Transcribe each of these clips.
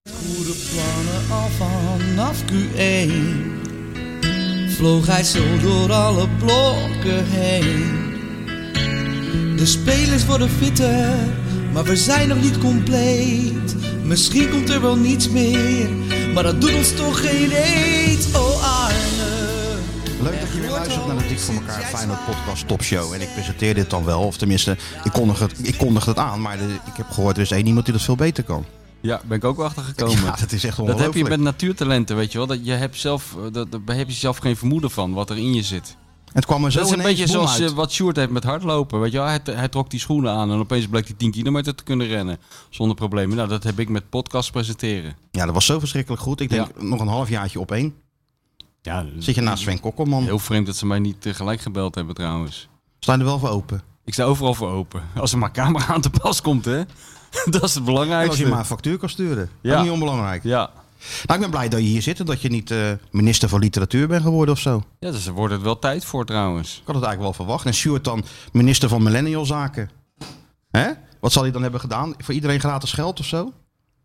goede plannen al vanaf Q1 Vloog hij zo door alle blokken heen De spelers worden fitter, maar we zijn nog niet compleet Misschien komt er wel niets meer, maar dat doet ons toch geen eet Oh Arne Leuk dat je weer luistert naar de Dik voor elkaar Feyenoord podcast topshow. En ik presenteer dit dan wel, of tenminste, ik kondig het, ik kondig het aan. Maar de- ik heb gehoord, er is één iemand die dat veel beter kan. Ja, ben ik ook achter gekomen. Ja, dat is echt dat heb je ongelooflijk. met natuurtalenten, weet je wel. Dat je hebt zelf, eh, dat, daar heb je zelf geen vermoeden van wat er in je zit. Het kwam er zo dat is een ineens beetje bom zoals uit. eh, wat Sjoerd heeft met hardlopen. Weet je wel. Hij, hij trok die schoenen aan en opeens bleek hij 10 kilometer te kunnen rennen. Zonder problemen. Nou, dat heb ik met podcast presenteren. Ja, dat was zo verschrikkelijk goed. Ik denk, nog een halfjaartje op één. Ja, Zit je naast Sven Kokkelman. Heel vreemd dat ze mij niet eh, gelijk gebeld hebben trouwens. Staan er wel voor open. Ik sta overal voor open. Als er maar camera aan te pas komt, hè. dat is het En als belangrijkste. je maar een factuur kan sturen. Ja. Ook niet onbelangrijk. Ja. Nou, ik ben blij dat je hier zit en dat je niet eh, minister van literatuur bent geworden of zo. ja, dus er wordt het wel tijd voor trouwens. Ik had het eigenlijk wel verwacht. En Stuart dan minister van millennial zaken. Hè? Wat zal hij dan hebben gedaan? Voor iedereen gratis geld of zo?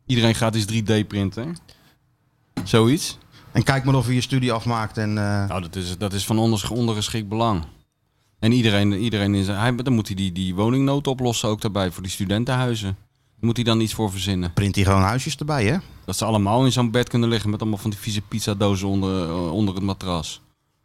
Iedereen gaat eens 3D-printen. Zoiets. En kijk maar of je je studie afmaakt. En, eh, Nou, dat is, dat is van onders- ondergeschikt belang. En iedereen, iedereen is. Hij, dan moet hij die, die woningnood oplossen ook daarbij voor die studentenhuizen. Daar moet hij dan iets voor verzinnen. print hij gewoon huisjes erbij, hè? Dat ze allemaal in zo'n bed kunnen liggen met allemaal van die vieze pizzadozen onder, eh, onder het matras.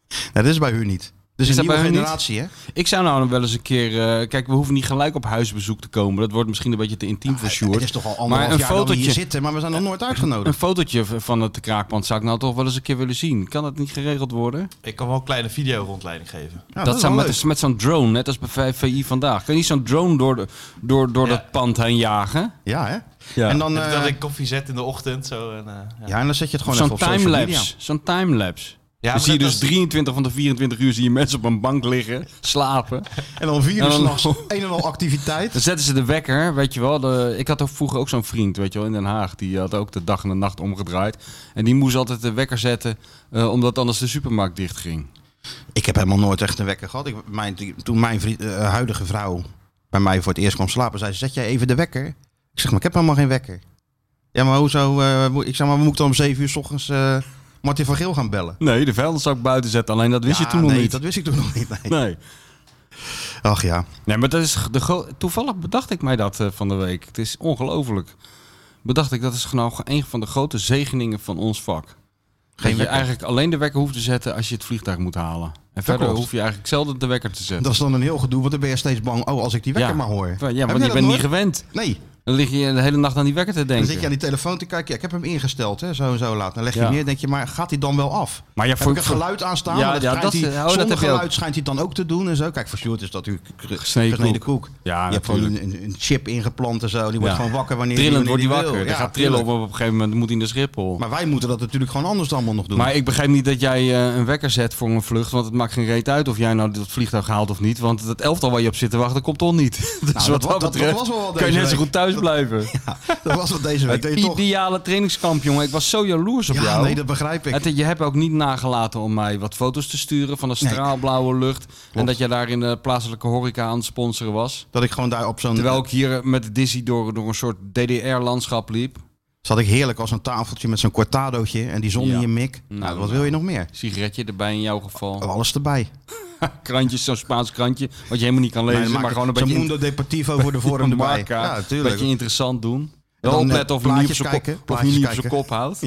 Nou, dat is bij hun niet. Dus Is is een dat bij nieuwe hun niet? generatie, hè? Ik zou nou wel eens een keer. eh, kijk, we hoeven niet gelijk op huisbezoek te komen. Dat wordt misschien een beetje te intiem voor Sjoerd. Ah, Het is toch al anderhalf maar een jaar dat we hier fotootje, zitten, maar we zijn nog nooit Een uitgenodigd. fotootje v- van het kraakpand zou ik nou toch wel eens een keer willen zien. Kan dat niet geregeld worden? Ik kan wel een kleine video rondleiding geven. Ja, dat is zou wel met, leuk. een- met zo'n drone, net als bij V- VI vandaag. Kan je niet zo'n drone door, de, door, door Ja. dat pand heen jagen? Ja, hè? Ja. En dan, eh, dat ik koffie zet in de ochtend. Zo, en, eh, ja. ja, en dan zet je het gewoon even Zo'n op social media. timelapse. Zo'n timelapse. Ja, dan maar zie je dat- dus dat is- 23 van de 24 uur zie je mensen op een bank liggen, slapen. En dan vier En uur dan- s'nachts, een en al activiteit. Dan zetten ze de wekker, weet je wel. De- ik had ook vroeger ook zo'n vriend, weet je wel, in Den Haag. Die had ook de dag en de nacht omgedraaid. En die moest altijd de wekker zetten, eh, omdat anders de supermarkt dicht ging. Ik heb helemaal nooit echt een wekker gehad. Ik, mijn, toen mijn vriend- eh, huidige vrouw bij mij voor het eerst kwam slapen, zei ze: Zet jij even de wekker? Ik zeg: Maar ik heb helemaal geen wekker. Ja, maar hoezo? eh, moet- ik zeg: Maar moet ik dan om 7 uur s ochtends eh, Martin van Geel gaan bellen? Nee, de vuilniszak buiten zetten. Alleen dat wist Ja, je toen nog nee, niet. Dat wist ik toen nog niet. Nee. Nee. Ach ja. Nee, maar dat is de gro- toevallig bedacht ik mij dat eh, van de week. Het is ongelooflijk. Bedacht ik, dat is nou een van de grote zegeningen van ons vak. dat je wekker. eigenlijk alleen de wekker hoeft te zetten als je het vliegtuig moet halen. En verder klopt. hoef je eigenlijk zelden de wekker te zetten. Dat is dan een heel gedoe, want dan ben je steeds bang. Oh, als ik die wekker maar hoor. Ja, Heb want je jij bent dat niet nooit? gewend. Nee, Dan lig je de hele nacht aan die wekker te dan denken. zit je aan die telefoon te kijken. Ja, ik heb hem ingesteld, hè, zo en zo laat. Dan leg je Ja. neer denk je, maar gaat hij dan wel af? Maar ja, Heb voor- ik het voor- geluid aan staan? Ja, maar dat ja, schijnt dat- hij- oh, dat zonder heb je ook. geluid schijnt hij het dan ook te doen en zo. Kijk, voor Stuart is dat natuurlijk k- Gesneden gesneden koek. koek. Ja, je hebt gewoon natuurlijk. een, een- een chip ingeplant en zo. Die wordt Ja. gewoon wakker wanneer Trillend die, wordt wanneer hij die wakker. wil. Dan Ja, gaat trillen op, tuurlijk. op een gegeven moment moet hij naar Schiphol. Maar, Maar wij moeten dat natuurlijk gewoon anders dan allemaal nog doen. ik begrijp niet dat jij eh, een wekker zet voor een vlucht. Want het maakt geen reet uit of jij nou dat vliegtuig haalt of niet. Want dat elftal waar je op zit te wachten komt toch niet. Nou, Dus wat dat wa- dat, dat- dat betreft was wel wat kan je deze net zo week. goed thuis blijven. dat was wat deze week. Het deed je toch? ideale trainingskamp, jongen. Ik was zo jaloers op Ja, jou. nee, dat begrijp ik. Het- je hebt ook niet nagelaten om mij wat foto's te sturen van de Nee. straalblauwe lucht. En dat jij daar in de plaatselijke horeca aan het sponsoren was. Dat ik gewoon daar op zo'n... Terwijl ik hier met Dizzy door, door een soort DDR-landschap liep. Zat ik heerlijk als een tafeltje met zo'n cortadootje en die zon Ja. in je mik. Nou, Nou, wat wil je nog meer? Sigaretje erbij in jouw geval. Oh, Alles erbij. Krantjes, zo'n Spaans krantje. Wat je helemaal niet kan lezen, Nee, dan maar maak gewoon een ik beetje, zo'n in- Mundo Deportivo voor de vorm een erbij. marca, Ja, een natuurlijk. beetje interessant doen. dan, Wel eh, opletten of je niet op plaatjes zijn kijken, kop, of je plaatjes niet op zijn kijken. kop houdt.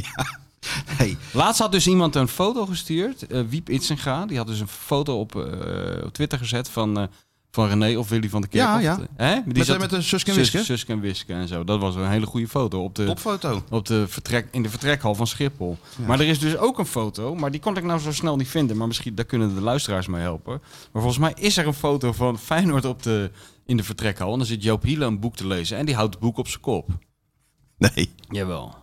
Hey, Laatst had dus iemand een foto gestuurd, eh, Wiep Itsenga. Die had dus een foto op, eh, op Twitter gezet van, eh, van René of Willy van de Kerkhoff. Ja, ja. Hè? Die Met- met een Suske en Wiske? Sus- Suske en Wiske en zo. Dat was een hele goede foto op de, topfoto. op de vertrek, in de vertrekhal van Schiphol. Maar er is dus ook een foto, maar die kon ik nou zo snel niet vinden. Maar misschien daar kunnen de luisteraars mee helpen. Maar volgens mij is er een foto van Feyenoord op de, in de vertrekhal. En dan zit Joop Hiele een boek te lezen en die houdt het boek op zijn kop. Nee. Jawel.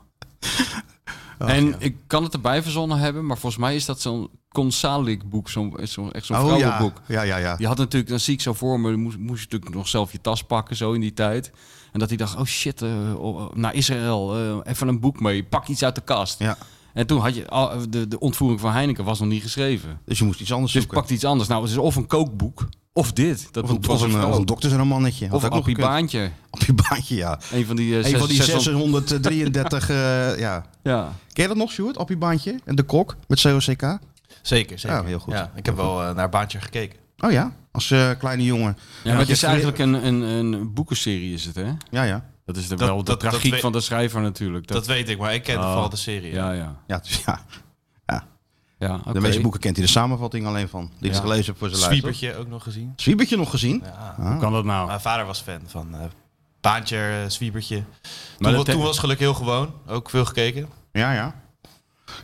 en ik kan het erbij verzonnen hebben, maar volgens mij is dat zo'n Consalik boek, zo'n zo'n- echt zo'n Oh ja. vrouwenboek. Ja, ja, ja. Die had natuurlijk, dan zie ik zo voor me, moest, moest je natuurlijk nog zelf je tas pakken zo in die tijd. En dat hij dacht, oh shit, eh, oh, naar Israël, eh, even een boek mee, pak iets uit de kast. ja. En toen had je, ah, de, de ontvoering van Heineken was nog niet geschreven. Dus je moest iets anders Dus zoeken. pakt iets anders. Nou, het is of een kookboek, Of dit. Dat Of, doet een, of Bas een, Vrouw. of een doktersromannetje. Had Of een ook nog appie gekund. baantje. Appie baantje, ja. Een van die, eh, Een van die 600 633, eh, ja. Ja. Ken je dat nog, Sjoerd? Appie baantje en de kok met COCK? Zeker, zeker. Ja, Ah, heel goed. Ja, ik heb wel eh, naar Baantje gekeken. Oh ja, als eh, kleine jongen. ja, maar het is je- eigenlijk een, een, een boekenserie is het, hè? Ja, ja. Dat is de, Dat- wel de dat- dat tragiek we- van de schrijver natuurlijk. Dat, weet ik, maar ik ken Oh. vooral de serie. eh. ja, ja. Ja, dus ja. ja De oké. meeste boeken kent hij de samenvatting alleen van. Die ik Ja. gelezen heb voor zijn lijst. toch? Swiepertje ook nog gezien. Zwiebertje nog gezien? Ja. Ah. Kan dat nou? Mijn vader was fan van eh Baantje, eh, Swiepertje. Maar Toen, dat- wa- toen was geluk heel gewoon. Ook veel gekeken. Ja, ja.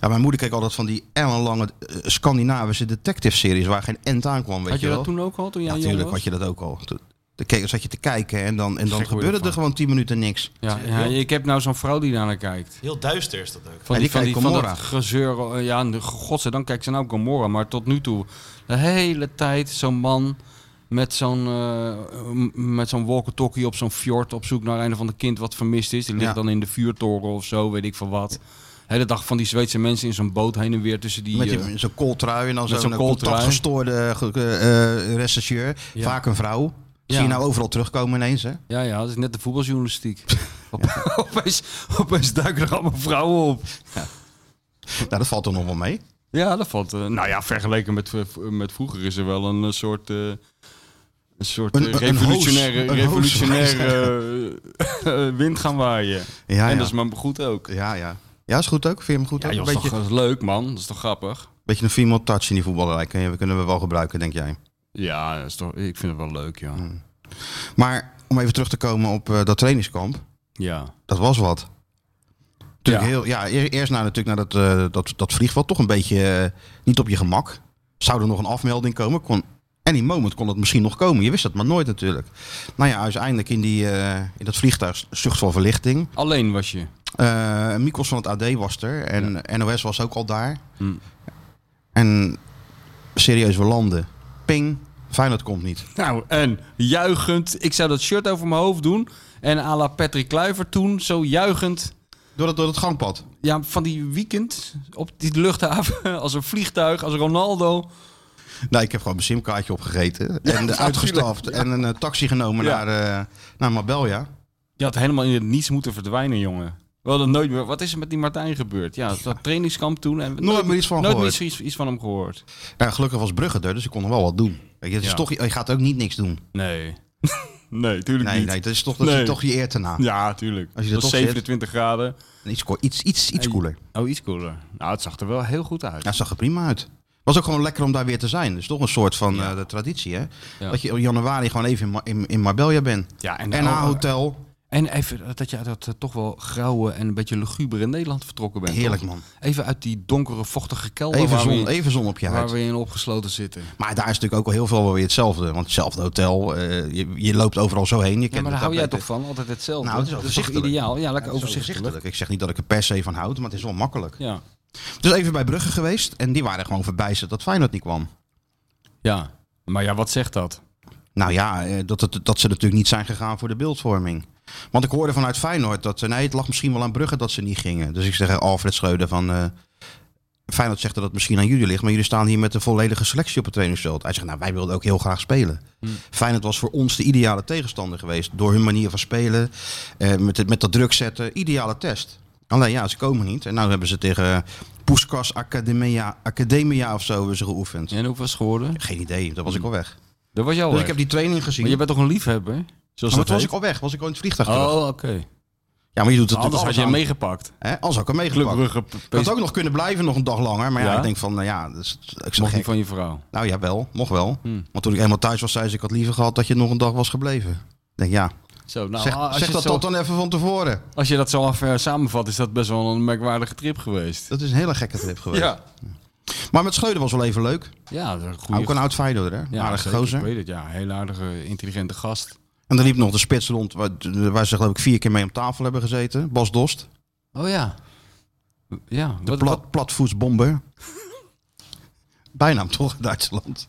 Ja, mijn moeder keek altijd van die ellenlange eh, Scandinavische detective-series waar geen end aan kwam, weet Had je wel. dat toen ook al, toen jij Ja, jong natuurlijk was? had je dat ook al. Toen toen keek- zat je te kijken en dan, en dan Gek word je gebeurde er ervan. gewoon tien minuten niks. Ja, ja, ik heb nou zo'n vrouw die daar naar kijkt. Heel duister is dat ook. Ja, Van die, die van, die, kijkt van dat Gomorra. gezeur. eh, Ja, en de, godzijdank kijkt ze nou ook Gomorra. Maar tot nu toe, de hele tijd zo'n man met zo'n eh, m- met zo'n walkie-talkie op zo'n fjord... op zoek naar een of ander kind wat vermist is. Die ligt Ja. dan in de vuurtoren of zo, weet ik veel wat. De hele dag van die Zweedse mensen in zo'n boot heen en weer tussen die... Met, die, eh, met zo'n kooltrui en dan met zo'n eh, zo'n kooltrui. contactgestoorde ge- eh, eh, rechercheur. Ja. Vaak een vrouw. Ja. Zie je nou overal terugkomen ineens, hè? ja, ja, dat is net de voetbaljournalistiek. Op- opeens, opeens duiken er allemaal vrouwen op. Nou, dat valt toch nog wel mee. Ja, dat valt. eh, nou ja, vergeleken met, v- met vroeger is er wel een eh, soort. eh, een soort eh, Een- een- een revolutionaire, hoos. Een revolutionaire eh, wind gaan waaien. Ja, en ja. dat is maar goed ook. Ja, ja. Ja, is goed ook. Vind je hem goed Ja, ook? een joh, dat is beetje, toch eh, leuk, man. Dat is toch grappig? beetje een female touch in die voetballerij. Kunnen we, kunnen we wel gebruiken, denk jij. Ja, dat is toch, ik vind het wel leuk, ja. Mm. Maar om even terug te komen op eh, dat trainingskamp. Ja. Dat was wat. Natuurlijk Ja. Heel, ja, e- eerst naar, natuurlijk naar dat, eh, dat, dat vliegveld. Toch een beetje eh, niet op je gemak. Zou er nog een afmelding komen? Kon, any moment kon het misschien nog komen. Je wist dat maar nooit natuurlijk. Nou ja, uiteindelijk in, die, eh, in dat vliegtuig zucht van verlichting. Alleen was je. Eh Mikos van het AD was er. En NOS was ook al daar. Hm. En serieus, we landen. Ping. Feyenoord komt niet. Nou, en juichend. Ik zou dat shirt over mijn hoofd doen. En à la Patrick Kluivert toen, zo juichend. Door het, door het gangpad. Ja, van die weekend op die luchthaven. Als een vliegtuig, als Ronaldo. Nou, ik heb gewoon mijn simkaartje opgegeten. En eh, uitgestapt. En een eh, taxi genomen Ja. naar, eh naar Marbella. Je had helemaal in het niets moeten verdwijnen, jongen. We hadden nooit meer... Wat is er met die Martijn gebeurd? Ja, dat trainingskamp toen. En Nooit meer iets van nooit gehoord. meer iets, iets van hem gehoord. Nou, gelukkig was Brugge er, dus ik kon nog wel wat doen. Weet je, het is Ja. toch, je gaat ook niet niks doen. Nee. nee, tuurlijk Nee, niet. nee, dat is toch, dat Nee. is toch je eer te na. Ja, tuurlijk. Als je Het er was toch zit. 27 graden. Iets, ko- iets, iets, iets En- cooler. Oh, iets cooler. Nou, het zag er wel heel goed uit. Ja, het zag er prima uit. Was ook gewoon lekker om daar weer te zijn. Dat is toch een soort van eh, de traditie, hè? Ja. Dat je in januari gewoon even in, Ma- in, in Marbella bent. Ja, en, NH-hotel. en even dat je uit dat eh, toch wel grauwe en een beetje lugubere Nederland vertrokken bent. Heerlijk, toch? man. Even uit die donkere, vochtige kelder Even Oh, waar, zon, we in, even zon op je waar huid. we in opgesloten zitten. Maar daar is natuurlijk ook wel heel veel wel weer hetzelfde. Want hetzelfde hotel, eh, je, je loopt overal zo heen. Je Ja, kent maar daar het hou jij ook toch van? Altijd hetzelfde. Nou, het is Dat toch overzichtelijk. ideaal. Ja, lekker beter. Het is overzichtelijk. overzichtelijk. Ik zeg niet dat ik er per se van houd, maar het is wel makkelijk. Ja. Dus even bij Brugge geweest. En die waren gewoon verbijsterd dat Feyenoord niet kwam. ja, maar ja, wat zegt dat? Nou ja, eh, dat, het, dat ze natuurlijk niet zijn gegaan voor de beeldvorming. Want ik hoorde vanuit Feyenoord dat... eh, Nee, het lag misschien wel aan Brugge dat ze niet gingen. Dus ik zeg tegen Alfred Schreuder van... eh, Feyenoord zegt dat het misschien aan jullie ligt... maar jullie staan hier met een volledige selectie op het trainingsveld. Hij zegt, nou, wij wilden ook heel graag spelen. Feyenoord was voor ons de ideale tegenstander geweest. Door hun manier van spelen, eh, met, het- met dat druk zetten. Ideale test. Alleen ja, ze komen niet. En nou hebben ze tegen Poeskas Academia, Academia of zo hebben ze geoefend. En hoeveel is geworden? Geen idee, dat was ik al weg. Dat was jou Dus ik heb die training gezien. Maar je bent toch een liefhebber? Zoals Ja, maar dat toen was heet? ik al weg, was ik al in het vliegtuig terug. Oh, oké. Ja, maar je doet het Anders had natuurlijk je hem alles meegepakt. aan. Hè? Als had ik hem meegepakt. Clubbrugge Ik had ook nog kunnen blijven, nog een dag langer. Maar ja, Ja? ik denk van, nou ja, dat is, ik zeg mocht niet gek. van je vrouw. Nou ja, wel, mocht wel. Hmm. Want toen ik helemaal thuis was, zei ze, ik had liever gehad dat je nog een dag was gebleven. Ik denk, ja, Zo, nou, zeg, als, zeg je dat zo, tot dan even van tevoren. als je dat zo af, eh, samenvat, is dat best wel een merkwaardige trip geweest. Dat is een hele gekke trip geweest. Ja. Maar met Scheuden was wel even leuk. Ja, dat is een goede... Ook een oud Feyenoorder, hè? ja, Aardige zeker, gozer. Ik weet het, ja. Heel aardige, intelligente gast. En dan liep nog de spits rond, waar, waar ze geloof ik vier keer mee om tafel hebben gezeten. Bas Dost, Oh ja. Ja, de wat, wat- plat, platvoetsbomber. Bijnaam toch in Duitsland.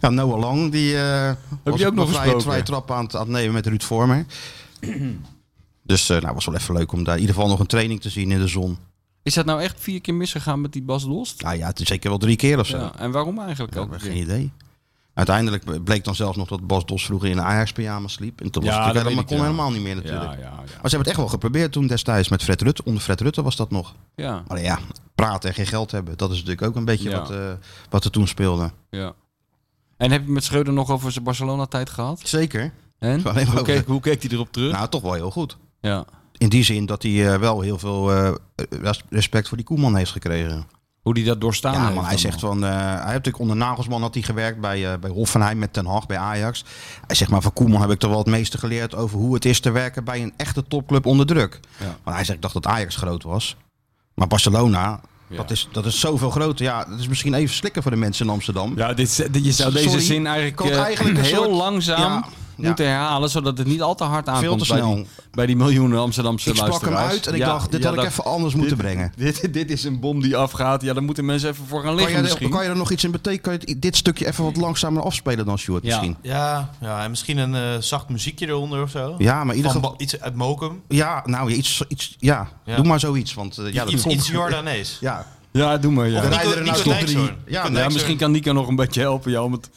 Ja, Noah Lang, die eh was je ook nog vrije, gesproken? vrije trap aan het, aan het nemen met Ruud Vormer. dus eh nou, was wel even leuk om daar in ieder geval nog een training te zien in de zon. is dat nou echt vier keer misgegaan met die Bas Lost? Nou ja, het is zeker wel drie keer of zo. Ja, en waarom eigenlijk ook? Geen idee. Uiteindelijk bleek dan zelfs nog dat Bas Dos vroeger in een Ajax-pyjama sliep. En toen was Ja, het natuurlijk dat weet helemaal, kon helemaal ik, ja. niet meer natuurlijk. Ja, ja, ja. Maar ze hebben het echt wel geprobeerd toen destijds met Fred Rutte. Onder Fred Rutte was dat nog. ja, Maar ja, praten en geen geld hebben. Dat is natuurlijk ook een beetje Ja. wat, eh, wat er toen speelde. ja. En heb je het met Schreuder nog over zijn Barcelona-tijd gehad? Zeker. En? Alleen maar Hoe over- keek, hoe keek hij erop terug? Nou, toch wel heel goed. ja. In die zin dat hij eh, wel heel veel eh, res- respect voor die Koeman heeft gekregen. Hoe die dat doorstaan Ja, Ah, heeft man, hij dan zegt nog. van... eh, hij heeft natuurlijk onder Nagelsman had hij gewerkt bij, eh, bij Hoffenheim met Ten Hag, bij Ajax. Hij zegt maar, van Koeman heb ik toch wel het meeste geleerd over hoe het is te werken bij een echte topclub onder druk. Ja. Want hij zegt, ik dacht dat Ajax groot was. Maar Barcelona, Ja. dat, is, dat is zoveel groter. Ja, dat is misschien even slikken voor de mensen in Amsterdam. Ja, dit, is- dit- je zou deze Sorry, zin eigenlijk, ik had eh, eigenlijk een heel soort- langzaam Ja, ja. moeten herhalen, zodat het niet al te hard aankomt Veel te Bij, snel. die, bij die miljoenen Amsterdamse Ik sprak hem luisteraars. uit en ik Ja, dacht, dit ja, had ik dat- even anders moeten dit- brengen. Dit, dit is een bom die afgaat. Ja, daar moeten mensen even voor gaan Kan liggen je, misschien. kan je er nog iets in betekenen? Kan je het- dit stukje even wat langzamer afspelen dan Stuart Ja. misschien? Ja, ja, en misschien een eh, zacht muziekje eronder of zo. Ja, maar in ieder Van geval... Ba- iets uit Mokum. Ja, nou, ja, iets, iets, ja. Ja. doe maar zoiets. Want, eh, ja, dat iets, komt- iets Jordanees. Ja, Ja, doe maar. Ja. Of Nico- rijden er nou Nico toch drie? Ja, Dijkshoorn. Nico nee, Ja, Dijkshoorn. misschien kan Nico nog een beetje helpen jou om, het,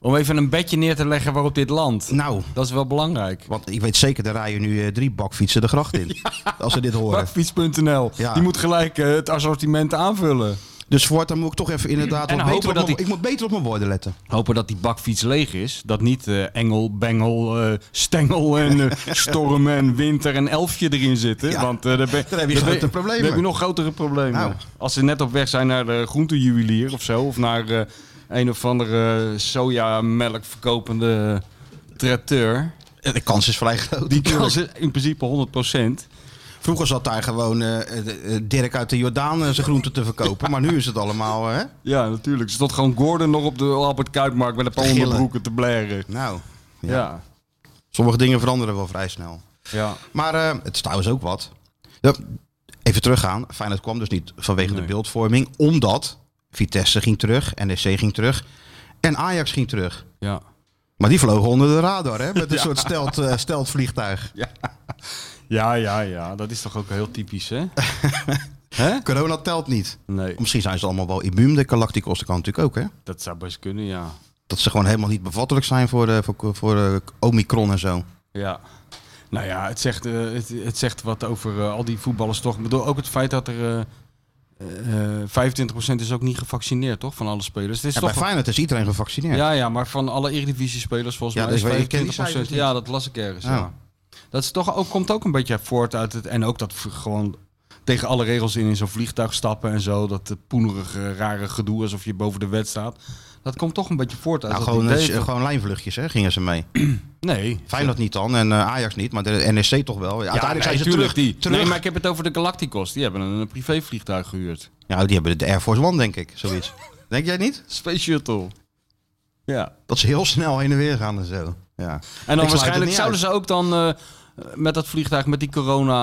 om even een bedje neer te leggen waarop dit landt. nou, Dat is wel belangrijk. want ik weet zeker, daar rijden nu eh, drie bakfietsen de gracht in. Als ze dit horen. Bakfiets.nl. Ja. Die moet gelijk eh, het assortiment aanvullen. Dus voortaan moet ik toch even inderdaad En wat hopen beter op dat mijn- die- Ik moet beter op mijn woorden letten. Hopen dat die bakfiets leeg is. Dat niet eh, engel, bengel, eh, stengel en eh, storm en winter en elfje erin zitten. Ja, Want eh, daar, ben, dan heb je daar ben- grote problemen. daar heb je nog grotere problemen. Nou. Als ze net op weg zijn naar de groentejuwelier of zo. Of naar eh, een of andere sojamelk verkopende tracteur. Eh, De kans is vrij groot. Die natuurlijk. kans is in principe 100%. Vroeger zat daar gewoon eh, eh, eh, Dirk uit de Jordaan eh, zijn groenten te verkopen. Maar nu is het allemaal... eh, Hè? Ja, natuurlijk. Er stond gewoon Gordon nog op de Albert Kuipmarkt met een paar Gillen. onderbroeken te blaren. Nou, Ja. Ja. sommige dingen veranderen wel vrij snel. ja. Maar eh, het is trouwens ook wat. Ja, even teruggaan. Feyenoord kwam dus niet vanwege Nee. de beeldvorming. Omdat Vitesse ging terug, NEC ging terug en Ajax ging terug. ja. Maar die vlogen onder de radar, hè? Met een soort stelt, eh, steltvliegtuig. Ja, ja, ja. Dat is toch ook heel typisch, hè? hè? Corona telt niet. Nee, Misschien zijn ze allemaal wel immuun. De Galacticos, dat kan natuurlijk ook, hè? dat zou best kunnen, ja. Dat ze gewoon helemaal niet bevattelijk zijn voor, eh, voor, voor eh, Omicron en zo. Ja. Nou ja, het zegt, eh, het, het zegt wat over eh, al die voetballers toch. Ik bedoel, ook het feit dat er eh, eh, 25% is ook niet gevaccineerd, toch? Van alle spelers. Het is Ja, bij toch Feyenoord is iedereen gevaccineerd. Ja, ja, maar van alle Eredivisie-spelers volgens Ja, mij dus is weet- ik ken die 25%. cijfers niet. Ja, dat las ik ergens, Oh. ja. Dat is toch ook, komt ook een beetje voort uit het... En ook dat v- gewoon tegen alle regels in in zo'n vliegtuig stappen en zo. Dat eh, poenerige, rare gedoe alsof je boven de wet staat. Dat komt toch een beetje voort uit Nou, dat gewoon, idee eh, van- gewoon lijnvluchtjes hè, gingen ze mee. Nee. Feyenoord niet dan en eh, Ajax niet, maar de NEC toch wel. Ja, uiteindelijk zijn ze terug. tuurlijk Die. terug. Nee, maar ik heb het over de Galacticos. Die hebben een, een privévliegtuig gehuurd. Ja, die hebben de Air Force One, denk ik, zoiets. denk jij niet? Space Shuttle. Ja. Dat ze heel snel heen en weer gaan en zo. Ja. En dan het waarschijnlijk niet zouden ze ook dan eh, met dat vliegtuig, met die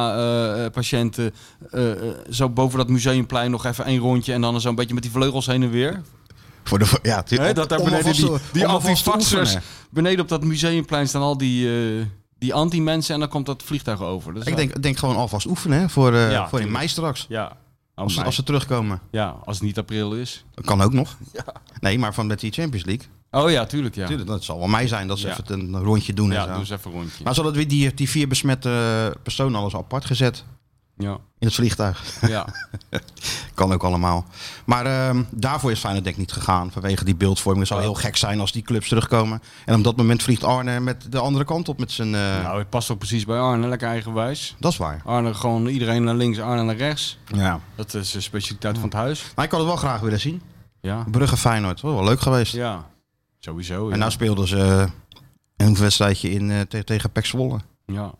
eh, corona-patiënten, eh, zo boven dat museumplein nog even één rondje en dan zo'n beetje met die vleugels heen en weer. Voor de, ja, het- Hè, om- dat daar om beneden alvast die, te- die om alvast te antifaxers, oefenen. beneden op dat museumplein staan al die, eh, die anti-mensen en dan komt dat vliegtuig over. Dat is Ik wel- denk, denk gewoon alvast oefenen hè, voor, eh, Ja, voor in tuurlijk. mei straks. Ja. Als, ze- Oh, als ze terugkomen. ja, als het niet april is. Dat kan ook nog. Nee, maar van met die Champions League. Oh ja, tuurlijk ja. Tuurlijk, dat zal wel mei zijn dat ze Ja. even een rondje doen en Ja, zo. doe eens even een rondje. Maar ze hadden weer die, die vier besmette eh, personen alles apart gezet Ja, in het vliegtuig. ja. kan ook allemaal. Maar ehm, daarvoor is Feyenoord denk ik niet gegaan. Vanwege die beeldvorming. Het zou heel gek zijn als die clubs terugkomen. En op dat moment vliegt Arne met de andere kant op met zijn... eh, Nou, het past ook precies bij Arne, lekker eigenwijs. Dat is waar. Arne gewoon iedereen naar links, Arne naar rechts. Ja. Dat is de specialiteit van het huis. Maar ik had het wel graag willen zien. Ja. Brugge Feyenoord, was wel leuk geweest. Ja, sowieso. Ja. En nou speelden ze eh, een wedstrijdje in, eh, te- tegen Pek Zwolle. ja.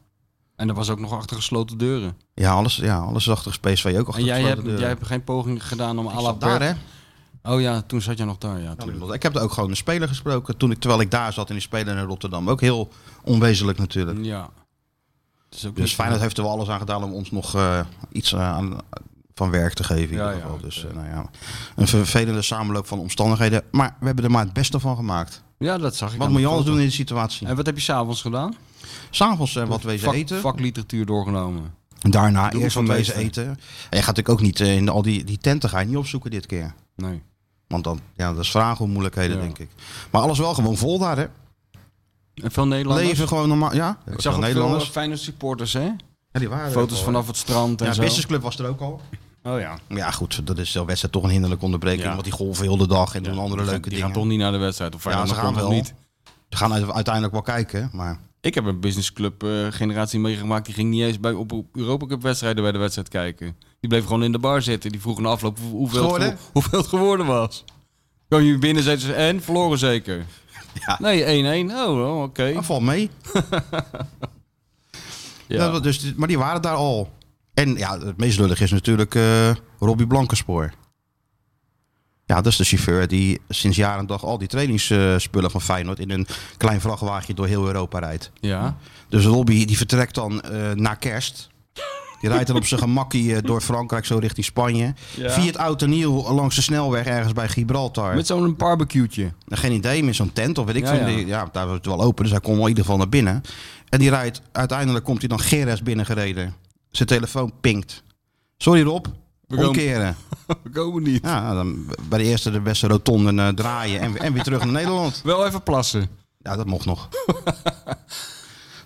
En er was ook nog achter gesloten deuren. Ja, alles, ja, alles is achter Space ook achter en jij gesloten hebt, deuren. jij hebt geen poging gedaan om Ik zat Alabert... daar, hè? Oh ja, toen zat jij nog daar. Ja, tuurlijk. Ik heb er ook gewoon een speler gesproken toen ik, terwijl ik daar zat in die speler in Rotterdam. Ook heel onwezenlijk natuurlijk. ja. Het is ook Dus niet- Feyenoord heeft er wel alles aan gedaan om ons nog eh, iets eh, aan, van werk te geven. In Ja, ieder ja, geval. oké. dus eh, nou ja, een vervelende samenloop van omstandigheden. Maar we hebben er maar het beste van gemaakt. Ja, dat zag ik. Wat aan moet je de anders foto. doen in die situatie? En wat heb je s'avonds gedaan? S'avonds eh, wat wezen Vak- eten. Vakliteratuur doorgenomen. Daarna Doe eerst wat wat wezen wezen. eten. En je gaat natuurlijk ook niet eh, in al die, die tenten ga je niet opzoeken dit keer. Nee. Want dan, ja, dat is vragen om moeilijkheden, Ja. denk ik. Maar alles wel gewoon vol daar, hè? En veel Nederlanders. Leven gewoon normaal. Ja, Ik zag ook veel Nederlanders. eh, Feyenoord supporters, hè? Ja, die waren er ook Foto's al, vanaf het strand hè. en Ja, zo. Business Club was er ook al. Oh ja. Maar Ja, goed, dat is de wedstrijd toch een hinderlijke onderbreking. Ja. Want die golven heel de dag en doen andere Die gaan- leuke die dingen. gaan toch niet naar de wedstrijd. Of ja, Feyenoord ze gaan komt wel. of niet. Ze gaan uit- uiteindelijk wel kijken, maar... Ik heb een businessclub eh, generatie meegemaakt. Die ging niet eens bij op Europa Cup wedstrijden bij de wedstrijd kijken. Die bleef gewoon in de bar zitten. Die vroeg na afloop hoe- hoeveel, het, Geworden? gewo- hoeveel het geworden was. Kwam je binnen zetten ze en verloren zeker. Ja. Nee, 1-1. Oh, oh, oké. Dat valt mee. Ja. Dat- dus, maar die waren daar al. En ja, het meest lullig is natuurlijk eh Robbie Blankenspoor. Ja, dat is de chauffeur die sinds jaren en dag al die trainingsspullen van Feyenoord in een klein vrachtwaagje door heel Europa rijdt. ja. Dus Robbie die vertrekt dan eh na kerst. Die rijdt dan op zijn gemakkie eh, door Frankrijk zo richting Spanje. Ja. Via het oud en nieuw langs de snelweg ergens bij Gibraltar. Met zo'n barbecue'tje. Nou, Geen idee, met zo'n tent of weet ik Ja, veel. ja. Die- Ja, daar was het wel open, dus hij kon wel in ieder geval naar binnen. En die rijdt, uiteindelijk komt hij dan Geres binnengereden. Zijn telefoon pinkt. Sorry Rob, We komen- omkeren. We komen niet. Ja, dan bij de eerste de beste rotonde eh, draaien en, en weer terug naar Nederland. Wel even plassen. Ja, dat mocht nog.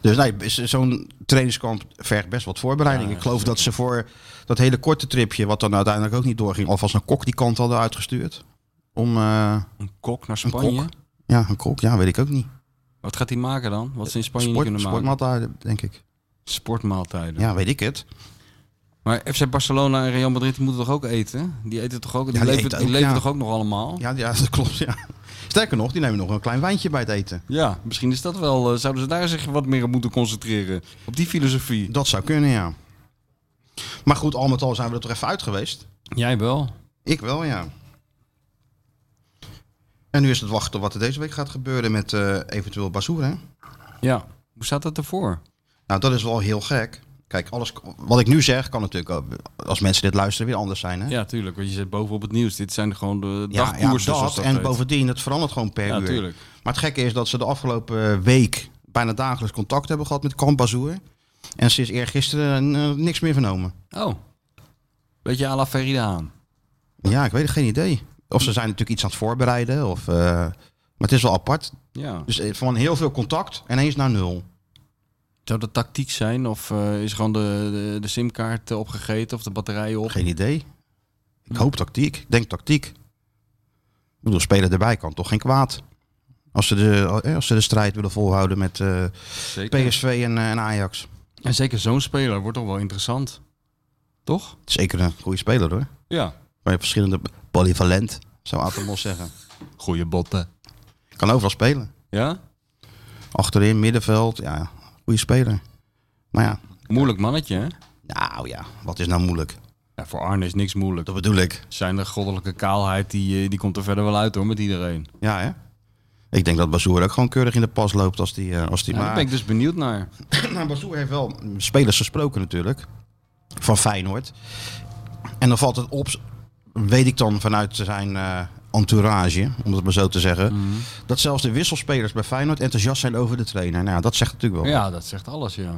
dus nee, z- zo'n trainingskamp vergt best wat voorbereiding. ik geloof dat ze voor dat hele korte tripje, wat dan uiteindelijk ook niet doorging, alvast een kok die kant hadden uitgestuurd. Om, eh, Een kok naar Een kok? Spanje. ja, een kok, ja, weet ik ook niet. Wat gaat hij maken dan? Wat ze in Spanje niet Sport, kunnen maken? sportmaaltijd, denk ik. Sportmaaltijden. Ja, weet ik het. Maar FC Barcelona en Real Madrid die moeten toch ook eten? Die eten toch ook? Die, die leven, eten die ook, leven ja. toch ook nog allemaal? Ja, ja dat klopt. Ja. Sterker nog, die nemen nog een klein wijntje bij het eten. Ja, misschien is dat wel. eh, zouden ze daar zich wat meer op moeten concentreren? Op die filosofie. Dat zou kunnen, ja. Maar goed, al met al zijn we er toch even uit geweest. Jij wel. Ik wel, ja. En nu is het wachten op wat er deze week gaat gebeuren met eh, eventueel Bazoer, hè? Ja. Hoe staat dat ervoor? Nou, dat is wel heel gek. Kijk, alles wat ik nu zeg kan natuurlijk, ook, als mensen dit luisteren, weer anders zijn, hè? Ja, tuurlijk. Want je zit bovenop het nieuws. Dit zijn gewoon de Ja, ja, dagkoersen. zoals dat. dat En heet. bovendien, het verandert gewoon per Ja, uur. tuurlijk. Maar het gekke is dat ze de afgelopen eh, week bijna dagelijks contact hebben gehad met Kamp Bazoer. En sinds eergisteren eh, niks meer vernomen. Oh. Beetje à la Ferida aan. Ja, ik weet het, geen idee. Of ze zijn natuurlijk iets aan het voorbereiden. Of, eh, maar het is wel apart. Ja. Dus eh, van heel veel contact en eens naar nul. Zou dat tactiek zijn? Of eh, is gewoon de, de, de simkaart eh, opgegeten of de batterij op? Geen idee. Ik hoop tactiek. Ik denk tactiek. Ik bedoel, spelen erbij kan toch geen kwaad. Als ze de, eh, als ze de strijd willen volhouden met eh, Zeker. PSV en, eh, en Ajax. En zeker zo'n speler wordt toch wel interessant. Toch? Zeker een goede speler hoor. Ja. Maar je hebt verschillende... Polyvalent, zou Atemos zeggen. Goeie botten. Kan overal spelen. Ja? Achterin, middenveld, ja, goede speler. Maar ja, Moeilijk mannetje, hè? nou ja, wat is nou moeilijk? Ja, voor Arne is niks moeilijk. Dat bedoel ik. Zijn de goddelijke kaalheid, die, eh, die komt er verder wel uit hoor, met iedereen. Ja, hè? Ik denk dat Bazoer ook gewoon keurig in de pas loopt als die... eh, als die Ja, daar maar ben ik dus benieuwd naar. nou, Bazoer heeft wel spelers gesproken natuurlijk. Van Feyenoord. En dan valt het op, weet ik dan vanuit zijn eh, entourage, om het maar zo te zeggen. Mhm. Dat zelfs de wisselspelers bij Feyenoord enthousiast zijn over de trainer. Nou, ja, dat zegt natuurlijk wel. Ja, dat zegt alles, ja.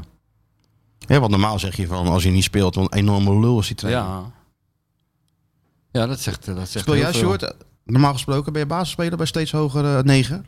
Hè, want normaal zeg je van, als hij niet speelt, wat een enorme lul is die trainer. Ja. Ja, dat zegt, eh, dat zegt Speel heel jij veel. short? eh, Normaal gesproken ben je basisspeler bij steeds eh, hogere 9,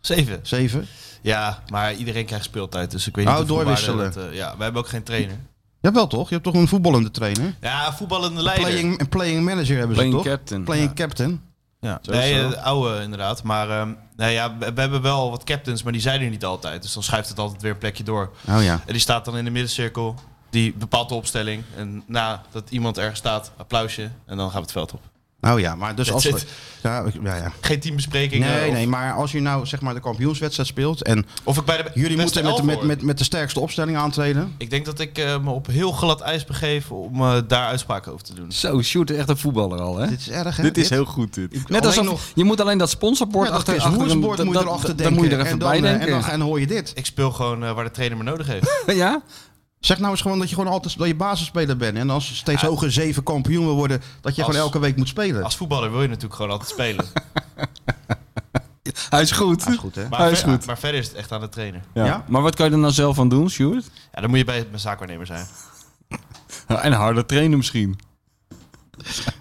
Zeven. 7. Ja, maar iedereen krijgt speeltijd, dus ik weet Oh, niet hoeveel waarde doorwisselen. dat, eh, ja, we hebben ook geen trainer. Ja, wel toch? Je hebt toch een voetballende trainer? Ja, voetballende leider. Playing, een playing manager hebben ze Playing toch? captain. Playing captain. Ja. Zo, Nee, zo. eh, de oude inderdaad. Maar ehm, nou ja, we, we hebben wel wat captains, maar die zijn er niet altijd. Dus dan schuift het altijd weer een plekje door. Oh ja. En die staat dan in de middencirkel. Die bepaalt de opstelling. En nadat iemand ergens staat, applausje. En dan gaan we het veld op. Nou ja, maar dus That's als... we- Ja, ik- ja, ja. Geen teambespreking. eh, Nee, of, nee, maar als je nou zeg maar de kampioenswedstrijd speelt en of ik bij de jullie beste moeten met, de- elf met, hoor. met, met de sterkste opstelling aantreden. Ik denk dat ik eh, me op heel glad ijs begeef om eh, daar uitspraken over te doen. Zo, Sjoerd is echt een voetballer al, hè? Dit is erg, hè? Dit is heel goed, dit. Net alleen alsof, nog- je moet alleen dat sponsorbord Ja, dat achter, Chris achter Woersbord dat- moet je dat- erachter dat- denken. Dan moet je er even en dan, bij eh, denken. En dan, en dan hoor je dit. Ik speel gewoon eh, waar de trainer me nodig heeft. ja? Zeg nou eens gewoon dat je gewoon altijd dat je basisspeler bent. En als steeds Ja. hoger zeven kampioen wil worden, dat je Als- gewoon elke week moet spelen. Als voetballer wil je natuurlijk gewoon altijd spelen. Hij is goed. Dat is goed, hè? Maar, Hij is ver- goed. maar verder is het echt aan de trainer. Ja. Ja? Maar wat kan je er nou zelf aan doen, Sjoerd? Ja, dan moet je bij mijn zaakwaarnemer zijn. En harder trainen misschien.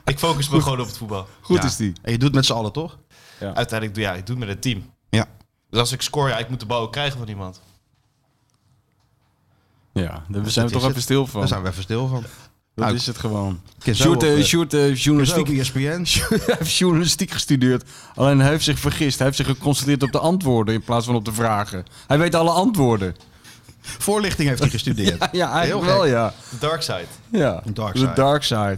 Ik focus me gewoon op het voetbal. Goed Ja. is die. En je doet het met z'n allen, toch? Uiteindelijk doe ja, ik doe het met het team. Ja. Dus als ik score, ja, ik moet de bal ook krijgen van iemand. Ja, daar zijn we is toch het. even stil van. Daar zijn we even stil van. Dat Nou, is het gewoon. kan zo Sjoerd, op, eh, eh, Sjoerd, eh, Dus ook journalistiek, ESPN. hij heeft journalistiek gestudeerd. Alleen hij heeft zich vergist. Hij heeft zich geconcentreerd op de antwoorden in plaats van op de vragen. Hij weet alle antwoorden. Voorlichting heeft hij gestudeerd. Ja, eigenlijk Heel wel, gek. ja. De dark side. ja. Een dark side. De dark side.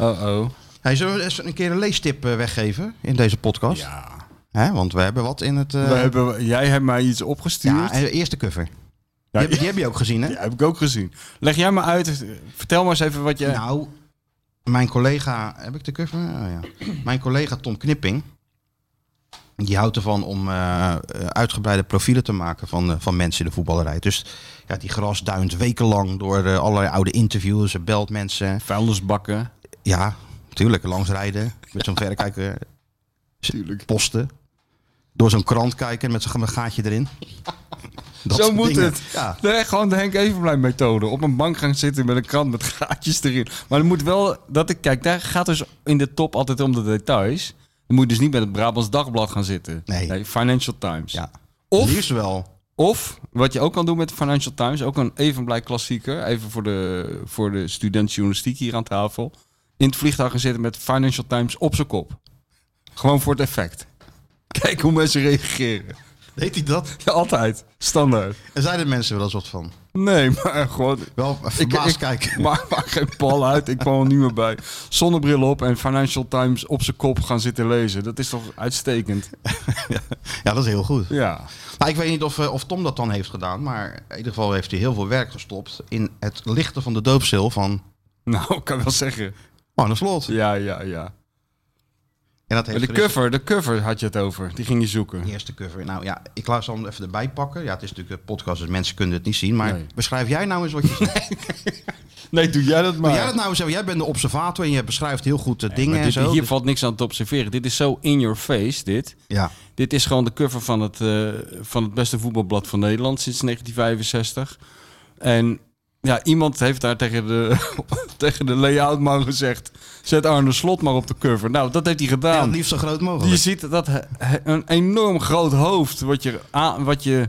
Uh-oh. Hij zullen we eens een keer een leestip eh, weggeven in deze podcast? Ja. Hè, want we hebben wat in het... eh, We hebben, jij hebt mij iets opgestuurd. ja, en de eerste cover. Die, Ja, heb, die heb je ook gezien, hè? Ja, heb ik ook gezien. Leg jij maar uit. Vertel maar eens even wat je... Nou, mijn collega... Heb ik de cover? Oh, ja. Mijn collega Tom Knipping... Die houdt ervan om eh, eh, uitgebreide profielen te maken van, eh, van mensen in de voetballerij. Dus ja, die gras duint wekenlang door eh, allerlei oude interviews. Ze belt mensen. Vuilnisbakken. Ja, tuurlijk. Langs rijden. Met zo'n verrekijker. Tuurlijk. Posten. Door zo'n krant kijken met zo'n gaatje erin. Dat Zo soort moet dingen. het. Ja. Nee, gewoon de Henk Evenblij methode. Op een bank gaan zitten met een krant met gaatjes erin. Maar er moet wel... Dat ik, kijk, daar gaat dus in de top altijd om de details. Dan moet je dus niet met het Brabants Dagblad gaan zitten. Nee. Financial Times. ja. Of- Liefst wel. Of, wat je ook kan doen met de Financial Times, ook een evenblij klassieker, even voor de, voor de student journalistiek hier aan tafel, in het vliegtuig gaan zitten met Financial Times op zijn kop. Gewoon voor het effect. Kijk hoe mensen reageren. Weet hij dat? Ja, altijd. Standaard. Er zijn er mensen wel een soort van. Nee, maar gewoon... Wel verbaasd kijken. Maak, maak geen pal uit, ik kwam er niet meer bij. Zonnebril op en Financial Times op zijn kop gaan zitten lezen. Dat is toch uitstekend? Ja, dat is heel goed. Ja. Maar ik weet niet of, eh, of Tom dat dan heeft gedaan. Maar in ieder geval heeft hij heel veel werk gestopt in het lichten van de doopstil van Nou, ik kan wel zeggen. Arne Slot. Ja, ja, ja. En dat heeft De Frits- cover, de cover had je het over. Die ging je zoeken. De eerste cover. Nou ja, ik laat ze hem even erbij pakken. Ja, het is natuurlijk een podcast, dus mensen kunnen het niet zien. Maar Nee. beschrijf jij nou eens wat je ziet. Nee, doe jij dat maar. Doe jij dat nou eens even? Jij bent de observator en je beschrijft heel goed de dingen Maar en dit, zo. hier Dus- valt niks aan te observeren. Dit is zo in your face, dit. ja. Dit is gewoon de cover van het, eh, van het beste voetbalblad van Nederland sinds 1965. En ja, iemand heeft daar tegen de, tegen de layoutman gezegd... zet Arne Slot maar op de cover. Nou, dat heeft hij Ja, het gedaan. liefst zo groot je mogelijk. ziet dat he- he- een enorm groot hoofd... wat je, a- wat je,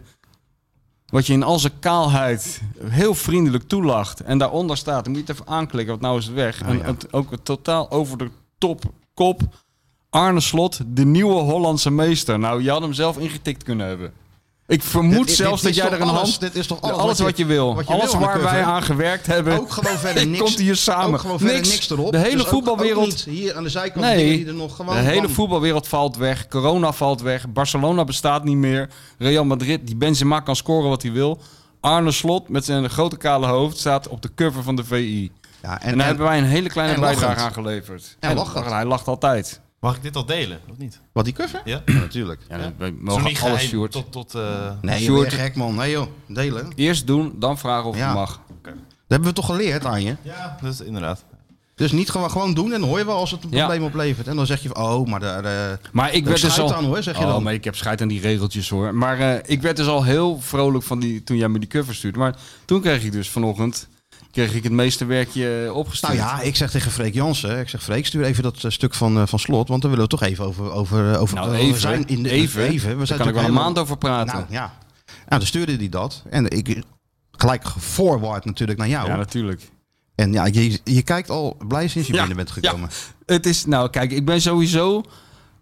wat je in al zijn kaalheid heel vriendelijk toelacht. En daaronder staat, dan moet je het even aanklikken... want nou is het weg. en Ah, ja. het- ook een totaal over de top kop... Arne Slot, de nieuwe Hollandse meester. Nou, je had hem zelf ingetikt kunnen hebben. Ik vermoed Dit- dit- dit zelfs dat is jij toch er een alles- hand... Dit is toch Alles, alles, wat je wil. wat je alles wil aan de waar cover, wij hè? aan gewerkt hebben. Ook gewoon verder niks. Komt hier samen. Ook gewoon verder niks, erop. De hele Dus ook- voetbalwereld. ook niet hier aan de zijkant Nee. dingen die er nog gewoon... de hele bam. voetbalwereld valt weg. Corona valt weg. Barcelona bestaat niet meer. Real Madrid, die Benzema kan scoren wat hij wil. Arne Slot met zijn grote kale hoofd staat op de cover van de VI. Ja, en, En, daar en hebben wij een hele kleine en bijdrage lachend. aan geleverd. En lachend. hij lacht altijd. Mag ik dit al delen, of niet? wat die cover? Ja? natuurlijk. Ja, Ja. We Zo mogen niet alles, geheim Sjoerd. Tot, tot, eh, Nee, je Sjoerd- bent gek man. Nee joh, delen. Dat Eerst doen, dan vragen of Ja. het mag. hebben we toch geleerd aan je. Ja, dat is inderdaad. Dus niet gewoon, gewoon doen en dan hoor je wel als het een Ja. probleem oplevert. En dan zeg je van, oh, maar daar... eh, Maar ik Daar werd dus schijt al... aan, hoor, zeg je oh, dan. maar ik heb scheid aan die regeltjes hoor. Maar eh, ik werd dus al heel vrolijk van die, toen jij me die cover stuurde. Maar toen kreeg ik dus vanochtend kreeg ik het meeste werkje eh, Nou opgestuurd. ja, ik zeg tegen Freek Jansen, ik zeg Freek, stuur even dat eh, stuk van, eh, van slot, want daar willen we toch even over... over, eh, over Nou, over- even, we zijn in de, even, we Daar zijn kan ik wel een natuurlijk maand over praten. Nou ja, nou, dan stuurde hij dat en ik gelijk forward natuurlijk naar jou. ja, natuurlijk. En ja, je, je kijkt al blij sinds je Ja, binnen bent gekomen. Het is, nou kijk, ik ben sowieso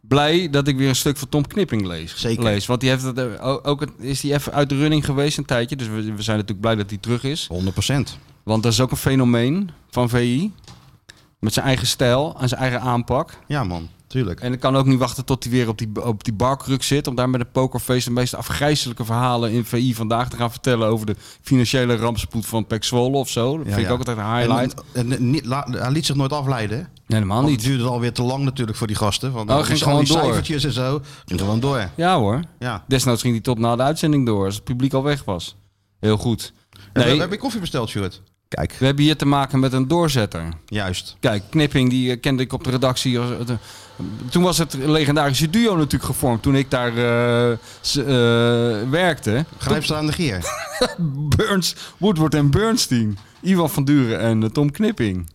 blij dat ik weer een stuk van Tom Knipping lees. Zeker. lees want die heeft het, eh, ook, ook het- is die even uit de running geweest een tijdje. Dus we, we zijn natuurlijk blij dat hij terug is. 100%. Want dat is ook een fenomeen van VI. Met zijn eigen stijl en zijn eigen aanpak. Ja man, tuurlijk. En ik kan ook niet wachten tot hij weer op die, op die barkruk zit. Om daar met een pokerfeest de meest afgrijzelijke verhalen in VI vandaag te gaan vertellen. Over de financiële rampspoed van Pek Zwolle of zo. Dat Ja, vind ik ja. ook altijd een En, highlight. en, en niet, la- hij liet zich nooit afleiden. hè? nee, helemaal Want niet. het duurde alweer te lang natuurlijk voor die gasten. Van, Oh, al ging die- al die gewoon door. cijfertjes en zo. Ging gewoon door. Ja hoor. Ja. Desnoods ging hij tot na de uitzending door. Als het publiek al weg was. Heel goed. Nee. Nee, Heb, je koffie besteld, Stuart? Kijk. we hebben hier te maken met een doorzetter. Juist. Kijk, Knipping die eh, kende ik op de redactie. als- eh, de- Toen was het legendarische duo natuurlijk gevormd. Toen ik daar eh, s- eh, werkte. Grijpster aan de gier. Burns, Woodward en Bernstein. Ivan van Duren en eh, Tom Knipping.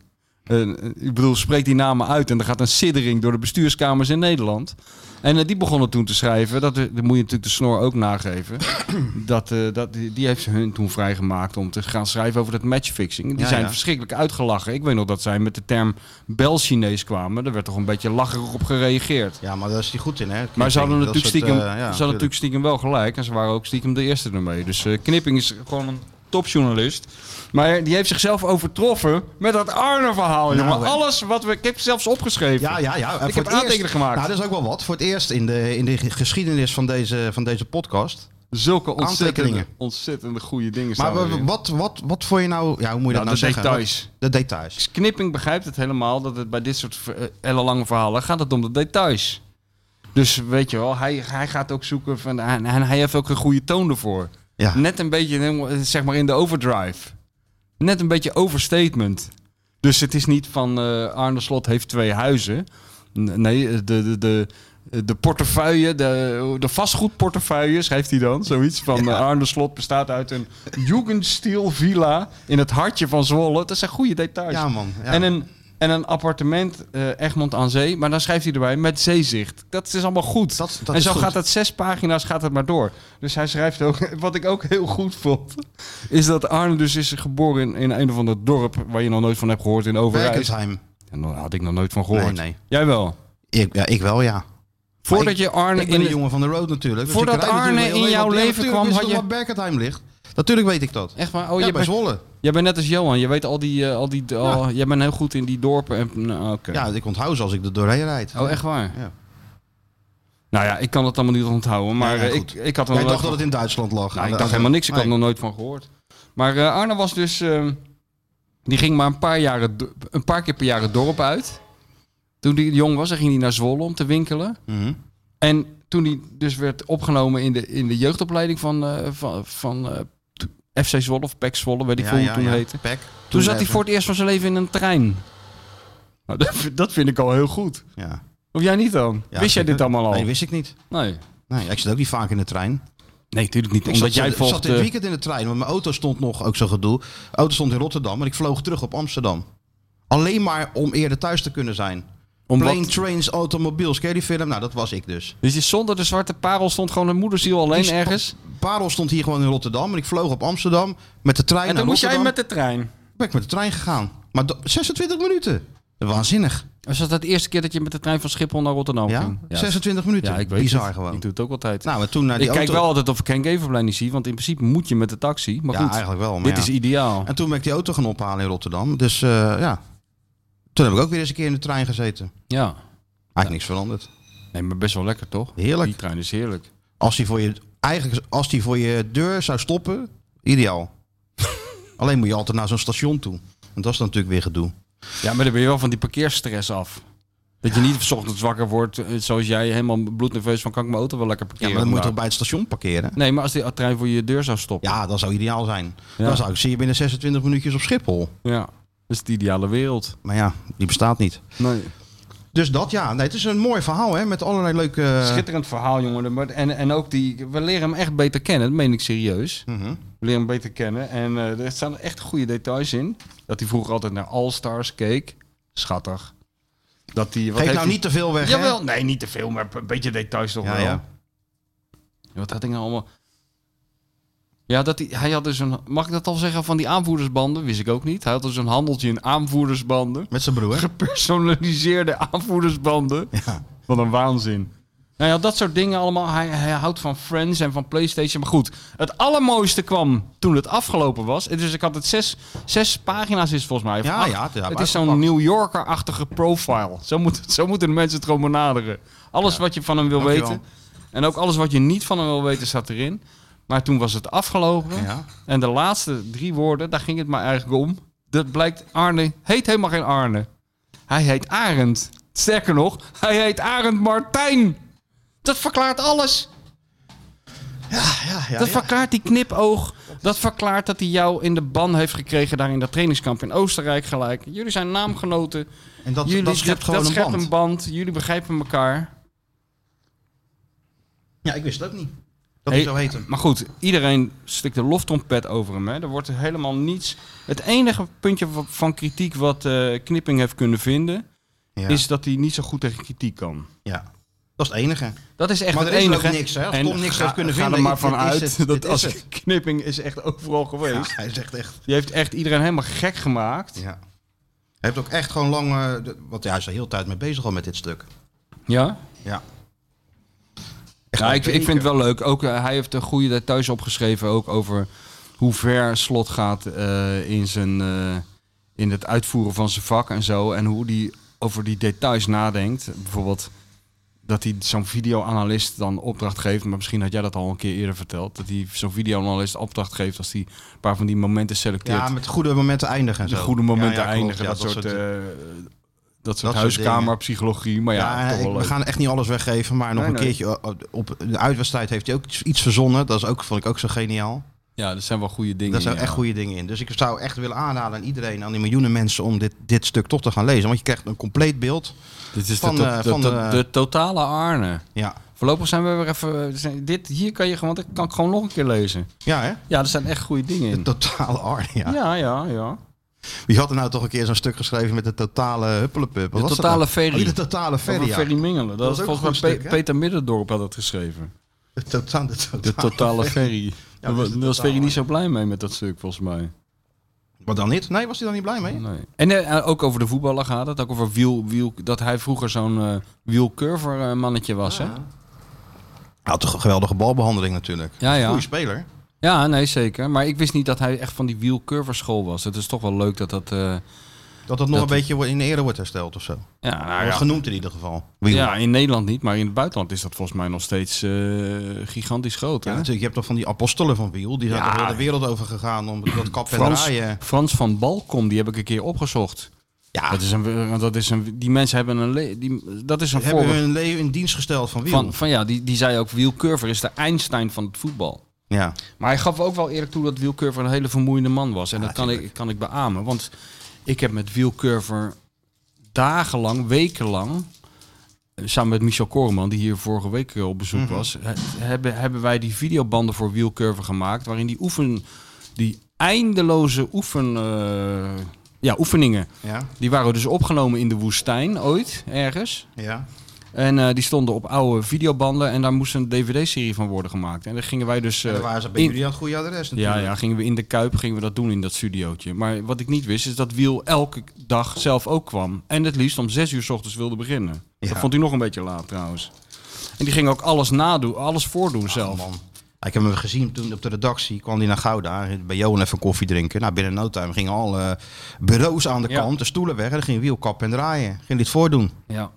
eh, ik bedoel, spreek die namen uit. En er gaat een siddering door de bestuurskamers in Nederland. En eh, die begonnen toen te schrijven. Dat, dat moet je natuurlijk de snor ook nageven. dat, eh, dat, die, die heeft ze hun toen vrijgemaakt om te gaan schrijven over dat matchfixing. Die Ja, zijn ja. verschrikkelijk uitgelachen. Ik weet nog dat zij met de term Bel-Chinees kwamen. Daar werd toch een beetje lacherig op gereageerd. Ja, maar daar is hij goed in, hè? Maar ze hadden, Dat natuurlijk soort, eh, stiekem, ja, ze hadden tuurlijk. natuurlijk stiekem wel gelijk. En ze waren ook stiekem de eerste ermee. Dus eh, Knipping is gewoon een topjournalist. Maar die heeft zichzelf overtroffen met dat Arne-verhaal. Nou, jongen. hè. Alles wat we... Ik heb het zelfs opgeschreven. Ja, ja, ja. En Ik voor heb het eerst- aantekeningen gemaakt. Nou, dat is ook wel wat. Voor het eerst in de, in de ge- geschiedenis van deze, van deze podcast. Zulke ontzettende, Aantekeningen. ontzettende goede dingen Maar staan we- erin. wat, wat, wat vond je nou... Ja, hoe moet je Nou, dat nou de zeggen? details. Wat- De details. Dus Knipping begrijpt het helemaal. Dat het bij dit soort eh, hele lange verhalen gaat het om de details. Dus weet je wel, hij, hij gaat ook zoeken van, en, en hij heeft ook een goede toon ervoor. Ja. Net een beetje eh, zeg maar in de overdrive. Net een beetje overstatement. Dus het is niet van eh Arne Slot heeft twee huizen. N- Nee, eh, de, de, de, eh, de portefeuille, de, de vastgoedportefeuille schrijft hij dan. Zoiets van eh, Arne Slot bestaat uit een Jugendstil villa in het hartje van Zwolle. Dat zijn goede details. Ja, man. Ja. En, een, en een appartement eh, Egmond aan Zee. Maar dan schrijft hij erbij met zeezicht. Dat is allemaal goed. Dat- dat en is zo goed. gaat dat zes pagina's gaat het maar door. Dus hij schrijft ook... Wat ik ook heel goed vond... is dat Arne dus is geboren in, in een of ander dorp... waar je nog nooit van hebt gehoord in Overijs. Werkensheim. En daar had ik nog nooit van gehoord. Nee, nee. Jij wel. Ik, ja, ik wel, ja. Voordat ik- je Arne Ik ben in... een jongen van de road natuurlijk. Dus Voordat ik rijd natuurlijk Arne heel in even jouw op de- leven natuurlijk kwam, wist had ik je- wel waar Berkendheim ligt. Natuurlijk weet ik dat. Echt waar? Oh, ja, bij jij, bent, Zwolle. jij bent net als Johan. Je weet al die... eh, al die al- jij bent heel goed in die dorpen. En, nou, oké. Ja, ik onthoud ze als ik er doorheen rijd. Oh, echt waar? Ja. Nou ja, ik kan het allemaal niet onthouden. Maar Ja, ja, eh, ik, goed. ik had er Jij nog dacht nooit dat het in Duitsland lag. Nou, ik dacht helemaal niks. Ik had er Nee. nog nooit van gehoord. Maar eh, Arne was dus... ehm, die ging maar een paar, jaren, do- een paar keer per jaar het dorp uit. Toen hij jong was, dan ging hij naar Zwolle om te winkelen. Mhm. En toen hij dus werd opgenomen in de, in de jeugdopleiding van, eh, van, van eh, t- FC Zwolle of PEC Zwolle, weet ik Ja, veel hoe ja, het toen ja. heette. Pek. Toen zat hij even. voor het eerst van zijn leven in een trein. Nou, dat, vind- dat vind ik al heel goed. Ja. Of jij niet dan? Ja, Wist jij zeker. dit allemaal al? Nee, wist ik niet. Nee. Nee, ik zit ook niet vaak in de trein. Nee, natuurlijk niet. Ik Omdat zat, jij ik zat volgt... dit eh, weekend in de trein, want mijn auto stond nog, ook zo'n gedoe. Mijn auto stond in Rotterdam, maar ik vloog terug op Amsterdam. Alleen maar om eerder thuis te kunnen zijn. om wat- Plane, trains, automobiels, ken je die film? Nou, dat was ik dus. Dus je zonder de zwarte parel stond gewoon een moederziel alleen Die Oh, ergens. Parel stond hier gewoon in Rotterdam en ik vloog op Amsterdam met de trein En naar dan moest jij Rotterdam. met de trein. Ben ik met de trein gegaan. Maar do- 26 minuten. Waanzinnig. Was dat de eerste keer dat je met de trein van Schiphol naar Rotterdam Ja? ging? 26 minuten. Ja, ik weet Bizar het. Ik gewoon. doe het ook altijd. Nou, en toen naar die ik kijk auto. wel altijd of ik Henk Everblij niet zie, want in principe moet je met de taxi. Maar ja, goed, eigenlijk wel. Maar dit ja. is ideaal. En toen ben ik die auto gaan ophalen in Rotterdam. Dus eh, ja. Toen heb ik ook weer eens een keer in de trein gezeten. Ja. Eigenlijk niks veranderd. Nee, maar best wel lekker toch? Heerlijk. Die trein is heerlijk. Als die voor je, eigenlijk, als die voor je deur zou stoppen, ideaal. Alleen moet je altijd naar zo'n station toe. En dat is dan natuurlijk weer gedoe. Ja, maar dan ben je wel van die parkeerstress af. Dat je niet 's ochtends wakker wordt, eh, zoals jij, helemaal bloednerveus van kan ik mijn auto wel lekker Ja, parkeren. maar dan moet je toch bij vandaag? het station parkeren? Nee, maar als die trein voor je deur zou stoppen. Ja, dat zou ideaal zijn. Ja. Dan zou ik zie je binnen 26 minuutjes op Schiphol. ja. Dat is de ideale wereld. Maar ja, die bestaat niet. Nee. Dus dat ja, nee, het is een mooi verhaal hè, met allerlei leuke... eh, Schitterend verhaal, jongen. Maar- En, en ook die, we leren hem echt beter kennen, dat meen ik serieus. Mhm. We leren hem beter kennen. En eh, er staan echt goede details in. Dat hij vroeger altijd naar All Stars keek. Schattig. Dat hij. wat Geef heeft nou hij- niet te veel weg hè? Jawel, nee, niet te veel, maar een beetje details toch Ja, wel. ja. Wat had ik nou allemaal. Ja, dat hij, hij had dus een. Mag ik dat al zeggen? Van die aanvoerdersbanden? Wist ik ook niet. Hij had dus een handeltje in aanvoerdersbanden. Met zijn broer. Gepersonaliseerde aanvoerdersbanden. Ja. Wat een waanzin. Nou ja, dat soort dingen allemaal. Hij, hij houdt van Friends en van PlayStation. Maar goed, het allermooiste kwam toen het afgelopen was. Dus ik had het zes, zes pagina's is het volgens mij. of Ja, ja, acht. het- ja, het is uitgepakt. zo'n New Yorker-achtige profile. Zo, moet, zo moeten de mensen het gewoon benaderen. Alles wat je van hem wil Dankjewel. weten. En ook alles wat je niet van hem wil weten staat erin. Maar toen was het afgelopen. Ja. En de laatste drie woorden, daar ging het maar eigenlijk om. Dat blijkt Arne heet helemaal geen Arne. Hij heet Arend. Sterker nog, hij heet Arend Martijn. Dat verklaart alles. Ja, ja, dat verklaart die knipoog. Dat verklaart dat hij jou in de ban heeft gekregen daar in dat trainingskamp in Oostenrijk gelijk. Jullie zijn naamgenoten. En dat, Jullie, dat schept gewoon dat een schept band. een band. Jullie begrijpen elkaar. Ja, ik wist het ook niet. Dat Hey, hij zo heet hem. Maar goed, iedereen stikt de loftrompet over hem. Hè. Er wordt helemaal niets. Het enige puntje wa- van kritiek wat eh, Knipping heeft kunnen vinden, Ja. is dat hij niet zo goed tegen kritiek kan. ja. Dat is het enige. Dat is echt Maar het er is enige. ook niks, hè? Als En Tom niks ga- heeft kunnen ga vinden, er maar dit- dit is vanuit het, dat dit is als het. Knipping is echt overal Ja, geweest. hij zegt echt. Die heeft echt iedereen helemaal gek gemaakt. Ja. Hij heeft ook echt gewoon lang. eh, de- want ja, hij is er heel de tijd mee bezig al met dit stuk. Ja? Ja. Echt Ja, al ik, ik vind het wel leuk. Ook, eh, hij heeft een goede daar thuis opgeschreven ook over hoe ver Slot gaat eh, in, zijn, eh, in het uitvoeren van zijn vak en zo. En hoe hij over die details nadenkt. Bijvoorbeeld dat hij zo'n videoanalist dan opdracht geeft. Maar misschien had jij dat al een keer eerder verteld. Dat hij zo'n videoanalist opdracht geeft als hij een paar van die momenten selecteert. Ja, met goede momenten eindigen. En de zo. goede momenten Ja, ja, klopt. eindigen. Ja, dat, soort, eh, dat soort dingen. huiskamerpsychologie. Maar ja, Ja, toch wel ik- we leuk. gaan echt niet alles weggeven, maar nog Nee, een nee. keertje eh, op de uitwedstrijd heeft hij ook iets- iets verzonnen. Dat is ook, vond ik ook zo geniaal. ja, dat zijn wel goede dingen. Daar zijn ja. echt goede dingen in. Dus ik zou echt willen aanraden aan iedereen, aan die miljoenen mensen, om dit, dit stuk toch te gaan lezen. Want je krijgt een compleet beeld. Dit is Van, de, to- eh, de- van de, de- de totale Arne. Ja, Voorlopig zijn we weer even. eh, we zijn- dit, hier kan je gewoon, dat kan ik gewoon nog een keer lezen. ja hè? Ja, er zijn echt goede dingen De in. totale Arne, ja. Ja, ja, ja. Wie had er nou toch een keer zo'n stuk geschreven met de totale huppelepup? Wat De was dat totale nou? ferry. Oh, die de totale ferry, Over ja. Ferry Mingelen. Dat Dat, is is ook volgens mij een goed Pe- stuk, hè? Peter Middendorp had dat geschreven. De tota- de totale, De totale ferry. dat Daar is was, dus de daar was totale. Ferry niet zo blij mee met dat stuk, volgens mij. Wat dan niet? Nee, was hij dan niet blij mee? Nee. En eh, ook over de voetballer gaat het. Ook over wiel, wiel, dat hij vroeger zo'n eh wielcurver eh, mannetje was. Hè? Hij had toch een geweldige balbehandeling natuurlijk. Ja, ja. Goeie speler. Ja, nee, zeker. Maar ik wist niet dat hij echt van die wielcurverschool was. Het is toch wel leuk dat dat... eh, Dat dat nog Dat- een beetje wordt- in ere wordt hersteld of zo. ja, nou Wordt ja. genoemd in ieder geval. Wie- Ja, in Nederland niet, maar in het buitenland is dat volgens mij nog steeds eh, gigantisch groot. Ja, Hè? natuurlijk. Je hebt toch van die apostelen van Wiel. Die zijn Ja. toch heel de wereld over gegaan om dat kap en Frans, draaien. Frans van Balkom, die heb ik een keer opgezocht. Ja, Dat is een, dat is een, die mensen hebben een, le- die, dat is een hebben we voorbeeld hun leven in dienst gesteld van Wiel. van, van ja, die, die zei ook wielcurver is de Einstein van het voetbal. Ja. Maar hij gaf ook wel eerlijk toe dat wielcurver een hele vermoeiende man was. En dat kan ik, kan ik beamen, want ik heb met wielcurver dagenlang, wekenlang, eh, samen met Michel Koreman, die hier vorige week eh, op Mhm. bezoek was, he- hebben, hebben wij die videobanden voor wielcurver gemaakt, waarin die oefen, die eindeloze oefen, eh, ja, oefeningen, Ja. die waren dus opgenomen in de woestijn ooit, ergens. Ja. En eh, die stonden op oude videobanden en daar moest een dvd-serie van worden gemaakt. En daar gingen wij dus... En dan eh, waren ze bij in- jullie aan het goede adres ja, natuurlijk. ja, gingen we in de Kuip gingen we dat doen in dat studiootje. Maar wat ik niet wist, is dat Wiel elke dag zelf ook kwam. En het liefst om zes uur s ochtends wilde beginnen. Ja. Dat vond hij nog een beetje laat trouwens. En die ging ook alles nadoen, alles voordoen zelf. Ah, Man. Ik heb hem gezien toen op de redactie kwam hij naar Gouda bij Johan even koffie drinken. Nou, binnen no time gingen al eh, bureaus aan de Ja. kant, de stoelen weg en dan ging wielkap en draaien. Ging dit voordoen. Ja.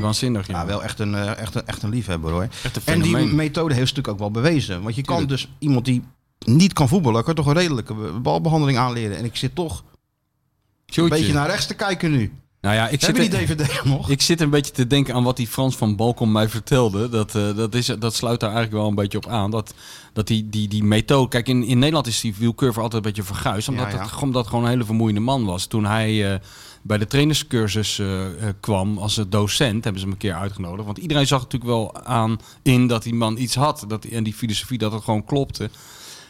Waanzinnig, ja. Ja, Ah, wel echt een, eh, echt, een, echt een liefhebber hoor. Echt een En die fenomeen. methode heeft ze natuurlijk ook wel bewezen. Want je kan Tuurlijk. dus iemand die niet kan voetballen, kan toch een redelijke be- balbehandeling aanleren. En ik zit toch een Tjoetje. beetje naar rechts te kijken nu. Nou ja, ik zit, Hebben die er- DVD nog? ik zit een beetje te denken aan wat die Frans van Balkom mij vertelde. Dat, eh, dat, is, dat sluit daar eigenlijk wel een beetje op aan. Dat, dat die, die, die methode... Kijk, in, in Nederland is die wielcurve altijd een beetje verguisd. Omdat, Ja, ja. Het, omdat het gewoon een hele vermoeiende man was. Toen hij eh, bij de trainerscursus eh, eh, kwam als eh, docent... hebben ze hem een keer uitgenodigd. Want iedereen zag natuurlijk wel aan in dat die man iets had. Dat, en die filosofie dat het gewoon klopte.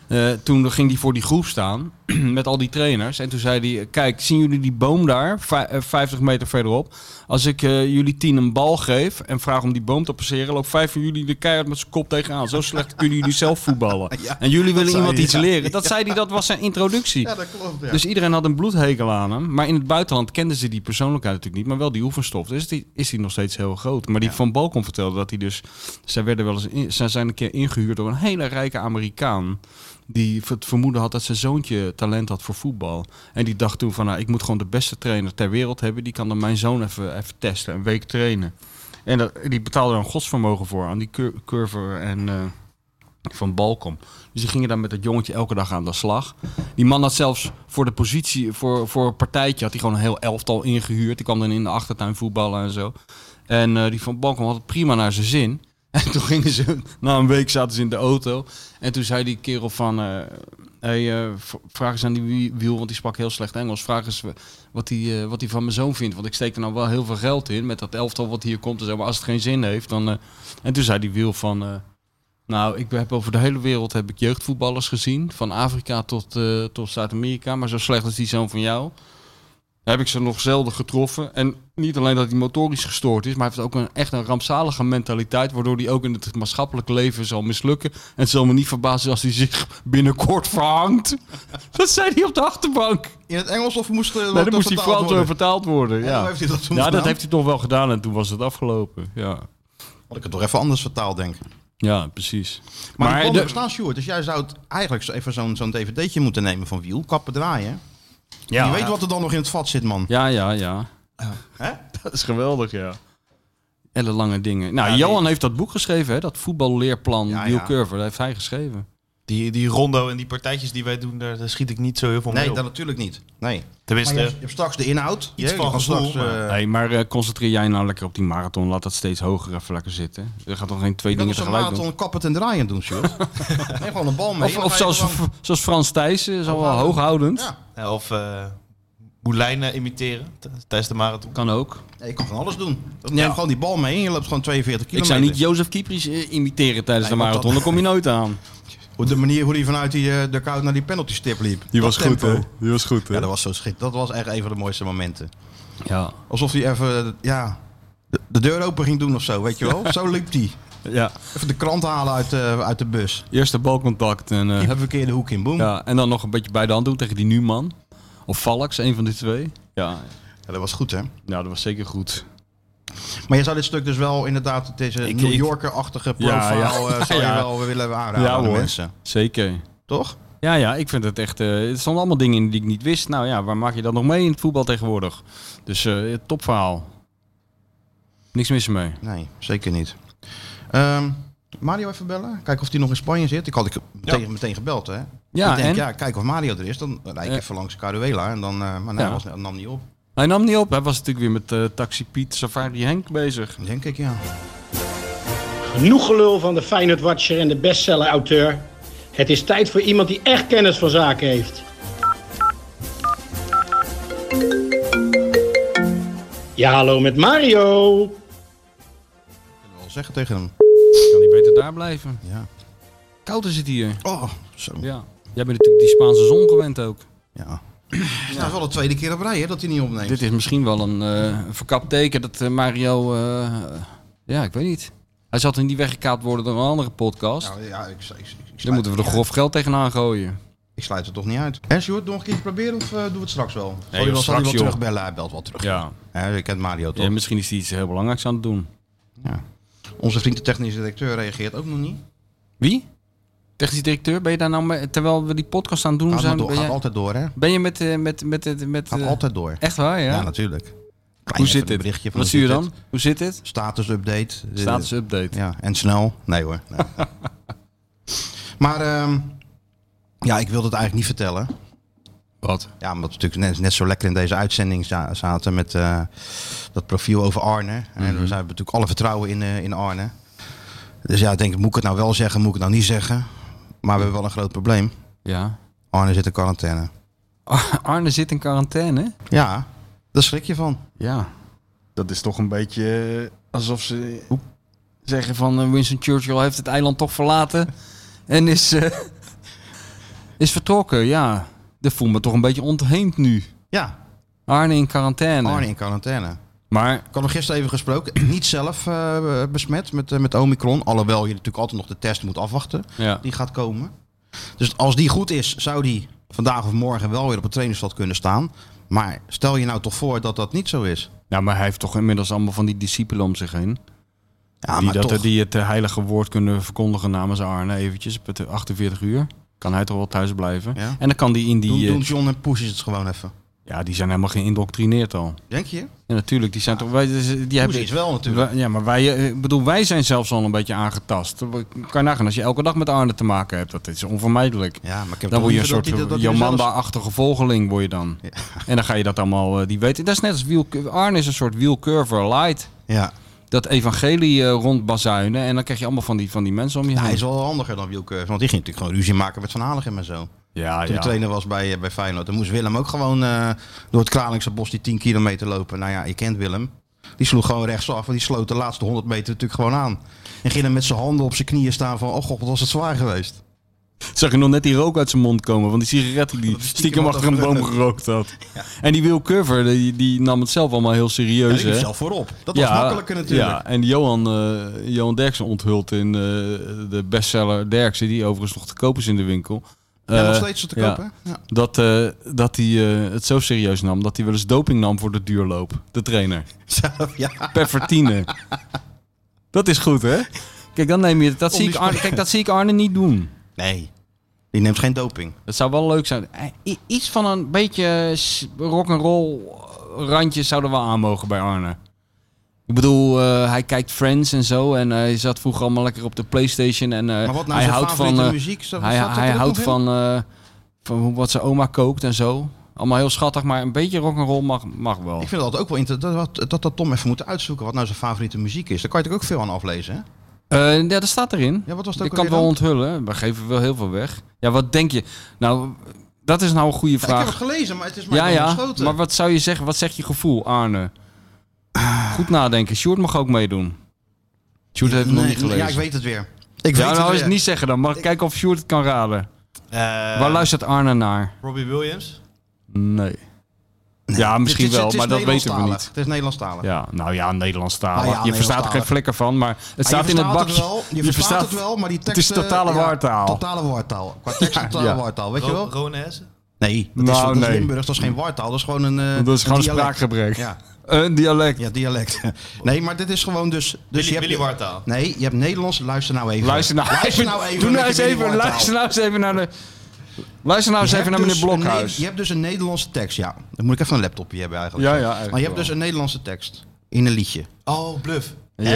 Eh, toen ging hij voor die groep staan met al die trainers. En toen zei hij, kijk, zien jullie die boom daar, Vij- eh, 50 meter verderop? Als ik eh, jullie tien een bal geef en vraag om die boom te passeren... loop vijf van jullie de keihard met zijn kop tegenaan. Zo slecht kunnen jullie zelf voetballen. Ja, en jullie willen zei iemand hij, iets ja. leren. Dat zei hij, dat was zijn introductie. Ja, dat klopt. Ja. Dus iedereen had een bloedhekel aan hem. Maar in het buitenland kenden ze die persoonlijkheid natuurlijk niet. Maar wel die oefenstof. Dus die, is die nog steeds heel groot. Maar die Van Balkom vertelde dat hij dus... Zij, werden wel eens in- zij zijn een keer ingehuurd door een hele rijke Amerikaan. Die het vermoeden had dat zijn zoontje talent had voor voetbal. En die dacht toen van... Nou, ik moet gewoon de beste trainer ter wereld hebben. Die kan dan mijn zoon even, even testen. Een week trainen. En dat, die betaalde er een godsvermogen voor aan die cur- curver en... eh, van Balkom. Dus die gingen dan met dat jongetje elke dag aan de slag. Die man had zelfs voor de positie, voor, voor een partijtje, had hij gewoon een heel elftal ingehuurd. Die kwam dan in de achtertuin voetballen en zo. En eh, die van Balkom had het prima naar zijn zin. En toen gingen ze, na een week zaten ze in de auto. En toen zei die kerel van, eh, hey, eh, v- vraag eens aan die wie- wiel, want die sprak heel slecht Engels. Vraag eens wat hij eh, wat hij van mijn zoon vindt. Want ik steek er nou wel heel veel geld in met dat elftal wat hier komt. en zo. Maar als het geen zin heeft, dan... eh." En toen zei die wiel van... eh, Nou, ik heb over de hele wereld heb ik jeugdvoetballers gezien. Van Afrika tot, eh, tot Zuid-Amerika. Maar zo slecht als die zoon van jou. Heb ik ze nog zelden getroffen. En niet alleen dat hij motorisch gestoord is. Maar hij heeft ook een, echt een rampzalige mentaliteit. Waardoor hij ook in het maatschappelijke leven zal mislukken. En het zal me niet verbazen als hij zich binnenkort verhangt. dat zei hij op de achterbank. In het Engels of moest eh, Nee, dat dan moest die vertaald fout worden? door vertaald worden. En Ja, hoe heeft hij dat toen ja dat gedaan? heeft hij toch wel gedaan. En toen was het afgelopen. Ja, Had ik het toch even anders vertaald, denk ik. ja precies. Maar, Maar die de- de... bestaan, Sjoerd. Dus jij zou het eigenlijk zo even zo'n zo'n dvd'tje moeten nemen van wiel, kappen draaien. Ja, Je weet wat er dan nog in het vat zit, man. Ja, ja, ja. Hè? Dat is geweldig, ja. Elle lange dingen. Nou, Ja, Johan heeft dat boek geschreven, hè? Dat voetballeerplan Ja, ja, ja. Curver. Dat heeft hij geschreven. Die, die rondo en die partijtjes die wij doen, daar, daar schiet ik niet zo heel veel mee Nee, op. dat natuurlijk niet. Nee. Maar Tenminste, je, hebt, je hebt straks de inhoud. Iets Je van kan gevoel, straks, eh, hey, maar eh, concentreer jij nou lekker op die marathon. Laat dat steeds hoger even lekker zitten. Er gaat toch geen twee je kan dingen dus een tegelijk doen. marathon kappen en draaien doen, Sjoerd. Neem gewoon een bal mee. en Of, dan of ga je zoals, gewoon- zoals Frans Thijssen, zo wel hooghoudend. Ja. Ja, of eh Moelijnen imiteren t- tijdens de marathon. Kan ook. Nee, je kan van alles doen. Neem gewoon die bal mee en je loopt gewoon 42 Ik kilometer. zou niet Jozef Kiepries eh, imiteren tijdens Nee, de want marathon. dat- Dan kom je nooit aan. Hoe De manier hoe hij vanuit die, eh, de koud naar die penalty stip liep. Dat tempo. Die was goed, Ja, dat was zo schit. Dat was echt een van de mooiste momenten. Ja. Alsof hij even ja, de, de deur open ging doen of zo, weet je wel. Zo liep hij. ja. Even de krant halen uit, eh, uit de bus. Eerste balcontact en... eh, Even verkeerde hoek in, boom. Ja, en dan nog een beetje bij de hand doen tegen die Numan. Of Valks, een van de twee. Ja, Ja, dat was goed, hè? ja dat was zeker goed. Maar je zou dit stuk dus wel inderdaad, het is een Ik- New ik- Yorker-achtige profile, Ja, ja. eh, zou je Ja. wel willen aanraden Ja, aan de hoor. mensen. Zeker. Toch? Ja, ja, ik vind het echt... eh het stonden allemaal dingen in die ik niet wist. Nou ja, waar maak je dat nog mee in het voetbal tegenwoordig? Dus eh topverhaal. Niks mis mee. Nee, zeker niet. Ehm, Mario even bellen, kijken of hij nog in Spanje zit. Ik had ik meteen, meteen gebeld, hè? Ja, ik denk, en? ja, kijk of Mario er is. Dan rijd ik Eh. even langs Caruela en dan... eh, maar nee, Ja. was, nam niet op. Hij nam niet op. Hij was natuurlijk weer met eh, Taxi Piet, Safari Henk bezig. Denk ik, ja. Genoeg gelul van de Feyenoord Watcher en de bestseller-auteur. Het is tijd voor iemand die echt kennis van zaken heeft. Ja, hallo met Mario. Ik wil wel zeggen tegen hem. Kan hij beter daar blijven? Ja. Koud is het hier. Oh, zo. Ja. Ja. Jij bent natuurlijk die Spaanse zon gewend ook. Het is nou wel de tweede keer op rij, hè, dat hij niet opneemt. Dit is misschien wel een eh, verkapt teken dat eh, Mario. eh, ja, ik weet niet. Hij zal toch niet weggekaapt worden door een andere podcast. Nou, ja, ik, ik, ik, ik sluit- Dan moeten we er grof geld tegenaan gooien. Ik sluit het toch niet uit. Hé, Sjoerd, nog een keertje proberen of eh, doen we het straks wel? Zal joh, hij wel, zal hij straks, wel joh. terugbellen? Hij belt wel terug. Ja. Hè, je kent Mario toch? misschien is hij iets heel belangrijks aan het doen. Onze vriend de technische directeur reageert ook nog niet. Wie? Technisch directeur, ben je daar nou mee, terwijl we die podcast aan het doen Gaat, maar zijn? door, ben, gaat jij- altijd door, hè? ben je met. eh, met, met, met, met Gaat eh, altijd door. Echt waar, ja? Ja, natuurlijk. Klein Hoe even zit een dit? berichtje van Wat hoe zie je zit dan? Hoe zit dit? het? Status update. De- Status update. Ja, en snel. Nee hoor. Nee. maar ehm, ja, ik wilde het eigenlijk niet vertellen. Wat? Ja, omdat we natuurlijk net, net zo lekker in deze uitzending za- zaten met eh, dat profiel over Arne. Mhm. En we zijn natuurlijk alle vertrouwen in, eh, in Arne. Dus ja, ik denk, moet ik het nou wel zeggen, moet ik het nou niet zeggen? Maar we hebben wel een groot probleem. Ja. Arne zit in quarantaine. Arne zit in quarantaine. Ja, daar schrik je van. Ja. Dat is toch een beetje eh, alsof ze zeggen van eh, Winston Churchill heeft het eiland toch verlaten en is, eh, is vertrokken. Ja, dat voelt me toch een beetje ontheemd nu. Ja, Arne in quarantaine. Arne in quarantaine. Maar Ik had hem gisteren even gesproken. Niet zelf eh, besmet met, eh, met Omicron. Alhoewel je natuurlijk altijd nog de test moet afwachten. ja. Die gaat komen. Dus als die goed is, zou die vandaag of morgen wel weer op het trainingsveld kunnen staan. Maar stel je nou toch voor dat dat niet zo is. Nou, maar hij heeft toch inmiddels allemaal van die discipelen om zich heen. Ja, die, maar dat, toch. die het eh, heilige woord kunnen verkondigen namens Arne eventjes. op het 48 uur. Kan hij toch wel thuis blijven. Ja. En dan kan die in die... Doen, eh, doen John en Poes is het gewoon even. ja, die zijn helemaal geïndoctrineerd al. Denk je? Ja, natuurlijk. Die zijn toch... Wij, dus, eh, die Poes hebben, is wel natuurlijk. Wij- Ja, maar wij, eh, ik bedoel, wij zijn zelfs al een beetje aangetast. Kan je nagaan, als je elke dag met Arne te maken hebt, dat is onvermijdelijk. Ja, maar ik heb Dan toch word je een liever soort dat hij- dat hij er zelfs- Jomanda-achtige volgeling, word je dan. En dan ga je dat allemaal, eh, die weten. Dat is net als wiel, Arne is een soort wielcurver light. Ja, Dat evangelie eh rondbazuinen en dan krijg je allemaal van die, van die mensen om je Nou, heen. hij is wel handiger dan Wielke. Want die ging natuurlijk gewoon ruzie maken met Van Hanegem en zo. ja, Toen ja. hij trainer was bij, eh, bij Feyenoord. Dan moest Willem ook gewoon eh, door het Kralingse bos die 10 kilometer lopen. Nou ja, je kent Willem. Die sloeg gewoon rechtsaf. Want die sloot de laatste 100 meter natuurlijk gewoon aan. En ging dan met zijn handen op zijn knieën staan van... Oh god, wat was het zwaar geweest. Zag je nog net die rook uit zijn mond komen van die sigaret die die stiekem had achter een boom gerookt had. En die Will Curver, die, die nam het zelf allemaal heel Ja, serieus. die liep hè? zelf voorop. Dat was makkelijker natuurlijk. Ja, en Johan, eh Johan Derksen onthult in eh, de bestseller Derksen, die overigens nog te koop is in de winkel. Ja, nog eh, steeds te ja. kopen. Ja. Dat, eh, dat hij eh, het zo serieus nam dat hij wel eens doping nam voor de duurloop. De trainer. Zelf, ja. Pervertine. dat is goed, hè? Kijk, dan neem je, dat zie ik Arne, kijk, dat zie ik Arne niet doen. Nee, die neemt geen doping. Het zou wel leuk zijn. Eh, i- Iets van een beetje s- rock'n'roll randjes zouden wel aan mogen bij Arne. Ik bedoel, eh, hij kijkt Friends en zo. En eh, hij zat vroeger allemaal lekker op de Playstation. En, eh, Maar wat nou hij zijn houdt favoriete van, eh, muziek? Zat- Hij, zat dat hij er ook houdt nog van, eh, van hoe- wat zijn oma kookt en zo. Allemaal heel schattig, maar een beetje rock'n'roll mag, mag wel. Ik vind dat ook wel interessant dat, dat, dat Tom even moet uitzoeken wat nou zijn favoriete muziek is. Daar kan je natuurlijk ook veel aan aflezen. Hè? Eh, ja, dat staat erin. Ja, wat was dat Ik ook kan het alweer wel dan? onthullen. We geven wel heel veel weg. Ja, wat denk je? Nou, dat is nou een goede Ja, ik vraag. heb het gelezen, maar het is mij Ja, dan ja. ontschoten. Maar wat zou je zeggen? Wat zegt je gevoel, Arne? Goed nadenken. Sjoerd mag ook meedoen. Sjoerd heeft het nog Nee, niet gelezen. Ja, ik weet het weer. Ik Ja, weet nou, als het je weer. het niet zeggen dan. Mag ik kijken of Sjoerd het kan raden? Eh, Waar luistert Arne naar? Robbie Williams. Nee. Ja, misschien Het is- wel, het is maar dat weten we Nederlandstalig. niet. Het is Nederlandstalig. Ja, nou ja, Nederlandstalig. Nou ja, je verstaat er geen Nederlandstalig. flikker van, maar het Maar staat in het verstaat bakje. wel, je, verstaat, het wel, maar die tekst... eh, het is totale waartaal. Totale wartaal. Qua tekst totale ja. Oh. wartaal, weet je Ro wel? Ron Hessen. Dus Nee, dat is, Nou, dat is nee. Limburgs, dat is geen wartaal, dat is gewoon een eh, Dat is gewoon dialect. spraakgebrek. Ja, Een dialect. ja, dialect. Nee, maar dit is gewoon dus... dus Willy, je hebt, Willy Wartaal. Nee, je hebt Nederlands, luister nou even. Luister nou, luister even- nou even. Doe met nou eens je Willy even. Wartaal. Luister nou eens even naar de. Luister nou eens Je even naar hebt dus meneer een Ne- Blokhuis. Je hebt dus een Nederlandse tekst, ja. Dan moet ik even een laptopje hebben eigenlijk. Ja, ja, eigenlijk maar je hebt wel. dus een Nederlandse tekst in een liedje. Oh, bluff. Ja,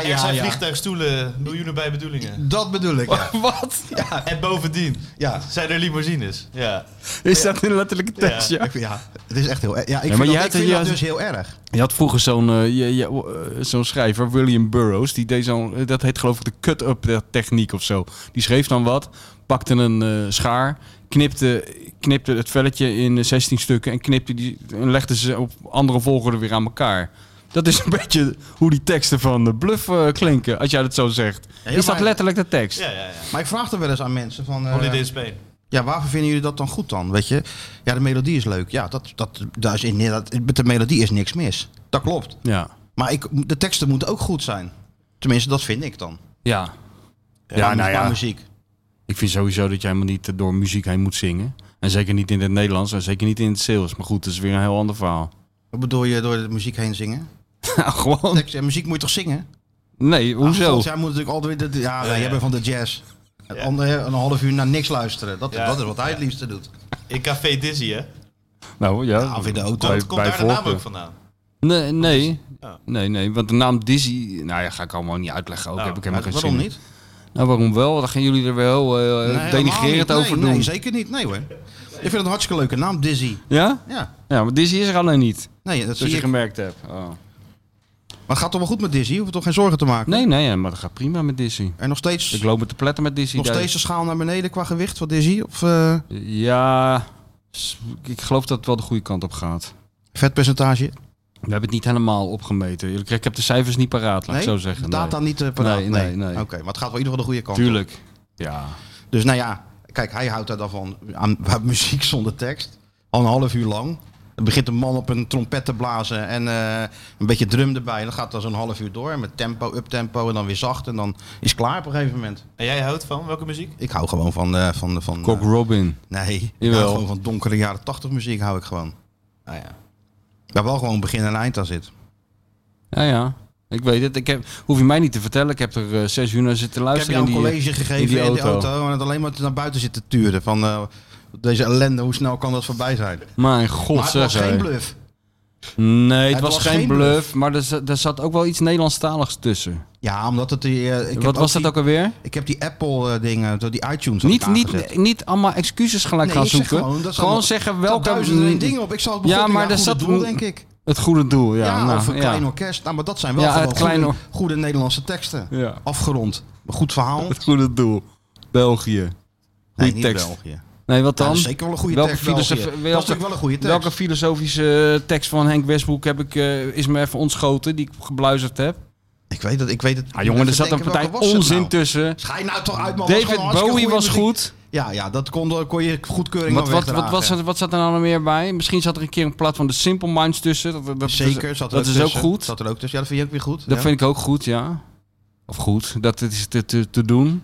er ja, zijn ja. vliegtuigstoelen, miljoenen bij bedoelingen. Dat bedoel ik. Ja. Wat? En bovendien Ja. zijn er limousines. Ja. Is dat in letterlijke tekst? Ja. Ik vind- ja, het is echt heel erg. Ja, ik maar vind, je dat, hebt- ik vind je dat hebt- dus heel erg. Je had vroeger zo'n eh, je- je- eh, zo'n schrijver, William Burroughs, die deed zo'n, dat heet geloof ik de cut-up techniek of zo. Die schreef dan wat, pakte een eh, schaar, knipte, knipte het velletje in eh, 16 stukken en, knipte die, en legde ze op andere volgorde weer aan elkaar. Dat is een beetje hoe die teksten van de Bluff eh, klinken, als jij dat zo zegt. Ja, is dat maar- letterlijk de tekst? Ja, ja, ja. Maar ik vraag er wel eens aan mensen van... eh, Holiday in Spain. ja, waarvoor vinden jullie dat dan goed dan? Weet je? Ja, de melodie is leuk. Ja, dat, dat, daar is in, dat, met de melodie is niks mis. Dat klopt. Ja. Maar ik, de teksten moeten ook goed zijn. Tenminste, dat vind ik dan. Ja. Ja, Qua- nou qua ja. muziek. Ik vind sowieso dat je helemaal niet eh, door muziek heen moet zingen. En zeker niet in het Nederlands en zeker niet in het sales. Maar goed, dat is weer een heel ander verhaal. Wat bedoel je door de muziek heen zingen? Nou, gewoon. Tekst en muziek moet je toch zingen? Nee, hoezo? Want jij moet natuurlijk altijd... de- de- Ja, wij hebben van de jazz. Het Ja. andere- een half uur naar niks luisteren. Dat, Ja. dat is wat hij het liefste doet. In Café Dizzy, hè? nou ja, of in de auto. bij- Komt, komt bij daar de naam voorkeur. ook vandaan? Nee, Oh, nee. dus- Ja. Nee, nee, want de naam Dizzy, nou ja, ga ik allemaal niet uitleggen. Ook heb ik helemaal Nou, Maar geen waarom zin in. niet? Nou, waarom wel? Dan gaan jullie er wel eh Nee, helemaal denigrerend niet. Nee, over doen. Nee, zeker niet. Nee hoor. Ik vind het een hartstikke leuke naam, Dizzy. ja? Ja, Ja, maar Dizzy is er alleen niet. nee, dat Zoals zie je ik. gemerkt hebt. Oh. Maar gaat toch wel goed met Dizzy? Hoef je toch geen zorgen te maken? Nee, nee, ja, maar dat gaat prima met Dizzy. En nog steeds, Ik loop me te pletten met Dizzy. nog daar- steeds de schaal naar beneden qua gewicht van Dizzy? Of eh, Ja, s- ik geloof dat het wel de goede kant op gaat. vetpercentage? We hebben het niet helemaal opgemeten. Eerlijk gezegd, Ik heb de cijfers niet paraat, laat Nee? ik zo zeggen. De Nee. data niet eh paraat? Nee, nee, nee. Oké, maar het gaat wel in ieder geval de goede kant op. Tuurlijk. Ja. Dus nou ja, kijk, hij houdt daar dan van aan, aan muziek zonder tekst. Al een half uur lang. Dan begint een man op een trompet te blazen en eh, een beetje drum erbij. En dan gaat dat zo'n half uur door. En met tempo, uptempo en dan weer zacht. En dan is het klaar op een gegeven moment. En jij houdt van welke muziek? Ik hou gewoon van... eh, van, van Cock Robin. eh, nee, ik Jawel. hou gewoon van donkere jaren tachtig muziek hou ik gewoon. Ah ja. Waar wel gewoon begin en eind aan zit. Ja, ja. Ik weet het. Ik heb, hoef je mij niet te vertellen. Ik heb er eh, zes uur naar zitten Ik heb luisteren. jou een in die- college gegeven in die die, auto. auto en het alleen maar naar buiten zitten turen. Van eh, deze ellende, hoe snel kan dat voorbij zijn? Mijn god, Maar het was zeg, geen hey. bluff. Nee, het, Het was, was geen geen bluff. bluff. Maar er, za- er zat ook wel iets Nederlandstaligs tussen. Ja, omdat het... die, eh, ik heb Wat was dat die- ook alweer? Ik heb die Apple-dingen, die iTunes. had Niet, ik aangezet. niet, niet allemaal excuses gelijk Nee, gaan ik zeg zoeken. gewoon, dat Gewoon, is allemaal- zeggen Er staan welke... duizenden en één dingen op. Ik zal het Ja, begonnen maar naar er goede zat doel, een- denk ik. Het goede doel, ja. Ja, nou, of een ja. klein orkest. Nou, maar dat zijn wel Ja, gewoon het kleine goede, or- goede Nederlandse teksten. Ja. Afgerond. Goed verhaal. Het goede doel. België. Nee, Goeie niet tekst. België. Nou, Nee, wat dan? dat is zeker wel een goede Welke tekst. wel filosof- weer. dat welke- is natuurlijk wel een goede tekst. Welke filosofische tekst van Henk Westbroek heb ik, eh, is me even ontschoten, die ik gebluisterd heb? Ik weet dat, ik weet het. Ah, jongen, er zat een partij onzin tussen. tussen. Schijn nou toch uit, man. was gewoon David hartstikke Bowie goede was muziek. goed. Ja, ja, dat kon, kon je goedkeuring Wat, aan wat, wat, wegdragen. wat, zat, wat zat er nou nog meer bij? Misschien zat er een keer een plaat van de Simple Minds tussen. Dat, dat, dat- Zeker, zat er dat is ook tussen. goed. Zat er ook tussen. Ja, dat vind je ook weer goed. Dat ja. vind ik ook goed, ja. Of goed, dat is te, te, te doen.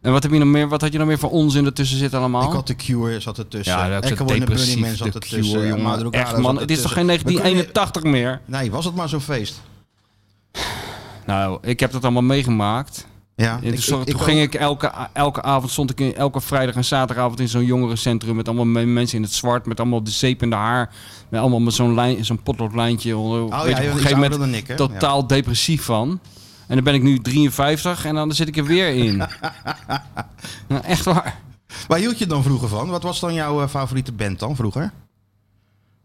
En wat, heb je nog meer, wat had je nog meer voor onzin ertussen zitten allemaal? Ik had The Cure zat er tussen. ja, dat is Echo and the depressief, Bunny Man zat de er Cure, tussen. jongen. Madrugada Echt zat man, er het is toch geen tussen. We kunnen- 1981 meer? Nee, was het maar zo'n feest. Nou, ik heb dat allemaal meegemaakt. Ja, En toen toen ging ik elke, elke avond, stond ik in, elke vrijdag en zaterdagavond in zo'n jongerencentrum met allemaal me- mensen in het zwart, met allemaal de zeep in de haar, met allemaal met zo'n lijn, zo'n potloodlijntje. onder. Oh, ja, Weet je, je bent op een iets gegeven ouder moment dan ik, hè? totaal depressief van. En dan ben ik nu 53 en dan zit ik er weer in. nou, echt waar. Waar hield je dan vroeger van? Wat was dan jouw eh, favoriete band dan vroeger?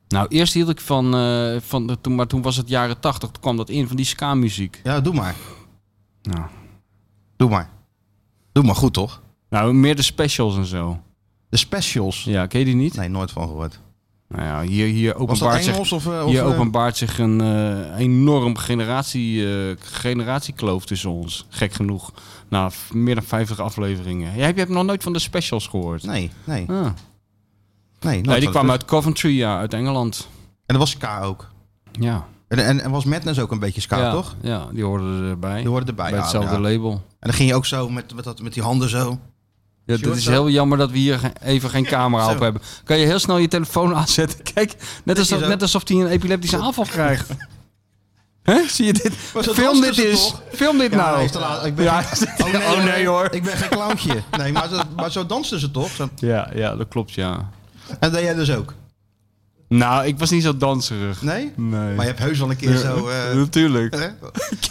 Nou, eerst hield ik van, eh, van de, toen, maar toen was het jaren 80, toen kwam dat in van die ska-muziek. Ja, doe maar. Nou. Doe maar. Doe maar goed, toch? nou, meer de specials en zo. De Specials. Ja, ken je die niet? Nee, nooit van gehoord. Nou ja, hier, hier Was dat openbaart zich Engels of... eh, of Hier eh, openbaart zich een eh, enorm generatie, eh, generatiekloof tussen ons. Gek genoeg. Na v- meer dan 50 afleveringen. Jij, heb je hebt nog nooit van de specials gehoord? Nee, nee. Ah. Nee, nooit Nee, die van kwam gehoord. uit Coventry, ja, uit Engeland. En dat was K ook. Ja. En, en, en was Madness ook een beetje ska, ja, toch? Ja, die hoorden erbij. Die hoorden erbij. bij ja, hetzelfde ja. label. En dan ging je ook zo met, met, dat, met die handen zo. Ja, Sure, dit is zo. heel jammer dat we hier ge- even geen camera op hebben. Kan je heel snel je telefoon aanzetten? Kijk, net, alsof, zo. net alsof hij een epileptische aanval krijgt. Hè? Zie je dit? dat Film was dit, tussen, eens. toch? Film dit Ja, nou. hij is te laat. Ik ben Ja, geen- hij is- oh, nee, hoor. Ik ben geen clowntje. Nee, maar, zo- maar zo dansten ze toch? Zo- Ja, ja, dat klopt, ja. En dat deed jij dus ook? Nou, ik was niet zo danserig. Nee? Nee. Maar je hebt heus wel een keer zo... eh, Natuurlijk. hè?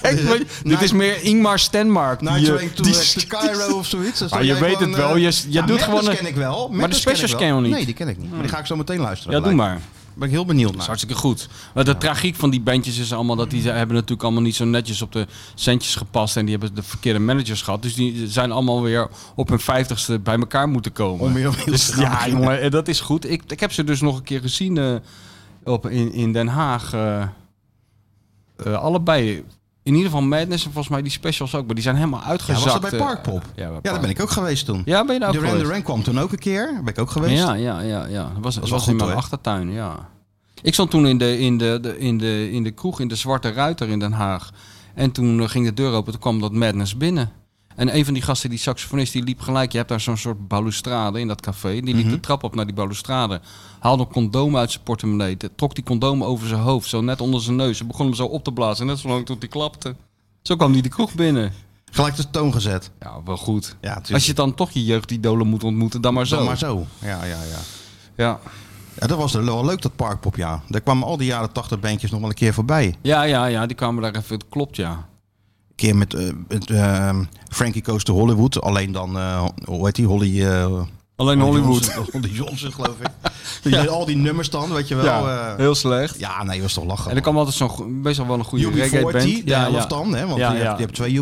Kijk, maar dit Night- is meer Ingmar Stenmark. die, Night eh, Train to, die- Ah, eh, to Cairo of zoiets. Dan sta je jij weet het wel, eh, je- je doet Madness gewoon een- ken ik wel. de Madness ken ik specials wel. ken je nog niet. Nee, die ken ik niet. Maar die ga ik zo meteen luisteren. Ja, doe gelijk. maar. Ben ik heel benieuwd naar. Dat is hartstikke goed. Maar de tragiek van die bandjes is allemaal dat die ze hebben natuurlijk allemaal niet zo netjes op de centjes gepast. En die hebben de verkeerde managers gehad. Dus die zijn allemaal weer op hun vijftigste bij elkaar moeten komen. Om weer opnieuw Dus te gaan ja, beginnen. jongen, en dat is goed. Ik, ik heb ze dus nog een keer gezien eh, op, in, in Den Haag. eh, eh, allebei. In ieder geval Madness en volgens mij die specials ook. Maar die zijn helemaal Ja, uitgezakt. was dat bij eh, Parkpop? Ja, bij Ja, daar Park. ben ik ook geweest toen. Ja, ben je nou daar ook Duran geweest? Duran kwam toen ook een keer. Daar ben ik ook geweest. Ja, ja, ja, ja. Dat was, dat wel was in goed, mijn hoor. achtertuin, ja. Ik stond toen in de, in, de, de- in, de, in de kroeg, in de Zwarte Ruiter in Den Haag. En toen eh, ging de deur open, toen kwam dat Madness binnen. En een van die gasten, die saxofonist, die liep gelijk. Je hebt daar zo'n soort balustrade in dat café. Die Mhm. liep de trap op naar die balustrade. Haalde een condoom uit zijn portemonnee. Trok die condoom over zijn hoofd, zo net onder zijn neus. En begon hem zo op te blazen, net zolang tot hij klapte. Zo kwam hij de kroeg binnen. Gelijk de toon gezet. Ja, wel goed. Ja, tuurlijk. Als je dan toch je jeugdidolen moet ontmoeten, dan maar zo. Dan maar zo. Ja, ja, ja. Ja. Ja, dat was wel leuk, dat Parkpop, ja. Daar kwamen al die jaren 80 bandjes nog wel een keer voorbij. Een Ja, ja, ja, die kwamen daar even. Dat klopt, ja. keer met, eh, met, eh, Frankie Goes to Hollywood. Alleen dan, eh, hoe heet die, Holly... eh, Alleen Johnson, Holly Johnson, geloof ik. Die deed Al die nummers dan, weet je wel. eh, Ja, Ja, heel slecht. ja nee, was toch lachen. En er kwam altijd zo'n go- best wel wel een goede reggae UB40, band. de helft dan, hè. Want Ja, je, ja. Hebt, je hebt twee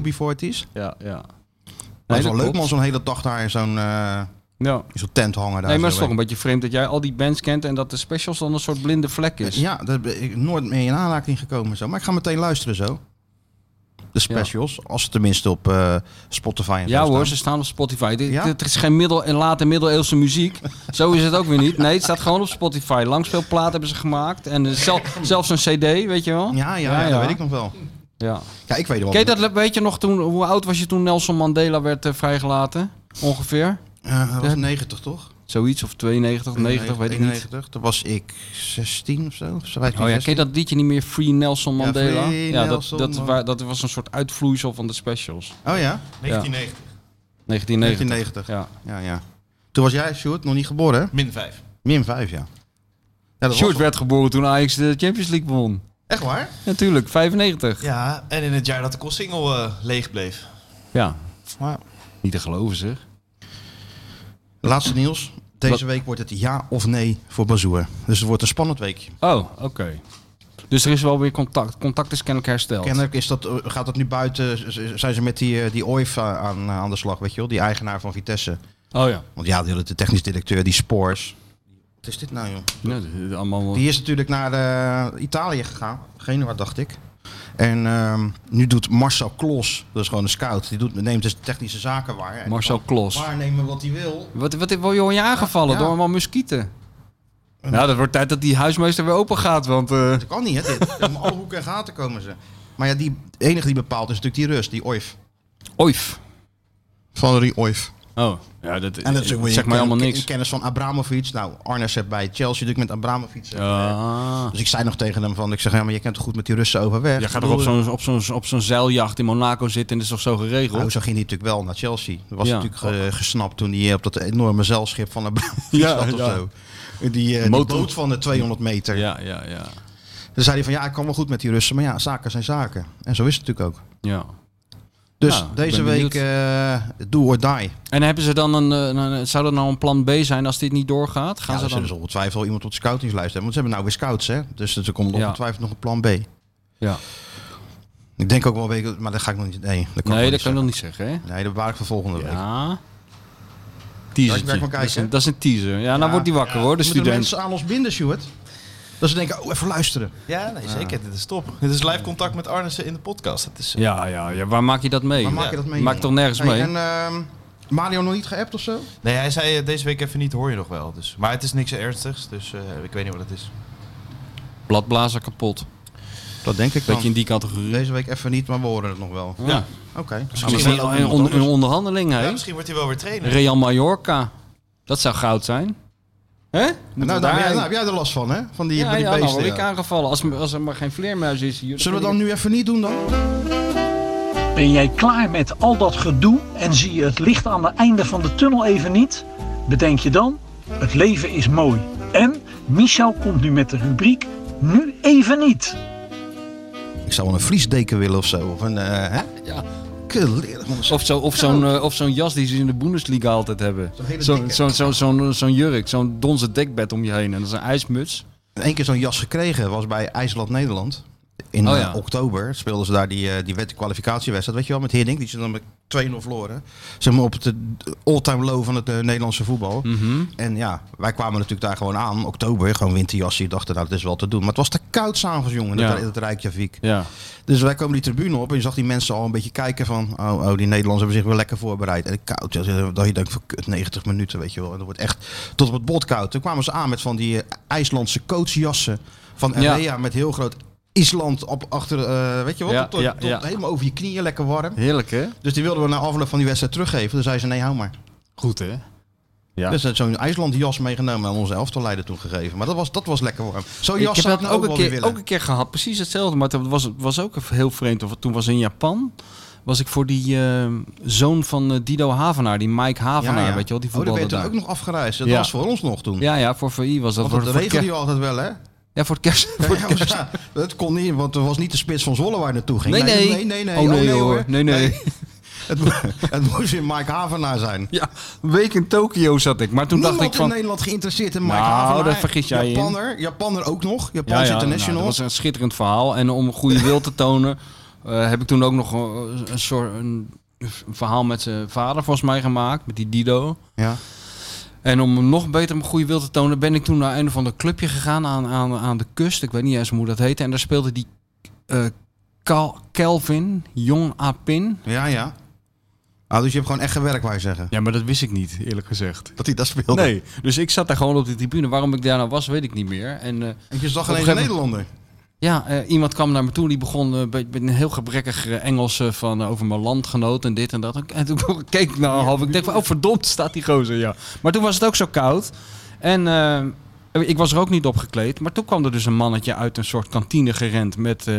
UB40's. ja, ja. Maar het is Nee, wel dat leuk, klopt. man, zo'n hele dag daar in zo'n eh, Ja. in zo'n tent hangen. Daar Nee, maar het zo, is toch hè. een beetje vreemd dat jij al die bands kent en dat de specials dan een soort blinde vlek is. Ja, daar ben ik nooit mee in aanraking gekomen. Zo. Maar ik ga meteen luisteren zo. De specials, als ze tenminste op eh, Spotify en Ja zo hoor, staan. ze staan op Spotify. Dit, Ja? dit is geen middel en late middeleeuwse muziek. Zo is het ook weer niet. Nee, het staat gewoon op Spotify. Langspeelplaat hebben ze gemaakt. En eh, zel- zelfs een cd, weet je wel? Ja, ja, ja, dat weet ik nog wel. Ja. Ja, ik weet wel. Ken je dat, le- weet je nog, toen, hoe oud was je toen Nelson Mandela werd eh, vrijgelaten? Ongeveer? Eh, dat was 90 toch? Zoiets, of 92, 90, weet ik niet. 91. Toen was ik 16 of zo. Of 15, Oh ja, ken 16. je dat liedje niet meer, Free Nelson Mandela? Ja, Free dat, Nelson dat, Man- wa- dat was een soort uitvloeisel van de specials. Oh ja, 1990. 1990. 1990. Ja. Ja. ja, Toen was jij, Sjoerd, nog niet geboren hè? Min 5. Min 5, ja. ja dat Sjoerd was- werd geboren toen Ajax de Champions League won. Echt waar? Natuurlijk, 95. Ja, Ja, en in het jaar dat de single leeg bleef. niet te geloven zeg. Laatste nieuws. Deze Wat- week wordt het ja of nee voor Bazoer. Dus het wordt een spannend weekje. Oh, oké. Dus er is wel weer contact. Contact is kennelijk hersteld. Kennelijk is dat, eh, eh, gaat dat nu buiten. z- z- Zijn ze met die, eh, die OIF a- aan, aan de slag, weet je wel? Die eigenaar van Vitesse. Oh ja. Want ja, die hadden de technisch directeur, die Spoors. Wat is dit nou, joh? Ja, dat is allemaal wel- Die is natuurlijk naar eh, Italië gegaan. Genua, dacht ik. En ehm, nu doet Marcel Klos, dat is gewoon een scout, die doet, neemt dus technische zaken waar. En Marcel kan Klos. Waarnemen wat hij wil. Wat, wat, wat word je aangevallen Ja, ja. door allemaal muskieten? Nou, dat wordt tijd dat die huismeester weer open gaat, want... eh, Dat kan niet, hè? Dit. Om alle hoeken en gaten komen ze. Maar ja, die de enige die bepaalt is natuurlijk die rust, die Oif. Oif. Valerie Oif. Oh, ja, dat, En dat is ook weer zeg in maar ken- helemaal in niks. kennis van Abramovic. Nou, Arnes heeft bij Chelsea natuurlijk met Abramovic. Ah. Dus ik zei nog tegen hem van, ik zeg, ja, maar je kent toch goed met die Russen overweg. Je gaat Ik toch op bedoel, zo'n op zo'n op zo'n zeiljacht in Monaco zitten en dat is toch zo Nou, geregeld? zo ging hij natuurlijk wel naar Chelsea. Dat was Ja. natuurlijk eh, gesnapt toen hij op dat enorme zeilschip van Abramovic Ja, zat of ja. zo. Die, eh die Motor. boot van de 200 meter. Ja, ja, ja. Toen zei hij van, ja, ik kan wel goed met die Russen, maar ja, zaken zijn zaken. En zo is het natuurlijk ook. ja. Dus Nou, ik deze ben benieuwd. week eh do or die. En hebben ze dan een, eh, een- zou dat nou een plan B zijn als dit niet doorgaat? Gaan Ja, ze er dan? zullen ze ongetwijfeld iemand op de scoutingslijst hebben. Want ze hebben nou weer scouts, hè? Dus er komt Ja. ongetwijfeld nog een plan B. Ja. Ik denk ook wel een week, maar dat ga ik nog niet... Nee, dat kan ik Nee, nog dat kan ik nog niet niet zeggen, hè? zeggen. Nee, dat bewaar ik voor volgende week. Ja. Ja, ik werk maar Teaser. Dat, is kijken. een- dat is een teaser. Ja, nou wordt die wakker hoor, de Moeten de student. mensen aan ons binden, Stuart? Dat ze denken, oh, even luisteren. Ja, nee, zeker. Dit is top. Dit is live contact met Arnissen in de podcast. Dat is, eh, Ja, ja, ja, waar maak je dat mee? Maar maak je Ja. dat mee? Maakt toch nergens Hey, mee? En ehm, Mario nog niet geappt of zo? Nee, hij zei eh, deze week even niet, hoor je nog wel. Dus. Maar het is niks ernstigs, dus eh, ik weet niet wat het is. Bladblazer kapot. Dat denk ik Beetje in die categorie. Deze week even niet, maar we horen het nog wel. Ja. ja. Oké. Nou, Misschien wel een, on- een onderhandeling, hè? Ja, misschien wordt hij wel weer trainer. Real Mallorca. Dat zou goud zijn. Hè? Nou, daar, daar- heb jij- daar heb jij er last van, hè? Van die, Ja, van die ja, nou beesten. ja. word ik aangevallen. Als, als er maar geen vleermuis is hier. Zullen we dan nu even niet doen dan? Ben jij klaar met al dat gedoe en zie je het licht aan het einde van de tunnel even niet? Bedenk je dan, het leven is mooi. En Michel komt nu met de rubriek Nu even niet. Ik zou wel een vliesdeken willen of zo. Of een, eh, hè? Ja. Keurig, man. Of, zo, of zo'n eh, of zo'n jas die ze in de Bundesliga altijd hebben. Zo'n hele Zo'n dikke. zo'n zo'n zo'n zo'n jurk, zo'n donzen dekbed om je heen. En dat is een ijsmuts. Eén keer zo'n jas gekregen was bij IJsland-Nederland. In Oh eh, ja. oktober speelden ze daar die, eh, die wet- kwalificatiewedstrijd, weet je wel, met Hiddink. Die ze dan met 2-0 verloren. Zeg maar op het eh, all-time low van het eh, Nederlandse voetbal. Mhm. En ja, wij kwamen natuurlijk daar gewoon aan. Oktober, gewoon winterjasje. Dachten, nou, dat is wel te doen. Maar het was te koud s'avonds, jongen, Ja. dat, dat Rijkjavik. Ja. Dus wij komen die tribune op en je zag die mensen al een beetje kijken van... Oh, oh die Nederlanders hebben zich wel lekker voorbereid. En koud, ja, dat je denkt van kut, 90 minuten, weet je wel. En dat wordt echt tot op het bot koud. Toen kwamen ze aan met van die eh, IJslandse coachjassen van Ja. Area met heel groot... Island op achter, eh, weet je wat, Ja, tot, tot- ja, tot ja. helemaal over je knieën, lekker warm. Heerlijk, hè? Dus die wilden we na afloop van die wedstrijd teruggeven. Toen zei ze, nee, hou maar. Goed, hè? Ja. Dus ze had zo'n IJsland jas meegenomen en onze elftalleider toen gegeven. Maar dat was, dat was lekker warm. Zo'n ik jas heb zou ik dat nou ook, ook een, wel weer keer, willen. ook een keer gehad. Precies hetzelfde. Maar het was, was ook heel vreemd. Of- Toen was in Japan. Was ik voor die eh, zoon van eh, Dido Havenaar. Die Mike Havenaar, weet je wel. Die oh, daar voetbalde ben je toen daar. ook nog afgereisd. Dat Ja. was voor ons nog toen. Ja, ja, voor VI was dat. Want Oh, voor, dat voor regelde kerst- je altijd wel, hè? Ja, voor het kerst. voor het Ja, kerst- ja, dat kon niet, want er was niet de spits van Zwolle waar naartoe ging. Nee, nee. nee, nee. nee. Oh, nee, hoor. Nee, nee. Het, mo- het moest in Mike Havenaar zijn. Ja, een week in Tokio zat ik. Maar toen Niemand dacht ik in van... Nederland geïnteresseerd in Mike Nou, Havenaar. daar vergis jij je in. Japanner, Japanner ook nog. Ja, Japanse ja, nou, international. dat was een schitterend verhaal. En om goede wil te tonen eh, heb ik toen ook nog een, een soort een, een verhaal met zijn vader volgens mij gemaakt. Met die Dido. ja. En om hem nog beter mijn goede wil te tonen ben ik toen naar een of ander clubje gegaan aan, aan, aan de kust. Ik weet niet eens hoe dat heette. En daar speelde die eh, Cal- Calvin, Jong Apin. ja, ja. Ah, dus je hebt gewoon echt gewerkt, wou je zeggen. Ja, maar dat wist ik niet eerlijk gezegd. Dat hij dat speelde. Nee, dus ik zat daar gewoon op de tribune. Waarom ik daar nou was, weet ik niet meer. En eh, En je zag Op een alleen een gegeven Nederlander. ja, eh, iemand kwam naar me toe. Die begon eh, met met een heel gebrekkig eh, Engels eh, van eh, over mijn landgenoot en dit en dat. En toen keek ik naar half. Ik denk van, oh verdomd, staat die gozer, ja. Maar toen was het ook zo koud. En eh, ik was er ook niet op gekleed. Maar toen kwam er dus een mannetje uit een soort kantine gerend met... eh,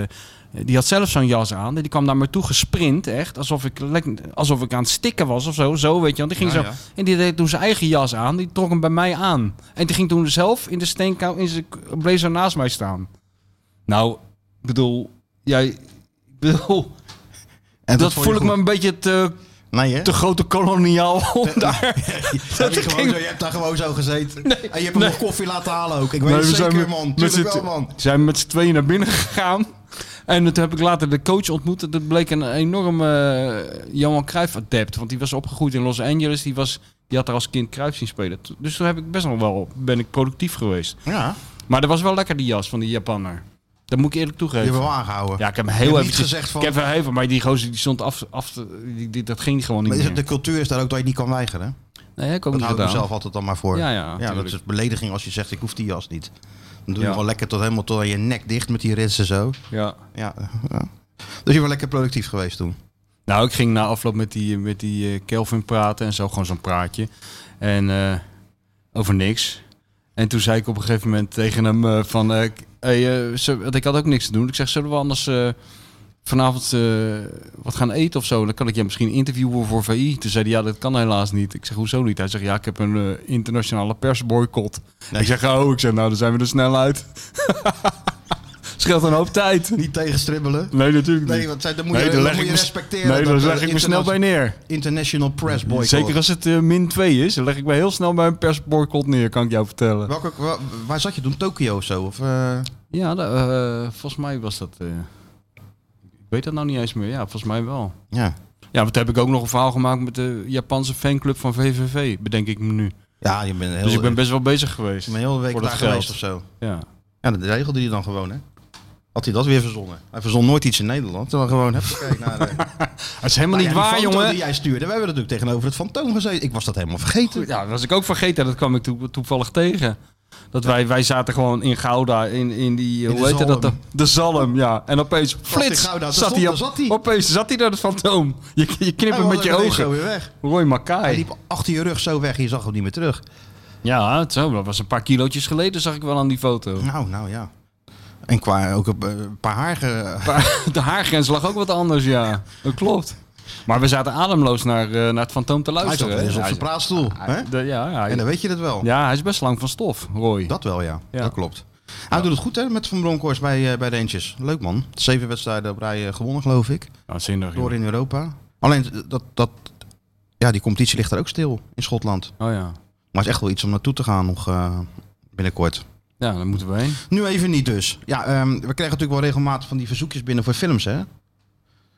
die had zelf zo'n jas aan. Die kwam naar me toe gesprint, echt. Alsof ik, lek- alsof ik aan het stikken was of zo. Zo, weet je. Want die ging Ja, zo... ja. En die deed toen zijn eigen jas aan. Die trok hem bij mij aan. En die ging toen zelf in de steenkou... in zijn blazer naast mij staan. Nou, ik bedoel... Jij... ik bedoel... En dat vond je voel ik me goed. een beetje te, Nee, hè? te grote koloniaal om daar... Ja, die dat gewoon ging- zo- je hebt daar gewoon zo gezeten. En je hebt hem nog koffie laten halen ook. Ik weet Nee, het we zeker, met- man. met Tuurlijk z'n- wel, man. zijn met z'n tweeën naar binnen gegaan. En toen heb ik later de coach ontmoet. En Dat bleek een enorme eh, Johan Cruijff adept. Want die was opgegroeid in Los Angeles. Die was... Die had er als kind Kruip zien spelen. To- Dus toen heb ik best nog wel, ben ik productief geweest. Ja, Maar dat was wel lekker die jas van die Japanner. Dat moet ik eerlijk die hebben toegeven. we wel aangehouden. Ja, ik heb hem Je heel hebt even niet gezegd van- Ik heb hem heel even, maar die gozer die stond af, af te- die, die- dat ging gewoon niet Maar is meer. het- de cultuur is daar ook dat je het niet kan weigeren. Nee, ik ook Dat niet hou ik gedaan. mezelf altijd dan maar voor. Ja, ja, dat tuurlijk. is belediging als je zegt ik hoef die jas niet. Dan doe je Ja. gewoon lekker tot helemaal tot aan je nek dicht met die ritsen zo. Ja. Ja, ja. Dus je was lekker productief geweest toen. Nou, ik ging na afloop met die, met die eh, Kelvin praten en zo, gewoon zo'n praatje. En eh, over niks. En toen zei ik op een gegeven moment tegen hem eh, van... eh, k- hey, eh, zul- want ik had ook niks te doen. Ik zeg, zullen we anders eh, vanavond eh, wat gaan eten of zo? Dan kan ik je misschien interviewen voor VI. Toen zei hij, ja, dat kan helaas niet. Ik zeg, hoezo niet? Hij zegt, ja, ik heb een eh, internationale persboycott. Ik zeg, oh, ik zeg, nou, dan zijn we er snel uit. Scheelt een hoop tijd. Niet tegenstribbelen. Nee, natuurlijk niet. Nee, want zij- dat moet je, dat moet je respecteren. Nee, daar Dat, leg eh, ik me snel bij neer. International Press Boycott. Zeker als het eh, min 2 is, dan leg ik me heel snel bij een persboycott neer, kan ik jou vertellen. Welke, wa- waar zat je toen? Tokio of zo? Of, eh, Ja, da- eh, volgens mij was dat... eh, ik weet dat nou niet eens meer. Ja, volgens mij wel. ja. Ja, want toen heb ik ook nog een verhaal gemaakt met de Japanse fanclub van VVV, bedenk ik me nu. ja, je bent een heel, eh, Dus ik ben best wel bezig geweest. een hele week voor daar dat geld. geweest of zo. Ja. Ja, dat regelde hij dan gewoon, hè? Had hij dat weer verzonnen? Hij verzon nooit iets in Nederland. Dan gewoon, heb gekeken naar eh, de... Dat is helemaal Nou ja, niet die waar, foto jongen. die jij stuurde, wij hebben natuurlijk tegenover het fantoom gezeten. Ik was dat helemaal vergeten. Ja, dat was ik ook vergeten. Dat kwam ik toe- toevallig tegen. Dat wij, wij zaten gewoon in Gouda, in, in die, In hoe de heette dat? De, Zalm. de Zalm, ja. En opeens, flits, in Gouda, daar zat, stond- hij daar op, zat hij. opeens zat hij door het fantoom. Je, je knippert Hij was met je er ineens Zo ogen. weer weg. Roy Hij Mackay. liep achter je rug zo weg. Je zag hem niet meer terug. Ja, het zo, dat was een paar kilootjes geleden, zag ik wel aan die foto. Nou, nou ja. En qua ook een eh, paar haar. ge- Maar De haargrens lag ook wat anders, ja. Dat klopt. Maar we zaten ademloos naar, eh, naar het fantoom te Hij zat luisteren. weer eens hè. op zijn praatstoel. hè? hij, de- ja, En hij, dan weet je dat wel. ja, hij is best lang van stof, Roy. Dat wel, ja. Ja. Dat klopt. Hij doet het goed hè, met Van Bronckhorst bij, eh, bij Rangers. Leuk man. Zeven wedstrijden op rij eh, gewonnen, geloof ik. Nou, zinnig, joh. Door in Europa. Alleen dat, dat, ja, die competitie ligt er ook stil in Schotland. Oh ja. Maar het is echt wel iets om naartoe te gaan nog eh, binnenkort. Ja, daar moeten we heen. Nu even niet dus. Ja, ehm, we krijgen natuurlijk wel regelmatig van die verzoekjes binnen voor films, hè?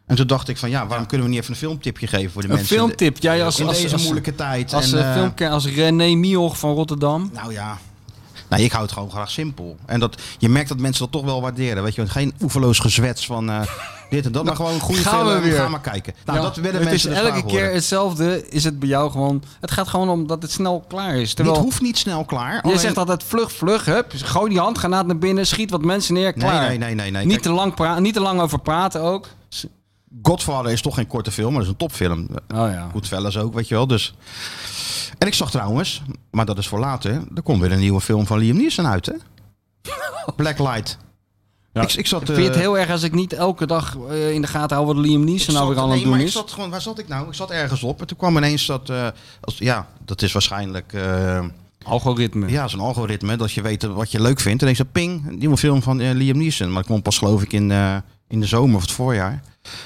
En toen dacht ik van, ja, waarom kunnen we niet even een filmtipje geven voor de Een mensen? filmtip. Jij als, in als, deze als- moeilijke tijd. als, en, eh, eh, filmke- als René Mioch van Rotterdam. Nou ja. Nou, ik hou het gewoon graag simpel. En dat, je merkt dat mensen dat toch wel waarderen. Weet je, want geen oeverloos gezwets van eh, dit en dat. Maar gewoon een goede Nou, gaan we film. weer. Ga maar kijken. Nou, Ja, dat werden het is mensen dus elke graag keer horen. hetzelfde. Is het bij jou gewoon... Het gaat gewoon om dat het snel klaar is. Dit Terwijl hoeft Oh, niet snel klaar. jij alleen- zegt altijd vlug, vlug. Hup, gooi die handgranaat naar binnen. Schiet wat mensen neer. Nee, Klaar. nee, nee, nee. nee. Niet, te lang pra- niet te lang over praten ook. S- Godfather is toch geen korte film, maar dat is een topfilm. Oh ja. Goodfellas ook, weet je wel. Dus. En ik zag trouwens, maar dat is voor later, er komt weer een nieuwe film van Liam Neeson uit, hè? Blacklight. Ja. Ik, ik zat... Ik vind het eh, heel erg als ik niet elke dag eh, in de gaten hou wat Liam ik Neeson nou zat- weer aan nee, het doen maar ik is. zat gewoon, waar zat ik nou? Ik zat ergens op en toen kwam ineens dat, eh, als, ja, dat is waarschijnlijk, eh, Algoritme. ja, zo'n algoritme, dat je weet wat je leuk vindt. En ik zei, ping, een nieuwe film van eh, Liam Neeson. Maar dat kwam pas geloof ik in, eh, in de zomer of het voorjaar.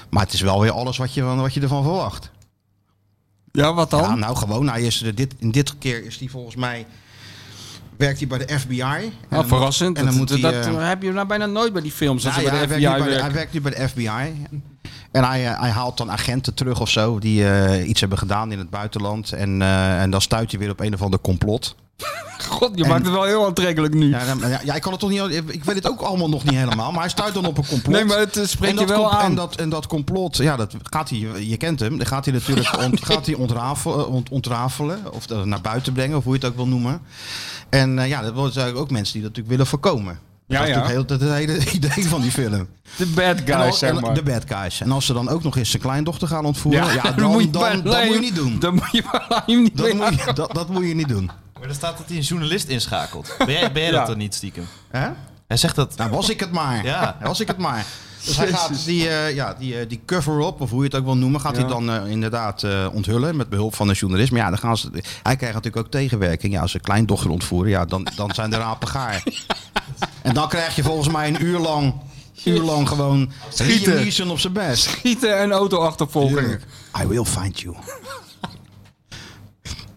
Maar het is wel weer alles wat je, van- wat je ervan verwacht. Ja, wat dan? Ja, nou gewoon. Hij is er dit, in dit keer is hij volgens mij. Werkt hij bij de FBI? En dan Nou, moet- verrassend. En dan moet hij. dat, eh, dat heb je nou bijna nooit bij die films. nou Als ze ja, bij hij, de werkt FBI nu bij de, hij werken. werkt nu bij de FBI. En hij, eh, hij haalt dan agenten terug of zo. Die eh, iets hebben gedaan in het buitenland. En, eh, en dan stuit hij weer op een of ander complot. God, je En- maakt het wel heel aantrekkelijk nu. Ja, dan- ja, ja, ik kan het toch niet. Ik weet het ook allemaal nog niet helemaal. Maar hij stuit dan op een complot. Nee, maar het eh, En spreekt je dat wel com- En aan. dat, en dat complot, ja, dat gaat hij, je kent hem, dan gaat hij natuurlijk ont- gaat hij ontrafelen, ont- ontrafelen of dat naar buiten brengen, of hoe je het ook wil noemen. En eh, ja, dat worden eigenlijk ook mensen die dat natuurlijk willen voorkomen. Ja, dat is ja. natuurlijk heel, dat hele idee van die film. De bad En guys, al- en zeg maar. de bad guys. En als ze dan ook nog eens zijn kleindochter gaan ontvoeren, ja, dan, dat dan, je dan, bij moet je Liam- niet doen. Dan moet je bij Liam niet Dat mee moet, je, aan- dat, dat moet je niet doen. Maar er staat dat hij een journalist inschakelt. Ben jij, ben jij Ja. dat dan niet stiekem? Hè? Hij zegt dat. Nou, was ik het maar. Ja. Was ik het maar. Dus hij gaat die, eh, ja, die, eh, die cover-up, of hoe je het ook wil noemen, gaat hij dan eh, inderdaad eh, onthullen met behulp van een journalist. Maar ja, dan gaan ze, hij krijgt natuurlijk ook tegenwerking. Ja, als ze kleindochter ontvoeren, ja, dan, dan zijn de rapen gaar. En dan krijg je volgens mij een uur lang, uur lang gewoon Schieten. Liam Neeson op zijn best. Schieten en auto-achtervolgingen. I will find you.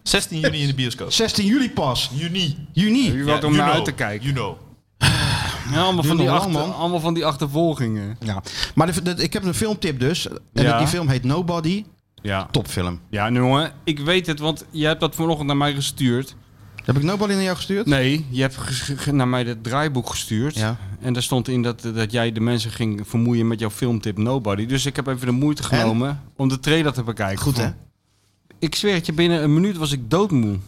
16 juni in de bioscoop. 16 juli pas. Juni. Juni. Je wat om you naar know. uit te kijken. You know. Ja, allemaal, nog van die lang, achter, man. allemaal van die achtervolgingen. Ja. Maar de- de- ik heb een filmtip dus. En Ja. die film heet Nobody. Ja. Topfilm. Ja, nou, jongen, ik weet het, want je hebt dat vanochtend naar mij gestuurd. Heb ik Nobody naar jou gestuurd? Nee, je hebt ges- ge- naar mij het draaiboek gestuurd. Ja. En daar stond in dat, dat jij de mensen ging vermoeien met jouw filmtip Nobody. Dus ik heb even de moeite genomen om de trailer te bekijken. Goed, hè? Ik zweer het je, binnen een minuut was ik doodmoe.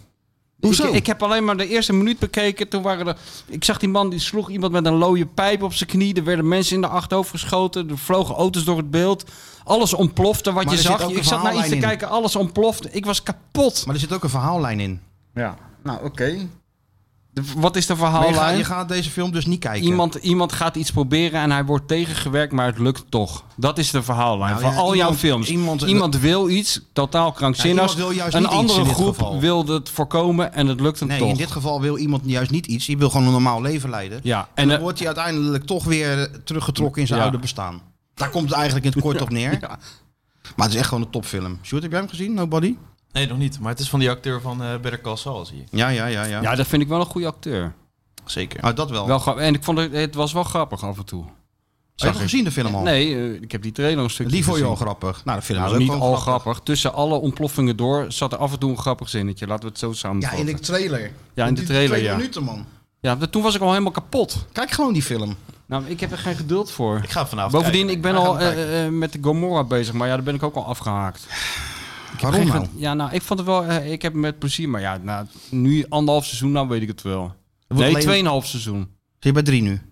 Hoezo? Ik, ik heb alleen maar de eerste minuut bekeken. Toen waren er, ik zag die man die sloeg iemand met een looie pijp op zijn knie. Er werden mensen in de achterhoofd geschoten. Er vlogen auto's door het beeld. Alles ontplofte wat Maar je er zit zag. ook een Ik zat naar iets te verhaallijn in. kijken. Alles ontplofte. Ik was kapot. Maar er zit ook een verhaallijn in. Ja, nou oké. De- Wat is de Maar je, gaat, je verhaallijn? gaat deze film dus niet kijken. Iemand, iemand gaat iets proberen en hij wordt tegengewerkt, maar het lukt toch. Dat is de verhaallijn Nou van ja, al jouw iemand- films. iemand- Iemand, wil iets, totaal krankzinnig. Ja, iemand wil juist een niet iets andere in dit groep geval. wilde het voorkomen en het lukt hem Nee, toch. in dit geval wil iemand juist niet iets. Die wil gewoon een normaal leven leiden. Ja, En en dan eh, wordt hij uiteindelijk toch weer eh, teruggetrokken in zijn Ja. oude bestaan. Daar komt het eigenlijk in het kort op neer. ja. Maar het is echt gewoon een topfilm. Sjoerd, heb jij hem gezien? Nobody? Nee, nog niet. Maar het is van die acteur van eh Better Call Saul, zie je. Ah, Ja, ja, ja. ja. ja, dat vind ik wel een goede acteur. Zeker. Oh, dat wel. Wel grap- en ik vond het, het was wel grappig af en toe. heb ik. je gezien de film al? Nee, eh, ik heb die trailer een stukje Oh. Die vond je al gezien. grappig. Nou, de film Nou, is ook niet al gewoon grappig. Tussen alle ontploffingen door zat er af en toe een grappig zinnetje. Laten we het zo Ja, samenvatten. in de trailer. Ja, in de Die trailer, twee ja. minuten, man. Ja, dat- toen was ik al helemaal kapot. Kijk gewoon die film. Nou, ik heb er geen geduld voor. Ik ga vanavond Bovendien, kijken. ik ben Wij gaan al hem kijken. eh, eh, met de Gomorra bezig, maar ja, daar ben ik ook al afgehaakt. Waarom Geen nou? ge- Ja, nou, ik vond het wel, eh, ik heb het met plezier, maar ja, nou, nu anderhalf seizoen, nou weet ik het wel. wordt Nee, alleen- tweeënhalf seizoen. Zit je bij drie nu?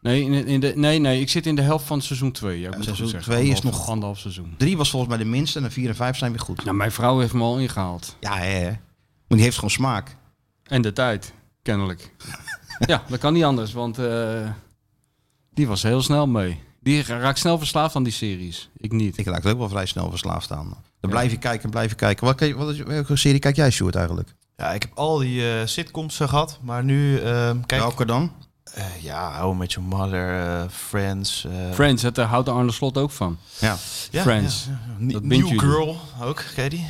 Nee, in, in de, nee, nee, ik zit in de helft van seizoen 2. Ja, ik moet het goed seizoen zeggen. twee is Anderhalf- nog- Anderhalf seizoen. Drie was volgens mij de minste en de vier en vijf zijn weer goed. Nou, mijn vrouw heeft me al ingehaald. Ja, hè. hè. Maar die heeft gewoon smaak. En de tijd, kennelijk. ja, dat kan niet anders, want eh, die was heel snel mee. Die raakt snel verslaafd aan die series. Ik niet. Ik raak er ook wel vrij snel verslaafd aan. Dan blijf je kijken en blijf je kijken. Wat, wat is, welke serie kijk jij, Sjoerd, eigenlijk? Ja, ik heb al die eh, sitcoms eh, gehad, maar nu ehm, kijk... Welke dan? Eh, ja, How I Met Your Mother, eh, Friends... eh, Friends, het, daar houdt Arne Slot ook van. Ja. ja, Friends. ja, ja. Ni- Dat bindt New jullie. Girl ook, ken je die?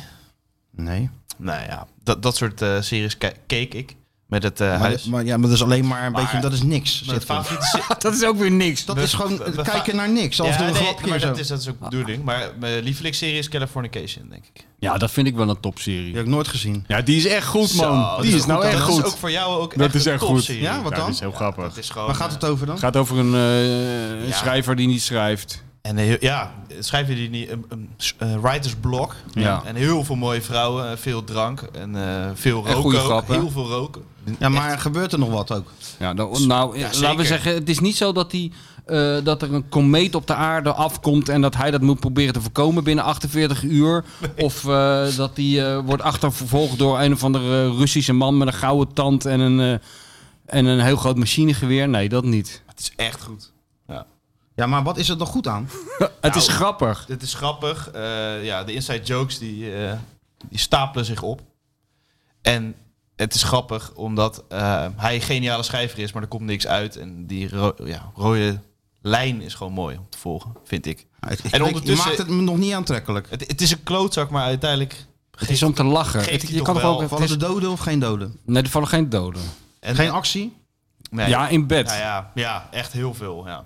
Nee. Nou ja, dat, dat soort eh, series ke- keek ik met het eh, Maar, huis. eh, maar, ja, maar dat is alleen maar een Maar- beetje... Dat is niks. Mijn Zit gewoon- favoriete si- Dat is ook weer niks. Dat we- is gewoon we- we- kijken naar niks. Af en ja, toe een nee, grapje maar en zo. dat is, dat is ook de bedoeling. Maar eh, mijn lievelingsserie is Californication, denk ik. Ja, dat vind ik wel een topserie. Die heb ik nooit gezien. Ja, die is echt goed, Zo, dat nou dat is ook voor jou ook Dat echt is een echt goed. topserie. Ja, wat dan? is heel grappig. Dat is gewoon, eh, Waar gaat het over dan? Het gaat over een eh, een Ja. schrijver die niet schrijft. En heel- ja, schrijf je die niet een, een s- eh, writers blog. Ja. En heel veel mooie vrouwen, eh, veel drank en eh, veel En roken. goede ook. grappen. Heel veel roken. Ja, maar gebeurt er nog wat ook? Ja, nou, nou eh, laten we zeker. zeggen, het is niet zo dat, die, eh, dat er een komeet op de aarde afkomt en dat hij dat moet proberen te voorkomen binnen 48 uur. Of eh, dat hij eh, wordt achtervolgd door een of andere eh, Russische man met een gouden tand en een, eh, en een heel groot machinegeweer. Nee, dat niet. Het is echt goed. Ja. Ja, maar wat is er nog goed aan? het Nou, is grappig. Dit is grappig. Eh, ja, de inside jokes die, eh, die stapelen zich op. En het is grappig omdat eh, hij een geniale schrijver is, maar er komt niks uit. En die ro- ja, rode lijn is gewoon mooi om te volgen, vind ik. Ik- ik- En Je ondertussen- maakt het me nog niet aantrekkelijk. Het, het is een klootzak, maar uiteindelijk... Het is om te lachen. geeft Het- hij je toch kan wel ook, het Vallen is- er doden of geen doden? Nee, er vallen geen doden. En, Geen actie? Nee. Ja, in bed. Nou ja, ja, echt heel veel. Ja.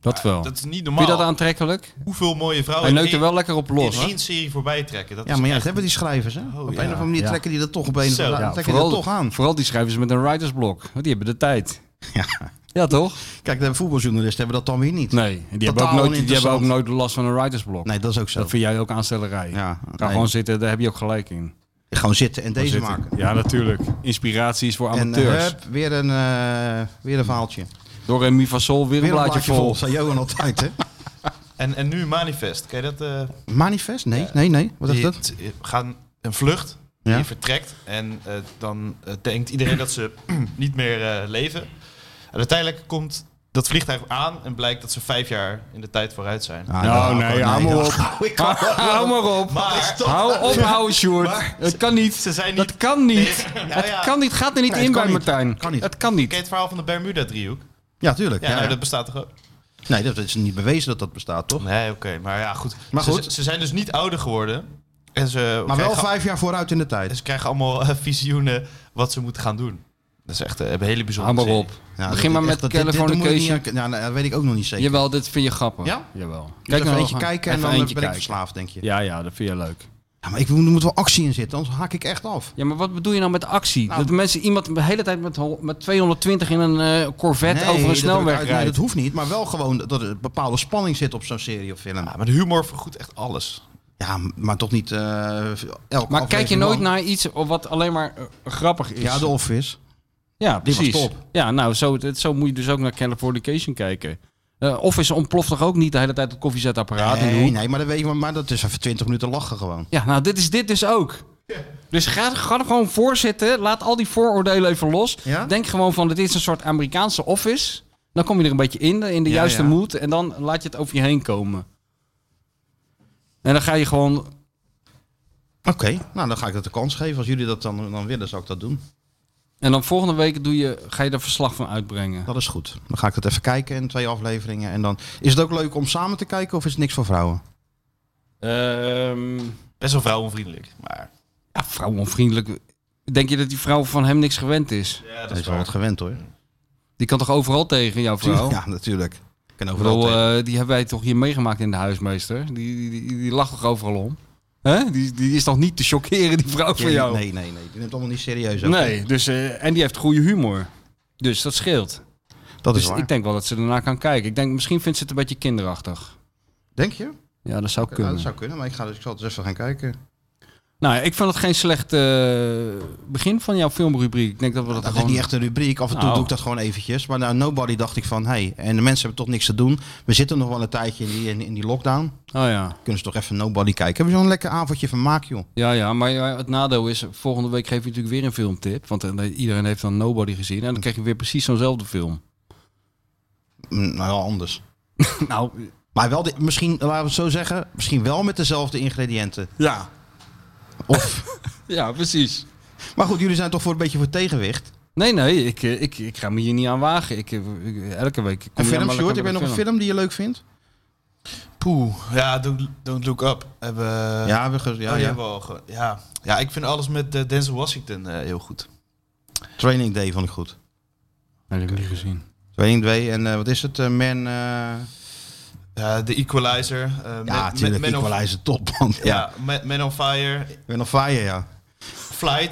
Dat wel. Dat is niet Vind normaal. Oh, je dat aantrekkelijk? Hoeveel mooie vrouwen Hij neukt er in, wel lekker op één- los. in hoor. één serie voorbij trekken. Dat Ja, is maar ja, echt- Oh, dat hebben die schrijvers, hè? op een ja. of andere manier Ja. trekken die dat toch op een of Zo. andere Ja, Ja, trekken die dat toch aan. vooral die schrijvers met een writersblok. Want die hebben de tijd. Ja, toch? Kijk, de voetbaljournalisten hebben dat dan weer niet. Nee, en die, hebben ook, Totaal nooit, die hebben ook oninteressant. nooit last van een writersblok. Nee, dat is ook zo. Dat vind jij ook aanstellerij. Ja, Ga nee. gewoon zitten, daar heb je ook gelijk in. Gewoon zitten en deze Zitten. maken. Ja, natuurlijk. Inspiratie is voor En eh, amateurs. hup, weer een, eh, weer een verhaaltje. Door Remy van Sol weer een blaadje, vol. Zei Johan altijd, hè? En, en nu Manifest. Ken je dat? eh, Manifest? Nee, nee, nee. Wat is die dat? t- gaan een vlucht. Ja. Die vertrekt. En eh, dan eh, denkt iedereen dat ze niet meer eh, leven. En uiteindelijk komt dat vliegtuig aan en blijkt dat ze vijf jaar in de tijd vooruit zijn. Ah, Nou, dat- nee, hou maar op. Hou maar op. Maar Hou op, hou Sjoerd. het kan niet. ze zijn niet... Dat kan niet. Nou Het ja, kan niet. Gaat er niet Nee, het in kan bij niet. Martijn. Kan niet. Het kan Ken je niet. het verhaal van de Bermuda-driehoek? Ja, tuurlijk. Ja, Ja, nou, ja. dat bestaat toch ook? Nee, dat is niet bewezen dat dat bestaat, toch? Nee, oké. maar ja, goed. Maar Ze- goed. Ze, ze zijn dus niet ouder geworden. En ze Maar wel krijgen- vijf jaar vooruit in de tijd. En ze krijgen allemaal eh, visioenen wat ze moeten gaan doen. Dat is echt eh, een hele Hou bijzondere maar serie. op. Ja, Begin maar dit- met echt, dit- dit- dit moet ik niet Californication. herken- Ja, nou, dat weet ik ook nog niet zeker. Jawel, dit vind je grappig. Ja? Jawel. Kijk even nou eentje gewoon. kijken en dan Even ben eentje ik kijken. verslaafd, denk je. Ja, Ja, ja, dat vind je leuk. maar ik, er moet wel actie in zitten, anders haak ik echt af. Ja, maar wat bedoel je nou met actie? Nou, dat mensen iemand de hele tijd met, hol- met 220 in een eh, Corvette Nee, over een dat snelweg heb ik uit- nee, rijdt. dat hoeft niet, maar wel gewoon dat er een bepaalde spanning zit op zo'n serie of film. Ja, maar de humor vergoedt echt alles. Ja, maar toch niet eh elke Maar kijk je aflevering nooit lang. naar iets wat alleen maar eh, grappig is? Ja, The Office. Ja, die was precies. top. Ja, nou, zo, dit- zo moet je dus ook naar Californication kijken. Eh Office ontploft toch ook niet de hele tijd het koffiezetapparaat in de Nee, hoek? nee, maar dat, weet je, maar dat is even 20 minuten lachen gewoon. Ja, nou, dit is dit dus ook. Dus ga, ga er gewoon voor zitten. Laat al die vooroordelen even los. Ja? Denk gewoon van, dit is een soort Amerikaanse office. Dan kom je er een beetje in, in de Ja, juiste ja. mood. En dan laat je het over je heen komen. En dan ga je gewoon... Oké, nou dan ga ik dat de kans geven. Als jullie dat dan, dan willen, zal ik dat doen. En dan volgende week doe je, ga je er verslag van uitbrengen. Dat is goed. Dan ga ik dat even kijken in twee afleveringen. En dan is het ook leuk om samen te kijken of is het niks voor vrouwen? Ehm, Best wel vrouwenvriendelijk. Maar ja, vrouwonvriendelijk. Denk je dat die vrouw van hem niks gewend is? ja, dat, Dat is is wel waar. wat gewend hoor. Die kan toch overal tegen, jouw vrouw? Ja, natuurlijk. Ik kan Ik overal bedoel, tegen. eh, die hebben wij toch hier meegemaakt in de huismeester? Die, die, die, die lacht toch overal om? Hè? Die, die is toch niet te chockeren, die vrouw van Ja, eh, jou? Nee, nee, nee. Die neemt het allemaal niet serieus. ook. Nee, dus, eh, en die heeft goede humor. Dus dat scheelt. Dat dus is waar. ik denk wel dat ze ernaar kan kijken. Ik denk, misschien vindt ze het een beetje kinderachtig. Denk je? Ja, dat zou Ja, kunnen. dat zou kunnen, maar ik, ga, dus- ik zal het eens even gaan kijken. Nou, ik vond het geen slecht eh, begin van jouw filmrubriek. Ik denk dat we dat, Dat gewoon... is niet echt een rubriek. Af en toe Nou. doe ik dat gewoon eventjes. Maar nou, Nobody dacht ik van, hey, en de mensen hebben toch niks te doen. We zitten nog wel een tijdje in die, in, in die lockdown. Oh ja. Kunnen ze toch even Nobody kijken. Hebben we zo'n lekker avondje van maak, joh. Ja, ja, maar ja, het nadeel is, volgende week geef je natuurlijk weer een filmtip. Want eh, iedereen heeft dan Nobody gezien. En dan krijg je weer precies zo'nzelfde film. Mm, Nou, wel anders. nou, Maar wel, de- misschien, laten we het zo zeggen, misschien wel met dezelfde ingrediënten. ja. Of, Ja, precies. maar goed, jullie zijn toch voor een beetje voor tegenwicht. Nee, nee, ik, eh, ik, ik ga me hier niet aan wagen. Ik, eh, ik- elke week. kom Een je film, allemaal Sjoerd, lekker heb jij met nog een film die je leuk vindt? Poeh. Ja, don't, Don't Look Up. Hebben, ja, ja, we, ge- Oh, ja, ja, ja. ja. ja, ik vind alles met eh, Denzel Washington eh, heel goed. Training Day vond ik goed. Nee, dat heb ik niet gezien. Training Day en eh, wat is het? eh, man, eh, Ja, The Equalizer. eh, Man- ja, Man- natuurlijk, Man of- Equalizer top, man. Ja. Ja, Ma- Man on Fire, Man of Fire, ja. Flight. Nee,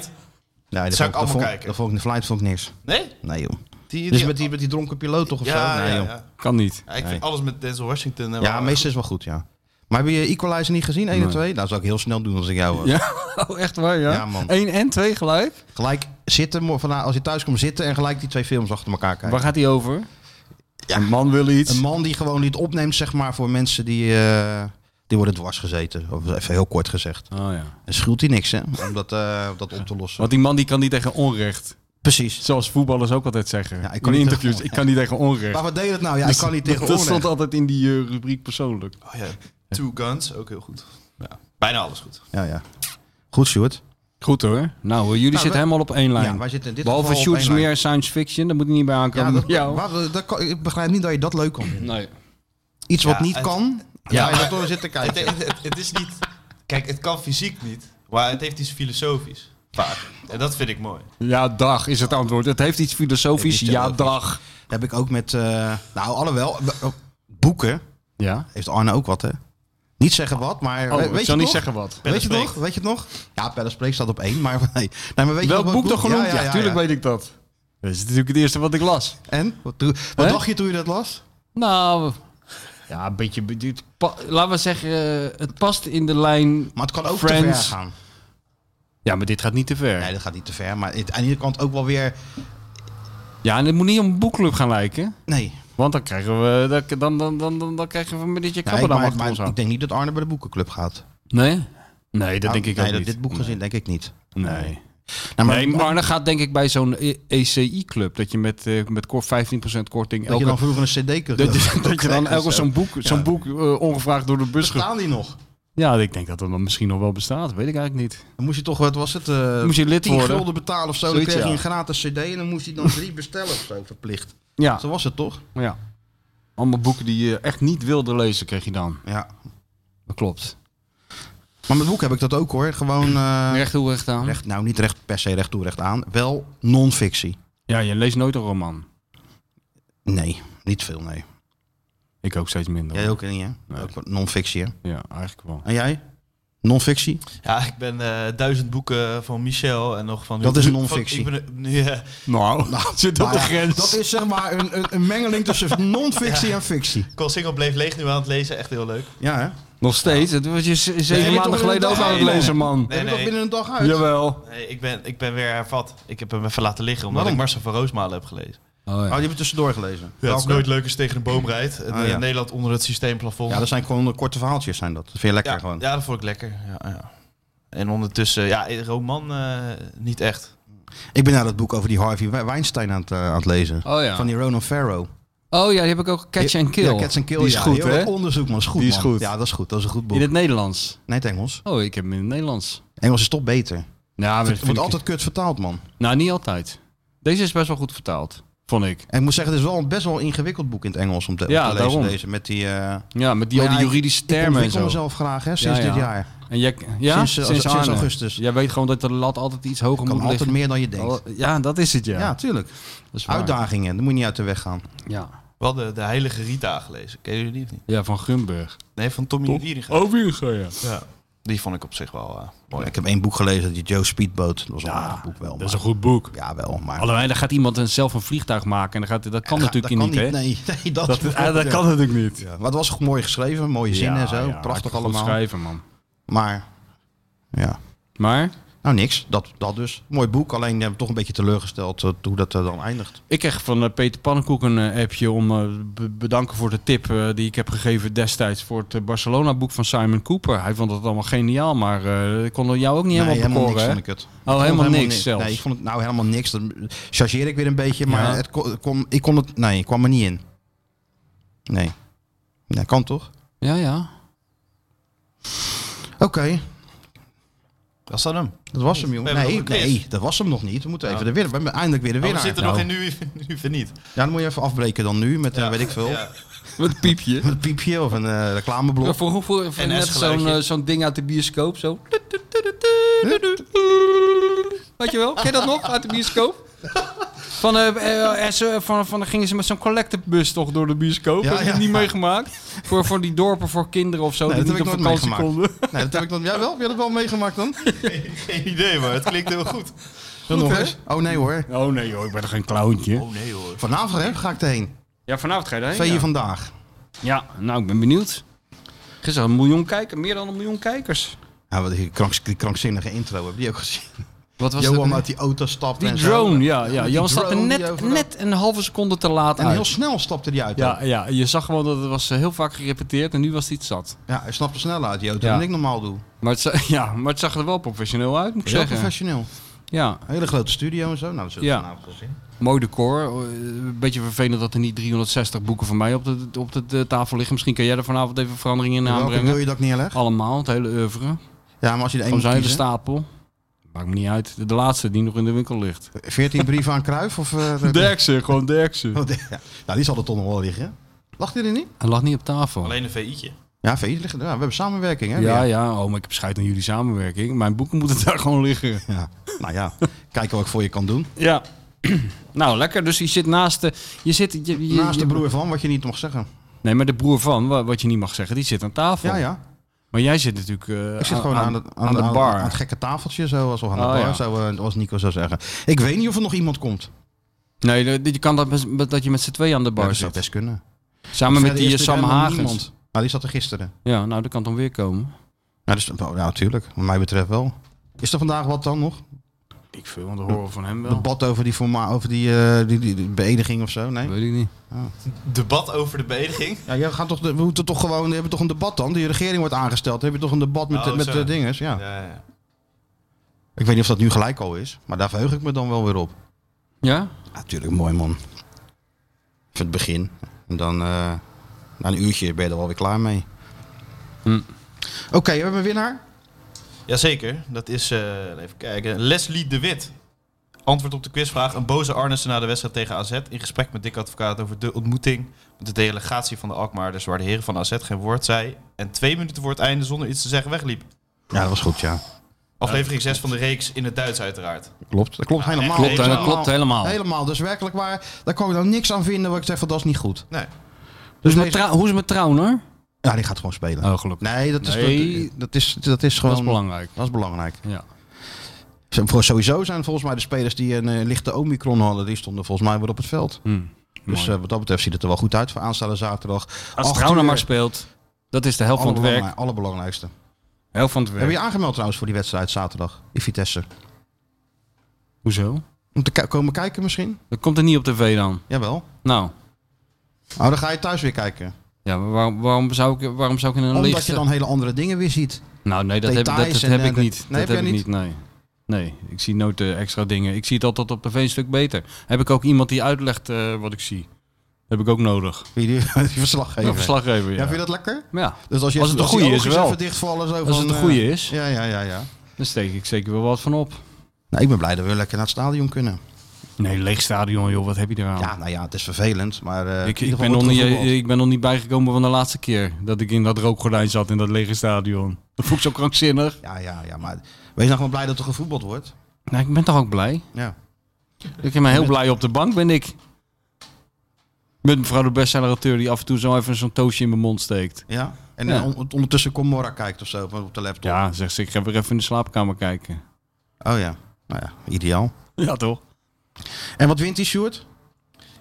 dat vond- ik dat allemaal vond- kijken. Dat vond ik de flight vond ik niks. Nee? Nee, joh. Die, Dus met die, met die dronken piloot toch of ja, zo? ja, Nee, ja, joh. ja. Kan niet. ik vind Nee. alles met Denzel Washington. eh, Ja, wel- meestal is wel goed, ja. Maar heb je Equalizer niet gezien, 1 en Nee. 2? Nou, zou ik heel snel doen als ik jou eh, was. Ja, oh, echt waar, ja? Ja, man. Eén en twee gelijk. Gelijk zitten, mo- vandaag als je thuis komt zitten en gelijk die twee films achter elkaar kijken. Waar gaat die over? Een man wil iets. Een man die gewoon niet opneemt, zeg maar, voor mensen die, eh, die worden dwars gezeten. Of even heel kort gezegd. Oh ja. En schuilt hij niks, hè, om dat, eh, om dat op te lossen. Want die man die kan niet tegen onrecht. Precies. Zoals voetballers ook altijd zeggen. Ja, ik in kan niet interviews. tegen- Ik kan niet tegen onrecht. Maar wat deed het nou? Ja, ik kan niet Dat- tegen Dat oorlog. stond altijd in die eh, rubriek persoonlijk. Oh, ja. Two Guns, ook heel goed. Ja, bijna alles goed. Ja, ja. Goed, Sjoerd. Goed hoor. Nou, eh, jullie zitten wij- helemaal op één lijn. Ja, wij zitten in dit Behalve geval op shoots één lijn. meer science fiction. Daar moet je niet bij Ja, aankomen. dat, met jou. wat- dat kan- ik begrijp niet dat je dat leuk kan vinden. Nee. Iets wat Ja, niet het- kan, Ja, ja, ga je maar- dat door zitten kijken. Het, het, het is niet... Kijk, het kan fysiek niet, maar het heeft iets filosofisch. Vaak. En dat vind ik mooi. Ja, dag is het antwoord. Het heeft iets filosofisch. Het is Ja, filosofisch. dag. Heb ik ook met, eh, nou alhoewel, b- boeken Ja. heeft Arne ook wat hè. Niet zeggen wat, maar Oh, we- ik weet, zal je niet nog? zeggen wat. Weet je Pelle nog? Weet je het nog? Ja, Pelle Spreek staat op één, maar nee. nee maar weet je nog Welk wat boek toch genoemd? Ja, tuurlijk ja. weet ik dat. Dat is natuurlijk het eerste wat ik las. En? Wat, doe- wat Hè? dacht je toen je dat las? Nou, ja, een beetje... dit pa- Laten we zeggen, eh, het past in de lijn... Maar het kan ook te ver Friends. gaan. Ja, maar dit gaat niet te ver. Nee, dat gaat niet te ver, maar het, aan de andere kant ook wel weer, Ja, en het moet niet om een boekclub gaan lijken. nee. Want dan krijgen we... Dan, dan, dan, dan, dan, dan krijgen we met je Nee, krabben dan maar- achter maar ons aan. ik denk niet dat Arne bij de boekenclub gaat. Nee? Nee, dat Nou, denk ik nee, ook dat niet. dit boek gezien denk ik niet. Nee. Nou, Nee, maar dan gaat denk ik bij zo'n E- ECI-club... dat je met, eh, met kor- 15% korting... dat je dan Elke, vroeger een cd kunt dat, je- dat je dan elke dus, elke zo'n boek, zo'n boek eh, ongevraagd door de bus ge- Staan die nog? Ja, ik denk dat dat dan misschien nog wel bestaat. Weet ik eigenlijk niet. Dan moest je toch, wat was het? eh Moest je lid 10 worden? gulden betalen of zo. Zoiets, dan kreeg je ja. een gratis cd en dan moest je dan drie bestellen of zo, verplicht. Ja. Zo was het toch? ja. Allemaal boeken die je echt niet wilde lezen, kreeg je dan. Ja. Dat klopt. Maar met boek heb ik dat ook hoor. Gewoon, eh, recht hoe recht aan. recht, nou niet recht, per se recht toe, recht aan. Wel non-fictie. Ja, je leest nooit een roman. Nee, niet veel, nee. Ik ook steeds minder. Jij ook niet, hè? Nee. Ook non-fictie, hè? Ja, eigenlijk wel. En jij? Non-fictie? Ja, ik ben eh, duizend boeken van Michel en nog van... Dat is van- non-fictie. ik ben- eh, ja. Nou, zit op Nou de ja, grens. Dat is zeg maar een, een, een mengeling tussen non-fictie en fictie. Col Single bleef leeg nu aan het lezen, echt heel leuk. Ja, hè? Nog steeds. Het was je ze- zeven je maanden toch geleden ook inderdaad- aan het lezen, man. Nee, Heb je dat nee. binnen een dag uit? Oh, Jawel. Nee, ik, ben, ik ben weer hervat. Ik heb hem even laten liggen, omdat Waarom? ik Marcel van Roosmalen heb gelezen. Oh, die hebben tussendoor gelezen. Ja, het is Welke? nooit leuk als je tegen een boom rijdt. En, Ah, eh, ja. Nederland onder het systeemplafond. Ja, dat zijn gewoon eh, korte verhaaltjes zijn dat. Dat vind je lekker ja, gewoon. ja, dat vond ik lekker. Ja, ja. En ondertussen, ja, roman eh, niet echt. Ik ben nou dat boek over die Harvey We- Weinstein aan het, eh, aan het lezen. Oh ja. Van die Ronan Farrow. Oh ja, die heb ik ook. Catch and Kill. Ja, Cats and Kill. Die is ja. goed, Heel hè? dat onderzoek, man. Is goed, Die is man. goed. Ja, dat is goed. Dat is een goed boek. In het Nederlands. Nee, het Engels. Oh, ik heb hem in het Nederlands. Engels is toch beter. Nou, maar dat Het vind wordt ik- altijd kut vertaald, man. Nou, niet altijd. Deze is best wel goed vertaald, vond ik. En ik moet zeggen, het is wel een best wel ingewikkeld boek in het Engels om te, om Ja, te lezen. daarom. Deze, met die, eh, Ja, met die, maar al die ja, ik- juridische ik termen en ontwikkel zo. mezelf graag, hè, sinds Ja, ja. dit jaar. En jij, ja? Sinds, eh, sinds Arnhem. augustus. Jij weet gewoon dat de lat altijd iets hoger Kan moet altijd liggen. meer dan je denkt. Ja, dat is het, Oh, ja. Ja, tuurlijk. Dat is waar. Uitdagingen, daar moet je niet uit de weg gaan. Ja. We hadden de Heilige Rita gelezen. Ken jullie die of niet? ja, van Grunberg. Nee, van Tommy Wieringa. Oh, Wieringa, ja. Ja. Die vond ik op zich wel eh, mooi. Ik heb één boek gelezen, die Joe Speedboat. Dat was een aardig boek wel. Dat is maar- een goed boek. Ja, wel, maar... Alleen, dan gaat iemand een, zelf een vliegtuig maken. En dan gaat, dat kan Ja, natuurlijk dat kan niet, hè? Nee, nee, dat, Dat, is- ah, dat kan natuurlijk niet. Ja, Maar het was mooi geschreven, mooie zinnen en zo. prachtig hartstikke goed allemaal. schrijven, man. Maar, ja. Maar Nou, niks. Dat, dat dus. Mooi boek, alleen eh, toch een beetje teleurgesteld eh, hoe dat er dan eindigt. ik kreeg van eh, Peter Pannenkoek een eh, appje om eh, be- bedanken voor de tip eh, die ik heb gegeven destijds voor het eh, Barcelona-boek van Simon Cooper. Hij vond het allemaal geniaal, maar eh ik kon er jou ook niet nee, helemaal helemaal bekoren, niks hè? Oh, vond ik het. Ik vond helemaal het niks zelfs. Nee, ik vond het nou helemaal niks. Dan chargeer ik weer een beetje, maar Ja. het kon, het kon- ik kon het... Nee, ik kwam er niet in. Nee. Ja, kan toch? Ja, ja. Oké, Was dat hem? dat was hem, jongen. We hebben Nee, nog een quiz. nee, dat was hem nog niet. We moeten even de winnaar... we hebben Eindelijk weer de Oh, we winnaar. zitten Nou, nog in nu, nu even niet. Ja, dan moet je even afbreken dan nu met, eh, weet ik veel, Ja. Wat piepje. met een piepje of een eh, reclameblok. Ja, voor hoe voor, voor En net S-geluidje. zo'n eh, zo'n ding uit de bioscoop zo. Weet je wel? Ken je dat nog uit de bioscoop? Van, eh eh, eh, ze- van, van dan gingen ze met zo'n collectebus toch door de bioscoop. Ja, heb je ja. het niet meegemaakt? Voor, voor die dorpen voor kinderen of zo Nee, die dat niet op heb ik nooit vakantie meegemaakt. konden. Nee, dat heb ik dan. Jij wel? Heb je dat wel meegemaakt dan? Geen idee, maar het klinkt heel goed. Dan nog eens. Oh nee hoor. Oh nee joh, ik ben er geen clowntje. Oh nee hoor. Vanavond hè, ga ik erheen. Ja, vanavond ga je erheen, Twee ja. uur vandaag. Ja, nou ik ben benieuwd. Gisteren een miljoen kijkers, meer dan een miljoen kijkers. Ja, wat die, kranks, die krankzinnige intro hebben die ook gezien. Wat was Johan dat? uit die auto stapt. Die en zo. drone, ja. ja. die Johan staat er drone die net, overal- net een halve seconde te laat En uit. heel snel stapte die uit. Ja, Ja, ja, je zag gewoon dat het was eh, heel vaak gerepeteerd en nu was het iets zat. ja hij snapte sneller uit die auto Ja. dan ik normaal doe. Maar het, za- ja, maar het zag er wel professioneel uit, moet ik Heel zeggen. professioneel. ja, Een hele grote studio en zo. Nou, dat zullen Ja. we vanavond wel zien. mooi decor. Eh, Een beetje vervelend dat er niet 360 boeken van mij op de, op de, de tafel liggen. Misschien kan jij er vanavond even verandering in Welke aanbrengen. wil je dat ik neerleg? Allemaal, het hele oeuvre. Ja, maar als je er één moet Van zijn hele kiezen. stapel. Maakt me niet uit. De, de laatste die nog in de winkel ligt. 14 brieven aan Kruif of... eh, de- Derksen, gewoon Derksen. Oh, de- ja. Nou, die zal er toch nog wel liggen. Lacht hij er niet? Hij lag niet op tafel. Alleen een VI'tje. Ja, VI liggen er. Ja, we hebben samenwerking hè. Ja, weer. ja. Oh, maar ik heb scheid aan jullie samenwerking. Mijn boeken moeten daar gewoon liggen. Ja, nou ja, kijken wat ik voor je kan doen. Ja. nou, lekker. Dus je zit naast de... Je zit, je, je- Naast de je- broer van, wat je niet mag zeggen. Nee, maar de broer van, wa- wat je niet mag zeggen, die zit aan tafel. Ja, ja. Maar jij zit natuurlijk eh, Ik zit gewoon aan, het- aan de bar. Aan, het gekke tafeltje, zo, alsof aan de Oh, bar, ja. zo, eh, als Nico zou zeggen. Ik weet niet of er nog iemand komt. nee, de- de- je kan dat, best- dat je met z'n tweeën aan de Ja, bar dat zou zit. best kunnen. Samen Verder Ah, met die is eh, er Sam helemaal Hagens. niemand. Nou, die zat er gisteren. Ja, nou, dat kan dan weer komen. Ja, dus, nou, ja, natuurlijk. Wat mij betreft wel. Is er vandaag wat dan nog? Ik veel, want we horen van hem Debat over die, forma over die, eh, die, die, die beëdiging of zo? Nee? Weet ik niet. Debat over de beëdiging. Ja, jij gaat toch, de- we moeten toch gewoon, we hebben toch een debat dan? Die regering wordt aangesteld. Dan heb je toch een debat met, de- Oh, met zo. de dinges? Ja. Ja, ja. Ik weet niet of dat nu gelijk al is, maar daar verheug ik me dan wel weer op. Ja? Natuurlijk, mooi man. Even het begin. En dan eh, na een uurtje ben je er wel weer klaar mee. Hm. Oké, we hebben een winnaar. Jazeker, dat is, eh, even kijken, Leslie de Wit. Antwoord op de quizvraag. Een boze Arnissen na de wedstrijd tegen AZ. In gesprek met Dick Advocaat over de ontmoeting met de delegatie van de Alkmaarders. Waar de heren van AZ geen woord zei. En twee minuten voor het einde zonder iets te zeggen wegliep. Ja, dat was goed, ja. Al Aflevering 6 van de reeks in het Duits uiteraard. Klopt, dat klopt helemaal. klopt, dat klopt helemaal. Helemaal, dus werkelijk waar. Daar kan ik nou niks aan vinden waar ik zeg van dat is niet goed. Nee. Hoe is, Dus mijn trou- hoe is mijn trouwner? Ja, die gaat gewoon spelen. Oh, gelukkig. Nee, dat is, Nee. Dat, dat is, dat is gewoon... Dat is belangrijk. Dat is belangrijk. Ja. Zo- voor- Sowieso zijn volgens mij de spelers die een eh, lichte omicron hadden, die stonden volgens mij weer op het veld. Hmm. Dus eh, wat dat betrft ziet het er wel goed uit voor aanstaande zaterdag. Als Acht Trouwner uur. maar speelt, dat is de helft van het werk. Allerbelangrijkste. allerbelangrijkste. Helft van het werk. Heb je je aangemeld trouwens voor die wedstrijd zaterdag in Vitesse? Hoezo? Om te ki- komen kijken misschien? Dat komt er niet op tv dan. Jawel. Nou, Nou, dan ga je thuis weer kijken. ja, maar waarom, waarom, zou, ik, waarom zou ik in een Omdat lichte... je dan hele andere dingen weer ziet. Nou, nee, dat heb, dat, details dat en, heb eh, ik dat- niet. Nee, dat heb heb jij ik niet, nee. Nee, ik zie nooit eh, extra dingen. Ik zie het altijd op tv een stuk beter. Heb ik ook iemand die uitlegt eh, wat ik zie. Heb ik ook nodig. Wie die, die verslag geven. Een verslaggever, ja. Ja, vind je dat lekker? Maar ja, Dus als, je Als het de die goeie is, oogjes wel. even dichtvallen, zo als van, het de eh, goede is, Ja, ja, ja, ja. dan steek ik zeker wel wat van op. Nou, ik ben blij dat we lekker naar het stadion kunnen. Nee, leeg stadion, joh. Wat heb je eraan? Ja, nou ja, het is vervelend, maar... eh, ik, in ik, ieder geval ben nog wordt niet, er gevoetbald. ik ben nog niet bijgekomen van de laatste keer dat ik in dat rookgordijn zat in dat lege stadion. Dat vond ik zo krankzinnig. Ja, ja, ja, maar wees nou gewoon blij dat er gevoetbald wordt. Nou, ik ben toch ook blij? Ja. Ik ben heel blij op de bank, ben ik. Met mevrouw de bestseller-auteur die af en toe zo even zo'n toosje in mijn mond steekt. ja. En Ja. eh, on- ondertussen Comora kijkt of zo van op de laptop. Ja, zegt ze, ik ga weer even in de slaapkamer kijken. Oh ja. Nou ja, ideaal. Ja, toch? En wat wint die Sjoerd?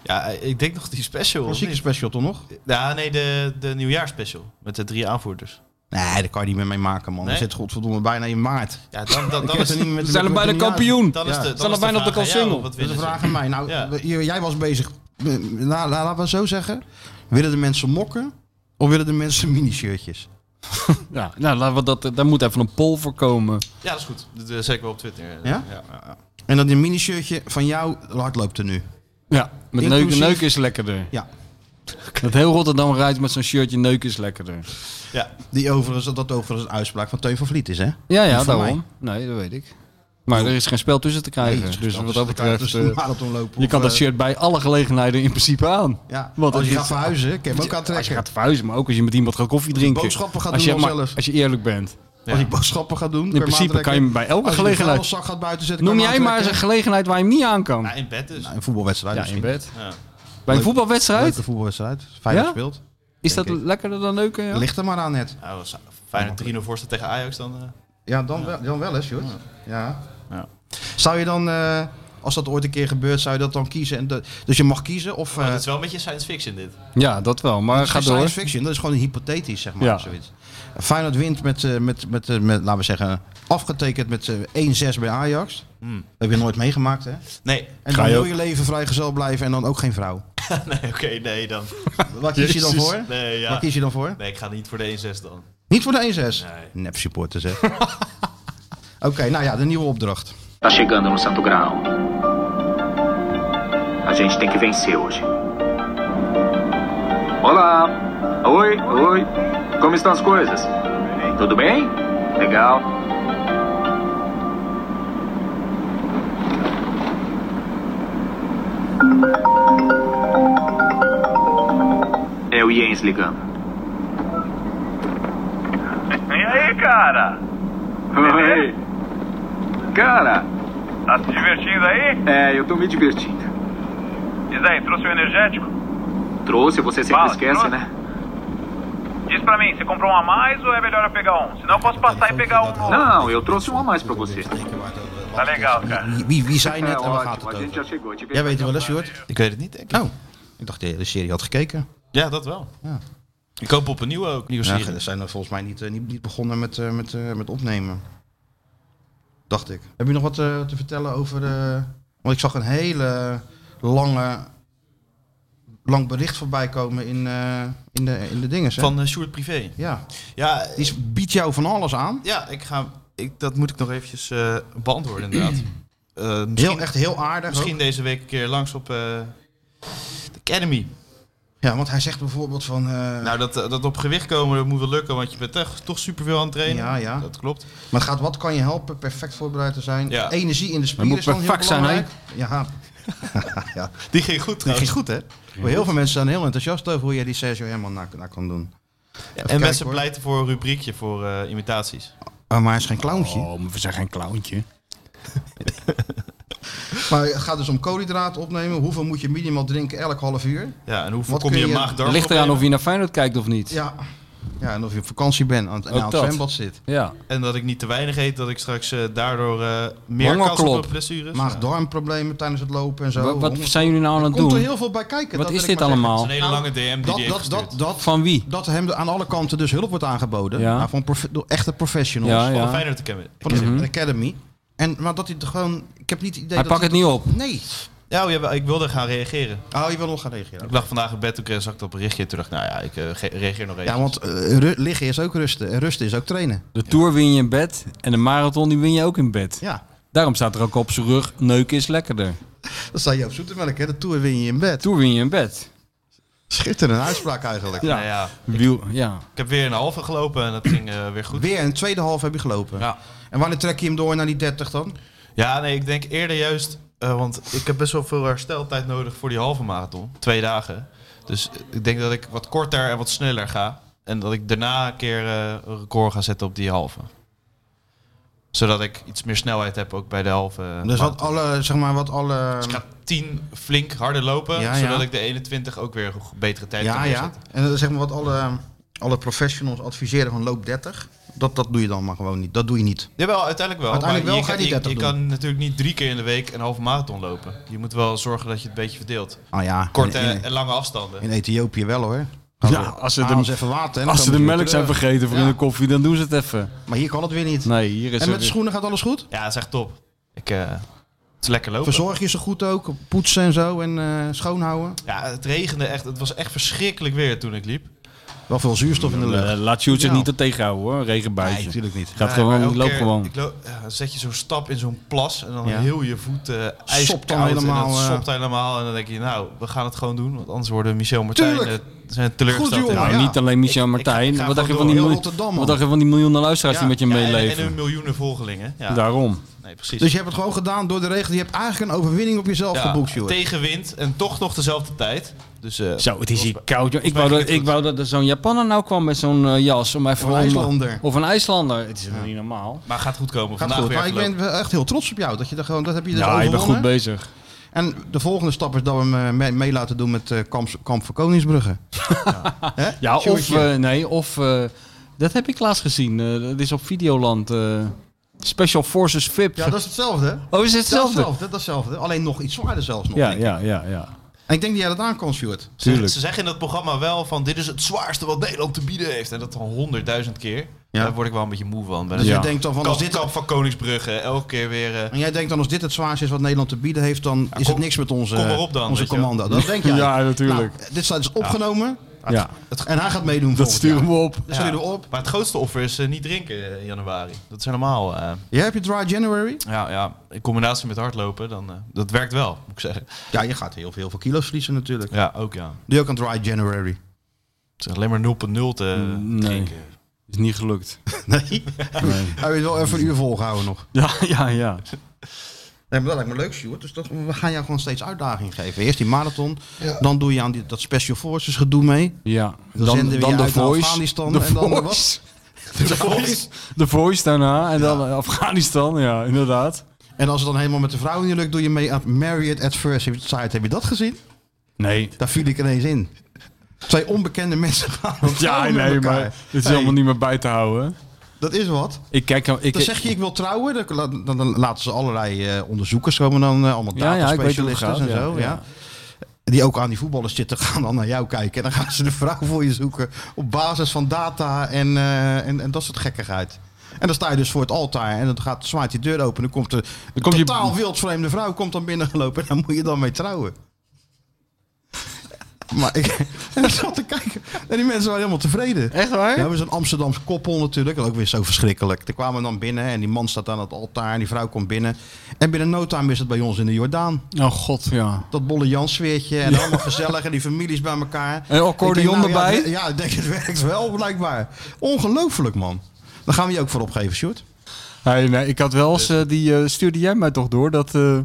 Ja, ik denk nog die special. of Klassieke niet? special toch nog? Ja, nee, de, de nieuwjaarspecial. Met de drie aanvoerders. Nee, daar kan je niet meer mee maken, man. Nee? Dan zit godverdomme bijna in maart. Ja, dan, dan, dan Ik heb is er het niet meer- We zijn er met- met bijna een jaar- kampioen. Dan Ja. is de, Staan dan er is bijna de op de vraag aan jou, kalsingel. Wat Dat is een winnen vraag ze? aan mij. Nou, Ja. we- j- jij was bezig... eh, Nou, la- laten we het zo zeggen. Willen de mensen mokken of willen de mensen mini-shirtjes? Ja, nou, laten we dat, daar moet even een poll voor komen. Ja, dat is goed. Dat eh, zet ik wel op Twitter. Ja? ja, ja. En dat een mini-shirtje van jou hardloopt er nu. Ja, met neuk, Inclusief- neuk is lekkerder. Ja. Dat heel Rotterdam rijdt met zo'n shirtje neuk is lekkerder. Ja. Die overigens, dat overigens een uitspraak van Teun van Vliet is, hè? Ja, ja, Niet van daarom. Nee, dat weet ik. Maar er is geen spel tussen te krijgen. dus wat dat betreft, Dus een eh, marathon lopen je of, kan dat eh, shirt bij alle gelegenheden in principe aan. Ja, Want als het je is- gaat verhuizen, kan je hem ook aantrekken. Als je gaat verhuizen, maar ook als je met iemand gaat koffie drinken. boodschappen gaat als je, doen dan maar- zelfs. Als je eerlijk bent. Als ik boodschappen ga doen, In principe kan je hem bij elke gelegenheid. Als je de vuilniszak gaat buiten zetten, Noem kan je jij hem maar eens een aantrekken. gelegenheid waar je hem niet aan kan. Nou, in bed dus. Een voetbalwedstrijd ja, in misschien. bed. Ja. Bij een Leuk. voetbalwedstrijd? Leuke voetbalwedstrijd. Feyenoord Ja? speelt. Is dat denk ik. lekkerder dan leuke? Ja? Ligt er maar aan net. Nou, als Feyenoord 3-0 voorstaat tegen Ajax dan... eh, Ja, dan, Wel, dan wel eens, Sjoerd. Ja. Ja. Zou je dan, eh, als dat ooit een keer gebeurt, zou je dat dan kiezen? En de- dus je mag kiezen of... eh, maar het is wel een beetje science fiction dit. Ja, dat wel. Maar Het is ga geen door. Science fiction, dat is gewoon hypothetisch, zeg maar. Ja. of Zoiets. Feyenoord wint met, eh, met, met, eh, met, laten we zeggen, afgetekend met eh, 1-6 bij Ajax. Hmm. Dat heb je nooit meegemaakt, hè? Nee. En Ga dan je wil ook- je leven vrijgezel blijven en dan ook geen vrouw. nee Oké, nee dan. Wat kies je dan Jezus. voor? Nee, Waar ja. kies je dan voor? Nee, ik ga niet voor de 1-6 dan. Niet voor de 1-6. Nee. Nep supporters, hè? Oké, nou ja, de nieuwe opdracht. Tá chegando no Santo Graal. A gente tem que vencer hoje. Olá! Oi, oi! Como estão as coisas? Tudo bem? Legal. É o Jens ligando. E aí, cara? Oi! Cara, Tá se divertindo aí? é, eu tô me divertindo. E daí, trouxe o energético? Trouxe, você sempre Fala, esquece, trouxe? né? Diz pra mim, você comprou um a mais ou é melhor eu pegar um? Senão eu posso passar e pegar um novo. Não, eu trouxe um a mais pra você. Tá legal, cara. Wie, wie, wie zei É net en waar gaat ótimo, het a gente over? já chegou. Te vejo Jij weet het wel eens, Sjoerd? Ik weet het niet, denk ik. Oh, ik dacht de hele serie had gekeken. Ja, dat wel. Ja. Ik hoop op een nieuwe ook. Nieuwe Ja, serie. ze zijn er volgens mij niet, eh, niet, niet begonnen met, eh, met, eh, met opnemen. Dacht ik. Heb je nog wat eh, te vertellen over de... Want ik zag een hele lange... Lang bericht voorbij komen in, eh, in, de, in de dingen. van eh Sjoerd Privé. Ja, Ja, die is- biedt jou van alles aan. ja ik ga, ik, dat moet ik nog eventjes eh, beantwoorden inderdaad. Eh, misschien, Heel, echt heel aardig. misschien ook. deze week een keer langs op eh, de Academy. Ja, want hij zegt bijvoorbeeld van... eh, Nou, dat, eh, dat op gewicht komen dat moet wel lukken, want je bent toch, toch superveel aan het trainen. Ja, ja. Dat klopt. maar het gaat wat kan je helpen? Perfect voorbereid te zijn. Ja. Energie in de spieren moet is dan heel perfect zijn, hè? belangrijk. ja. ja. Die ging goed Nou, Dat ging trouwens. goed, hè? Maar heel veel mensen zijn heel enthousiast over hoe jij die Sergio Herman na, na kan doen. en mensen hoor. pleiten voor een rubriekje voor eh, imitaties. Oké, Oh, maar hij is geen clowntje. Oh, maar we zijn geen clowntje. Maar het gaat dus om koolhydraten opnemen. Hoeveel moet je minimaal drinken elk half uur? Ja, en hoe Wat voorkom kun je, je- maag-darm? Ligt eraan of je naar Feyenoord kijkt of niet. Ja. Ja, en of je op vakantie bent en aan het- en Ook aan het Oh, dat. zwembad zit. Ja. En dat ik niet te weinig eet, dat ik straks eh, daardoor eh, meer Honger kans heb op klopt. blessures. Ja. Maag-darmproblemen tijdens het lopen en zo. Wat, wat Honger- zijn jullie nou aan het Komt er doen? heel veel bij kijken. Wat dat is wil ik maar dit zeggen. Dat is allemaal? een hele lange DM die die heeft Nou, Dat, dat, dat, gestuurd. dat, Van wie? dat hem aan alle kanten dus hulp wordt aangeboden. Ja. Nou, van profe- door echte professionals. Ja, Van de ja. Feyenoord Academy. Van de Academy. En, maar dat hij het gewoon... Ik heb niet het idee Hij dat pakt het niet op. Nee. Ja, oh, ja, ik wilde gaan reageren. Oh, je wil nog gaan reageren. Ik lag vandaag in bed, toen kreeg- zag ik dat berichtje. Toen dacht ik, nou ja, ik eh, ge- reageer nog even. Ja, want eh, ru- liggen is ook rusten. En rusten is ook trainen. De Tour win je in bed en de marathon die win je ook in bed. Ja. Daarom staat er ook op zijn rug, neuken is lekkerder. Dat zei Joop Zoetemelk, hè. De Tour win je in bed. Tour win je in bed. Schitterende uitspraak eigenlijk. Ja. Nou ja, Wiel, ja. ik heb weer een halve gelopen en dat ging eh, weer goed. Weer een tweede half heb je gelopen. Ja. En wanneer trek je hem door naar die 30 dan? Ja, nee, ik denk eerder juist, eh, want ik heb best wel veel hersteltijd nodig voor die halve marathon. Twee dagen. Dus ik denk dat ik wat korter en wat sneller ga. En dat ik daarna een keer eh, een record ga zetten op die halve. Zodat ik iets meer snelheid heb ook bij de halve. Dus marathon. wat alle, zeg maar, wat alle... Dus ik ga 10 flink harder lopen, Ja, zodat ja. ik de 21 ook weer een go- betere tijd Ja, kan ja. neerzetten. En eh, zeg maar wat alle, alle professionals adviseren van loop 30. Dat, dat doe je dan maar gewoon niet. Dat doe je niet. Jawel, uiteindelijk wel. Uiteindelijk maar wel je, ga je kan- die je, 30 je doen. kan natuurlijk niet drie keer in de week een halve marathon lopen. Je moet wel zorgen dat je het een beetje verdeelt. Ah ja, Korte in, in, en lange afstanden. in Ethiopië wel hoor. Ja, als ze Haal de- eens even water. en dan Als ze de komen weer melk zijn terug. vergeten voor Ja. in de koffie, dan doen ze het even. Maar hier kan het weer niet. Nee, en hier is er dus- met de weer- schoenen gaat alles goed? Ja, dat is echt top. Ik, eh, het is lekker lopen. Verzorg je ze goed ook? Poetsen en zo en eh, schoonhouden? Ja, het regende echt. Het was echt verschrikkelijk weer toen ik liep. Wel veel zuurstof in de lucht. Eh, laat Sjoerd zich Ja. niet er tegenhouden hoor, een regenbuitje. Nee, natuurlijk niet. Gaat Ja, maar gewoon, elke loop keer- gewoon. Ik loop, ja, dan zet je zo'n stap in zo'n plas en dan Ja. heel je voet eh Sopt ijskoud. dan en helemaal, dat eh. sopt helemaal. En dan denk je, nou, we gaan het gewoon doen. Want anders worden Michel en Martijn Tuurlijk. eh, zijn teleurgesteld. Goed, in jongen. ons. Nou, ja. niet alleen Michel en Ik- ik ga- Martijn. ik ga wat, dacht je van gewoon die door. miljoen- Heel Rotterdam, wat man. dacht je van die miljoenen luisteraars die met je Ja, en- meeleven? En hun miljoenen volgelingen. Ja. Daarom. Nee, precies. Dus je hebt het gewoon gedaan door de regen. Je hebt eigenlijk een overwinning op jezelf ja, geboekt, joh. tegenwind en toch nog dezelfde tijd. Dus eh, Zo, het is hier koud. joh. Ik mij wou, dat, ging het ik goed. wou dat er zo'n Japanner nou kwam met zo'n eh, jas. Om even Of een om- IJslander. Of een IJslander. Het is helemaal niet normaal. maar gaat goed komen. Gaat Vandaag goed. weer Maar ik even ben wel echt heel trots op jou. Dat, je er gewoon, dat heb je dus ja, je bent goed overwonnen. bezig. En de volgende stap is dat we hem eh, mee, mee laten doen met eh, Kamp, Kamp voor Koningsbrugge. Hè? Ja, of, Sjoerdje. eh, nee, of eh, dat heb ik laatst gezien. Eh, dat is op Videoland. eh, Special Forces VIP. ja, dat is hetzelfde. hè? Oh, is het Dat is hetzelfde? hetzelfde, dat is hetzelfde. Alleen nog iets zwaarder zelfs nog. Ja, denk ik. ja, ja, ja. En ik denk dat jij dat aan kan, Stuart. Ze- Tuurlijk. Ze zeggen in dat programma wel van dit is het zwaarste wat Nederland te bieden heeft. En dat dan honderdduizend keer. Ja. Daar word ik wel een beetje moe van. Bij Dus dat Ja. je denkt dan van als dit, kamp van Koningsbrugge. Elke keer weer... eh, en jij denkt dan als dit het zwaarste is wat Nederland te bieden heeft, dan is kom- het niks met onze, kom maar op dan, onze weet je wel. commando. Dat denk jij. Ja, natuurlijk. Nou, dit staat dus opgenomen ja. en hij gaat meedoen volgend jaar. Dat Dus sturen we op. Dat sturen we op. Maar het grootste offer is eh, niet drinken eh, in januari. Dat is helemaal... eh, Jij hebt je dry January? ja, ja, in combinatie met hardlopen, dan, eh, dat werkt wel, moet ik zeggen. Ja, je gaat heel veel, heel veel kilo's verliezen natuurlijk. Ja, ook ja. Doe je ook een dry January? Het is alleen maar 0,0 te Mm, Nee, drinken. is niet gelukt. Nee. Hij wil wel even een uur volgehouden nog. Ja, ja, ja. Nee, maar dat lijkt me leuk, Stuart. Dus dat, we gaan jou gewoon steeds uitdaging geven. Eerst die marathon, dan doe je aan die, dat Special Forces gedoe mee. ja. Dan Dan, zenden we dan, je de uit naar Voice. Afghanistan de en dan wat? Voice. De Voice. De Voice daarna. En dan eh, Afghanistan. Ja, inderdaad. En als het dan helemaal met de vrouw niet lukt, doe je mee aan Married at First Sight. Heb je dat gezien? Nee. Daar viel ik ineens in. Twee onbekende mensen gaan op Ja, trouwen met nee, elkaar. maar dit is Hey, allemaal niet meer bij te houden. Dat is wat. Ik kijk... Ik, Dan zeg je ik wil trouwen, dan, la- dan- dan laten ze allerlei eh, onderzoekers komen dan, eh, allemaal Ja, ja, ik weet hoe het dataspecialisten en gaat, zo. Ja, ja, ja. Die ook aan die voetballers zitten, gaan dan naar jou kijken. En dan gaan ze de vrouw voor je zoeken op basis van data en, eh, en, en dat soort gekkigheid. En dan sta je dus voor het altaar en dan gaat, zwaait die deur open. En dan komt de komt je- totaal wildvreemde vrouw komt dan binnengelopen. En daar moet je dan mee trouwen. Maar ik, en dan zat te kijken. En die mensen waren helemaal tevreden. Echt waar? Ja, we zijn een Amsterdamse koppel natuurlijk. Dat ook weer zo verschrikkelijk. Er kwamen dan binnen en die man staat aan het altaar en die vrouw komt binnen. En binnen no time is het bij ons in de Jordaan. Oh god, ja. Dat bolle Jans sfeertje en allemaal gezellig en die families bij elkaar. En accordeon Ik denk, nou, erbij? Ja, het- ja, ik denk het werkt wel blijkbaar. Ongelooflijk man. Daar gaan we je ook voor opgeven, Sjoerd. Hey, nee, ik had wel eens, eh, die eh, stuurde jij mij toch door, dat eh,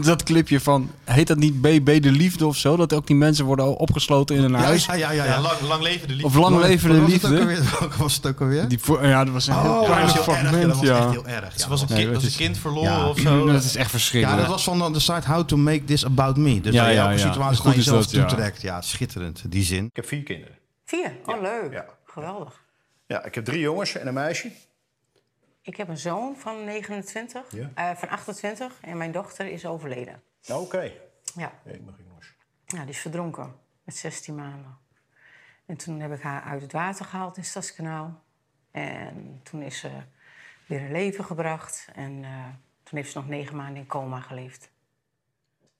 dat clipje van, heet dat niet BB de Liefde of zo? Dat ook die mensen worden opgesloten in een huis. ja, ja, ja. Ja, lang, lang leven de liefde. Of lang leven Wat de was het ook liefde. alweer? Welke was het ook alweer? Die voor- ja, dat was een heel klein dat was heel erg, ja, fragment, dat was ja. echt heel erg. Ze Ja, was een, Nee, kind, het was een is- kind verloren ja. of zo. Dat is Ja, echt verschrikkelijk. dat was van de- de site How to Make This About Me. Dus Ja, ja, ja, ja, ja. situatie Goed naar is jezelf dat, ja. toetrekt. Ja, schitterend, die zin. Ik heb vier kinderen. Vier? Oh, leuk. Ja. Geweldig. Ja, ik heb drie jongens en een meisje. Ik heb een zoon van 29, Ja. eh, van 28 en mijn dochter is overleden. Nou, Oké. Ja. Nee, ik mag jongens. ja, die is verdronken met 16 maanden. En toen heb ik haar uit het water gehaald in Stadskanaal. En toen is ze weer een leven gebracht. En eh, toen heeft ze nog negen maanden in coma geleefd.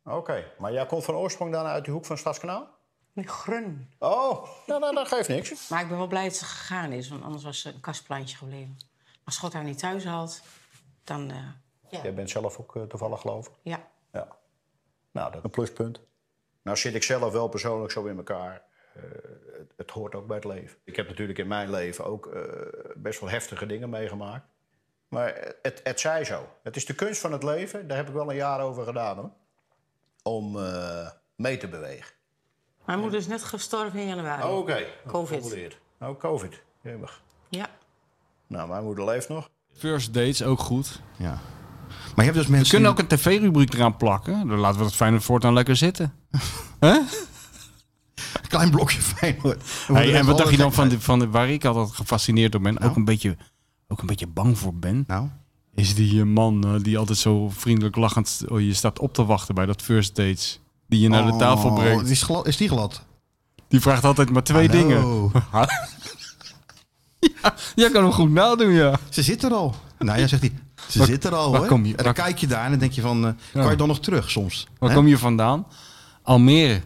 Oké, maar jij komt van oorsprong daarna uit de hoek van Stadskanaal? Die Grun. Oh, nou, nou, dat geeft niks. Maar ik ben wel blij dat ze gegaan is, want anders was ze een kastplantje gebleven. Als God haar niet thuis had, dan... eh, Jij bent zelf ook eh, toevallig geloof ik. ja. Ja. Nou, dat is een pluspunt. Nou zit ik zelf wel persoonlijk zo in elkaar. Eh, het, het hoort ook bij het leven. Ik heb natuurlijk in mijn leven ook eh, best wel heftige dingen meegemaakt. Maar het, het zij zo. Het is de kunst van het leven. Daar heb ik wel een jaar over gedaan hoor. Om eh, mee te bewegen. Mijn moeder is net gestorven in januari. Covid. Nou, covid. Jemig. Ja. Nou, mijn moeder leeft nog. First dates ook goed. Ja. Maar je hebt dus mensen... We kunnen ook die- een tv-rubriek eraan plakken. Dan laten we dat Feyenoord voortaan lekker zitten. Hè? een klein blokje Feyenoord. Hey, en wat dacht je dan van, de, van de, waar ik altijd gefascineerd door ben, ook, een beetje, ook een beetje bang voor ben? Nou, Is die eh, man eh, die altijd zo vriendelijk lachend oh, je staat op te wachten bij dat first dates. Die je naar de tafel Oh, brengt. Is, glad, is die glad? Die vraagt altijd maar twee Hallo. dingen. ja, jij kan hem goed nadoen, ja. Ze zit er al. Nou ja, zegt hij. Ze zit er al, waar hoor. kom je- en dan waar- kijk je daar en dan denk je van... eh, Kan je dan nog terug soms? Waar Hè? kom je vandaan? Almere.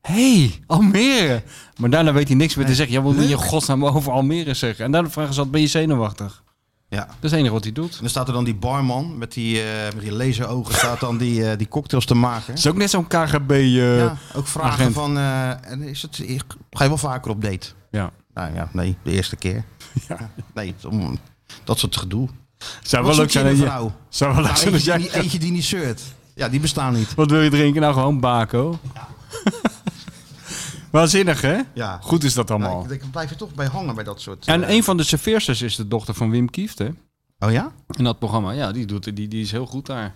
hey, Almere. Maar daarna weet hij niks meer te zeggen. Ja, wat moet je in godsnaam over Almere zeggen? En daarna vragen ze altijd, ben je zenuwachtig? Ja. Dat is het enige wat hij doet. En dan staat er dan die barman met die, eh, met die laserogen... staat dan die, eh, die cocktails te maken. Het is ook net zo'n KGB... eh, ja, ook vragen agent. van... eh, en is het, ga je wel vaker op date? ja. Nou ja, nee, de eerste keer. Ja. Nee, om- dat soort gedoe. Zou Wat wel leuk zoek zijn je dat in een je- vrouw? Zou wel leuk Nou, zijn dat eentje, jij... die, eentje die niet zeurt. Ja, die bestaan niet. Wat wil je drinken? Nou, gewoon bako. Waanzinnig, hè? Ja. Goed is dat allemaal. Ja, ik, ik blijf er toch bij hangen bij dat soort... En eh, een van de serveersters is de dochter van Wim Kieft, hè? Oh ja? In dat programma. Ja, die, doet, die, die is heel goed daar.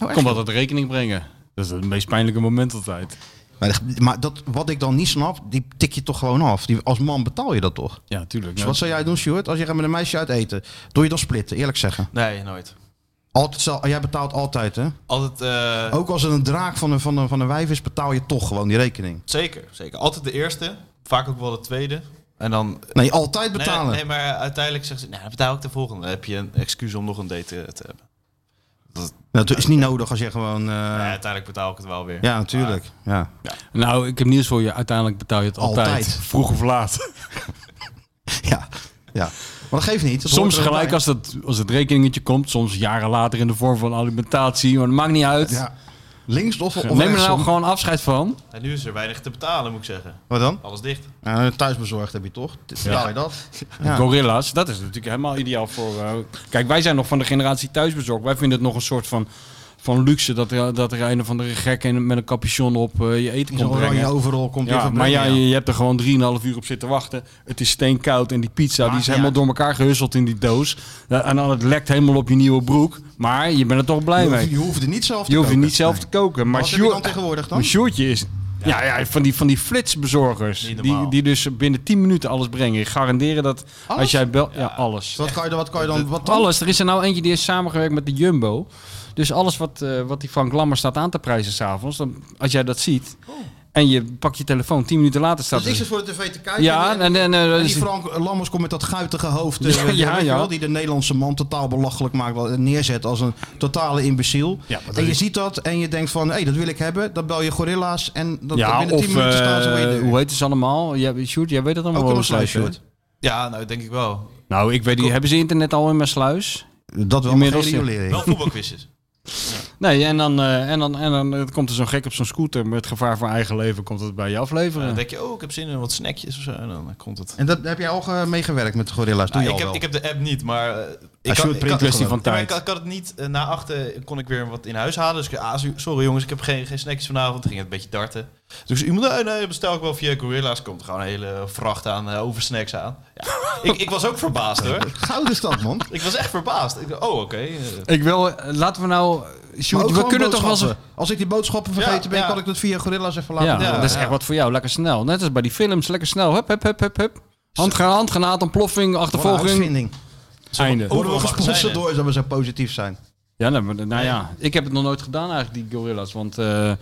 Oh, echt? Kom altijd rekening brengen. Dat is het meest pijnlijke moment altijd. Maar, dat- maar dat, wat ik dan niet snap, die tik je toch gewoon af. Die, als man betaal je dat toch? Dus Ja, tuurlijk. wat zou jij doen, Stuart, als je gaat met een meisje uit eten? Doe je dan splitten, eerlijk zeggen. Nee, nooit. Altijd, zal- jij betaalt altijd, hè? Altijd, eh, Oh. Ook als het een draak van een, van, een, van een wijf is, betaal je toch gewoon die rekening. zeker, zeker. Altijd de eerste, vaak ook wel de tweede. En dan Nee, altijd Nee, betalen. Nee, maar uiteindelijk zegt ze, nou, dan betaal ik de volgende. Dan heb je een excuus om nog een date eh, te hebben. Nou, dat is niet nodig als je gewoon... eh, Ja, uiteindelijk betaal ik het wel weer. ja, natuurlijk. Ah. Ja. Nou, ik heb nieuws voor je. Uiteindelijk betaal je het altijd. Altijd. Vroeg of laat. Ja, ja. Maar dat geeft niet. Dat hoort soms er wel gelijk bij. als, dat, als het rekeningetje komt. Soms jaren later in de vorm van alimentatie. Maar dat maakt niet uit. Ja. Links of, of Neem er rechtsom. nou gewoon afscheid van. En nu is er weinig te betalen, moet ik zeggen. Wat dan? Alles dicht. Eh, thuisbezorgd heb je toch? Betaal je dat? Ja. Gorilla's, dat is natuurlijk helemaal ideaal voor. eh, kijk, wij zijn nog van de generatie thuisbezorgd. Wij vinden het nog een soort van, van luxe dat er, dat er een of andere gek in- met een capuchon op eh, je eten In zo'n komt oranje brengen. overal komt Ja, even maar ja, brengen, je, je hebt er gewoon 3,5 uur op zitten wachten. Het is steenkoud en die pizza die Maakt is niet helemaal uit. door elkaar gehusseld in die doos. Ja, En dan het lekt helemaal op je nieuwe broek. Maar je bent er toch blij Je hoeft, mee. je hoeft er niet zelf te Je hoeft je koken. niet zelf te koken. Maar Wat heb je Sjoerd- dan tegenwoordig dan? Mijn shortje is. Ja, ja, van, die, van die flitsbezorgers. Niet Die, normaal. die dus binnen 10 minuten alles brengen. Ik Garanderen dat als Alles? jij belt. Ja, alles. Wat kan je dan? Wat kan je dan wat dan? Alles. Er is er nou eentje die heeft samengewerkt met de Jumbo. Dus alles wat, eh, wat die Frank Lammer staat aan te prijzen s'avonds. Als jij dat ziet. Oh. En je pakt je telefoon, 10 minuten later staat Dus ik er- zit voor de tv te kijken. Ja, en- en- en- die dus- Frank Lammers komt met dat guitige hoofd. Ja, eh, weet je ja, wel, ja. die de Nederlandse man totaal belachelijk maakt. wel- en Neerzet als een totale imbeciel. Ja, maar dat en je is- ziet dat en je denkt van, hé, dat wil ik hebben. Dan bel je gorilla's en dan Ja, binnen of 10 minuten staan ze bij je eh, deur. Oh, hoe heet het allemaal? Jij, Sjoerd, jij weet dat allemaal Ook in wel, een sluis, Sjoerd. Sjoerd. Ja, nou, denk ik wel. Nou, ik weet niet. Hebben ze internet al in mijn sluis? Dat wel, maar Inmiddels, geen ja. riolering. Wel voetbalquizjes. Nee, en dan, eh, en dan, en dan eh, komt er zo'n gek op zo'n scooter met gevaar voor eigen leven, komt het bij je afleveren. Dan denk je, oh, ik heb zin in wat snackjes of zo. En dan komt het. En dat heb jij al eh, meegewerkt met de gorilla's? Doe Nou, Ah, je al ik, heb, wel? ik heb de app niet, maar... eh, ik shoot, print kwestie ja, van maar tijd. ik kan- ik kan het niet. eh, na achter kon ik weer wat in huis halen. Dus ik ah, zo- sorry jongens, ik heb geen, geen snackjes vanavond. Toen ging het een beetje darten. Dus iemand, nee, nee, bestel ik wel via Gorilla's. Komt er gewoon een hele vracht aan eh, oversnacks aan. Ja, ik, ik was ook verbaasd hoor. Gouden stand, man. Ik was echt verbaasd. Ik dacht, oh, oké. eh, Ik wil, eh, laten we nou, Maar Sjoerd, ook we gewoon kunnen toch wel eens... boodschappen. Als ik die boodschappen vergeten Ja, ben, ja. kan ik dat via gorilla's even laten Ja, doen. dat is echt wat voor jou, lekker snel. Net als bij die films, lekker snel, hup, hup, hup, hup, hup. Handgranaat, handgranaat, ontploffing, Wat een achtervolging, uitvinding. einde. Worden we Mag het zijn, gesponsord hè? door dat we zo positief zijn? Ja, nou, maar- nou ja, ik heb het nog nooit gedaan eigenlijk, die gorilla's. Want, eh,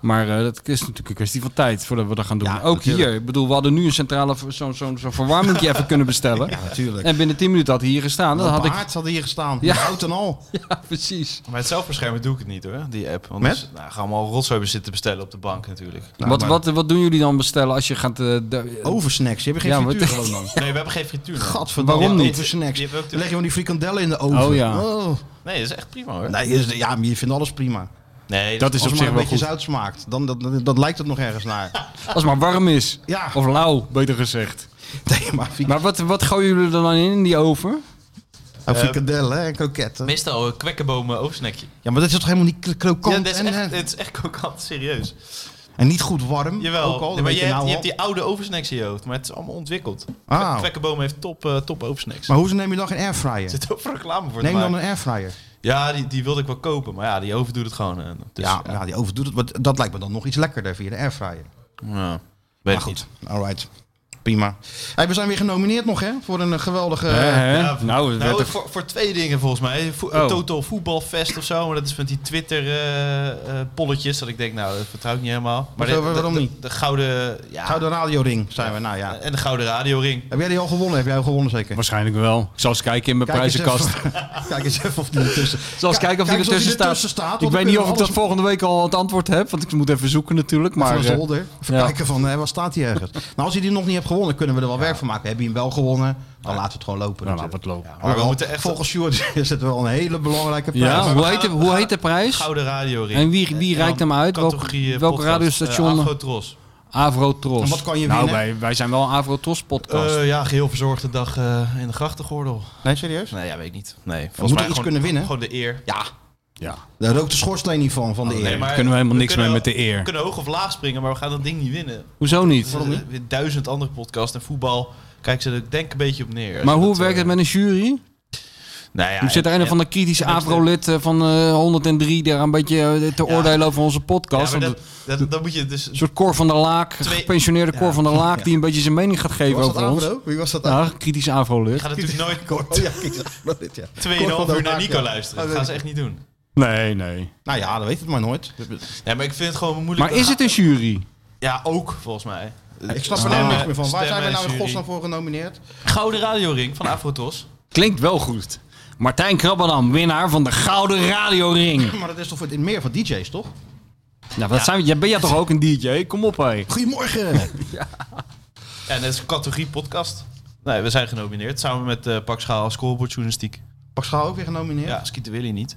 maar eh, dat is natuurlijk een kwestie van tijd voordat we dat gaan doen. Ja, Ook natuurlijk. hier, ik bedoel, we hadden nu een centrale, v- zo'n zo'n zo'n verwarmingje even kunnen bestellen. natuurlijk. En binnen 10 minuten had hij hier gestaan. Dan Dat had ik, had hier gestaan. Ja. Ja. Oud en al. ja, precies. Maar het zelfbeschermen doe ik het niet hoor, die app. Want Met? dus, nou, gaan we allemaal rotzooi zitten bestellen op de bank natuurlijk. Nou, wat, maar- wat, wat doen jullie dan bestellen als je gaat... eh, de- Oversnacks. Je hebt geen Ja, maar- frituur gewoon dan. Nee, we hebben geen frituur. meer. Gadverdamme. Waarom niet? Oversnacks. Je hebt ook de- Dan leg je gewoon die frikandellen in de oven. Oh, ja. Nee, dat is echt prima hoor. Nee, is- ja, maar je vindt alles prima. Nee, Dat is Als het op zich maar een wel beetje goed. zout smaakt, dan dat, dat, dat lijkt het nog ergens naar. Als het maar warm is. Ja. Of lauw, beter gezegd. Nee, maar, frik- Maar wat, wat gooien jullie er dan in, in die oven? Oh, frikandellen en kroketten. Meestal een kwekkenbomen oversnackje. Ja, maar dat is toch helemaal niet kro- Ja, krokant dat is en, eh, echt, en- het is echt kokant, serieus. en niet goed warm. Jawel, ook al, nee, een maar je beetje hebt, nauw je nou al. hebt die oude oversnacks in je hoofd, maar het is allemaal ontwikkeld. Ah. Kwek- Kwekkenboom heeft top, eh, top oversnacks. Maar hoe neem je dan geen airfryer? Er zit ook reclame voor te Neem dan maken. een airfryer. Ja, die, die wilde ik wel kopen, maar ja, die oven doet het gewoon. eh, dus, ja, ja. die overdoet het. want dat lijkt me dan nog iets lekkerder via de airfryer. Ja, Weet Maar ik goed, alright. Prima. Hey, we zijn weer genomineerd nog, hè? Voor een eh, geweldige... Hè, hè? ja, nou, het niet. werd Nou, er- voor, voor twee dingen volgens mij. Vo- Oh. Total voetbalfest of zo, maar dat is met die Twitter-polletjes. dat ik denk, nou, dat vertrouw ik niet helemaal. Maar Hoezo, de, de- waarom de- niet? De, gouden... Ja, eh, Gouden radioring zijn we, nou Eh, ja. En de gouden radioring. Heb jij die al gewonnen? Heb jij al gewonnen zeker? waarschijnlijk wel. Ik zal eens kijken in mijn Kijk eens prijzenkast. even- Kijk eens even of die ertussen... Zal eens Kijk- kijken of kijk die eens of ertussen die staat. ertussen staat, want Ik dan weet niet of kunnen ik we dat volgende week al het antwoord heb, want ik moet even zoeken natuurlijk. Maar Maar, eh, zolder. Even ja. kijken van, hè, waar staat hij ergens? nou, als je die nog niet hebt gewonnen, kunnen we er wel werk van maken. Heb je hem wel gewonnen, dan laten we het gewoon lopen. nou, laat natuurlijk. het lopen. maar we moeten echt- Volgens Sjoerd is het wel een hele belangrijke prijs. Ja, hoe heet, de, hoe heet de prijs? Gouden radioring. En wie- wie dan reikt hem uit? Welk- categorie, eh, welk podcast. radiostation? Eh, Afrotros. Avrotros. En wat kan je Nou, winnen? wij, wij zijn wel een Avrotros podcast. Eh, ja, geheel verzorgde dag eh, in de grachtengordel. Nee, serieus? Nee, ja, weet ik niet. Nee, volgens moeten iets kunnen winnen. Gewoon de eer. Ja, ja. daar rookt de schoorsteen niet van, van de eer. Oh, maar kunnen we helemaal niks kunnen- mee met de eer. We kunnen hoog of laag springen, maar we gaan dat ding niet winnen. Hoezo Er niet? zijn eh, weer duizend andere podcasts en voetbal. Kijk, ze er denk een beetje op neer. Maar Dus hoe dat, werkt eh, het met een jury? Nou ja, Nu zit er een en- of andere kritische en dat- Avro-lid eh, van eh, 103 daar een beetje eh, te Ja. oordelen over onze Ja, podcast. maar Want dat, dat, dat moet je dus... Een soort Cor van der Laak, Twee- gepensioneerde Cor Ja. van der Laak, die een beetje zijn mening gaat Wie geven was dat over ons. Avro? Wie was dat Ja, kritisch Avro-lid. Je gaat natuurlijk nooit Kort. Ja, ik zag dat dit, ja. Kort 2,5 van uur naar elkaar, Nico ja. luisteren. Oh, Dat weet gaan ik. ze echt niet doen. Nee, nee. Nou ja, dat weet het maar nooit. Ja, maar ik vind het gewoon moeilijk. Maar is het een jury? Ja, ook, volgens mij. Ik snap er Stemmen- nou niks meer van. Waar zijn we stemmen nou in jury. godsnaam voor genomineerd? Gouden radioring van Afrotos. Klinkt wel goed. Martijn Krabbenam, winnaar van de Gouden Radioring. Maar dat is toch voor het- meer voor DJ's, toch? Nou, dat zijn, jij ben jij toch ook een DJ? Kom op, hé. Goedemorgen! En dat is categorie podcast. Nee, we zijn genomineerd samen met eh Pak Schaal Scoreboard Journalistiek. Pak Schaal ook weer genomineerd? Ja, Schieten Willy niet.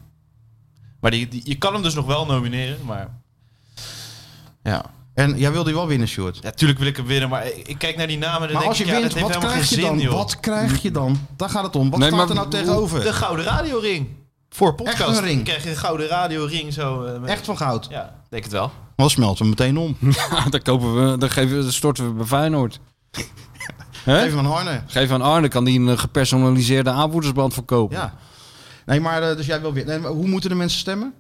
Maar die, die, je kan hem dus nog wel nomineren, maar... Ja. En jij wilde die wel winnen, Sjoerd. ja, tuurlijk wil ik hem winnen, maar ik, ik kijk naar die namen en dan Maar denk als je ik, ja, wint, dat heeft wat helemaal krijg je geen dan? zin, joh. Wat krijg je dan? Daar gaat het om. Wat Nee, staat maar er nou hoe- tegenover? De Gouden Radioring. Voor podcast. Echt een ring. Dan krijg je een Gouden Radioring zo. eh, met- Echt van goud. Ja, denk het wel. Maar dan smelten we meteen om. Nou, dan, kopen we, dan, geven, we- dan storten we bij Feyenoord. Hè? Even van Harne. Geef aan Arne, kan die een eh, gepersonaliseerde aanvoerdersband verkopen. Ja. Nee, maar eh, dus jij wil winnen. Nee, maar hoe moeten de mensen stemmen?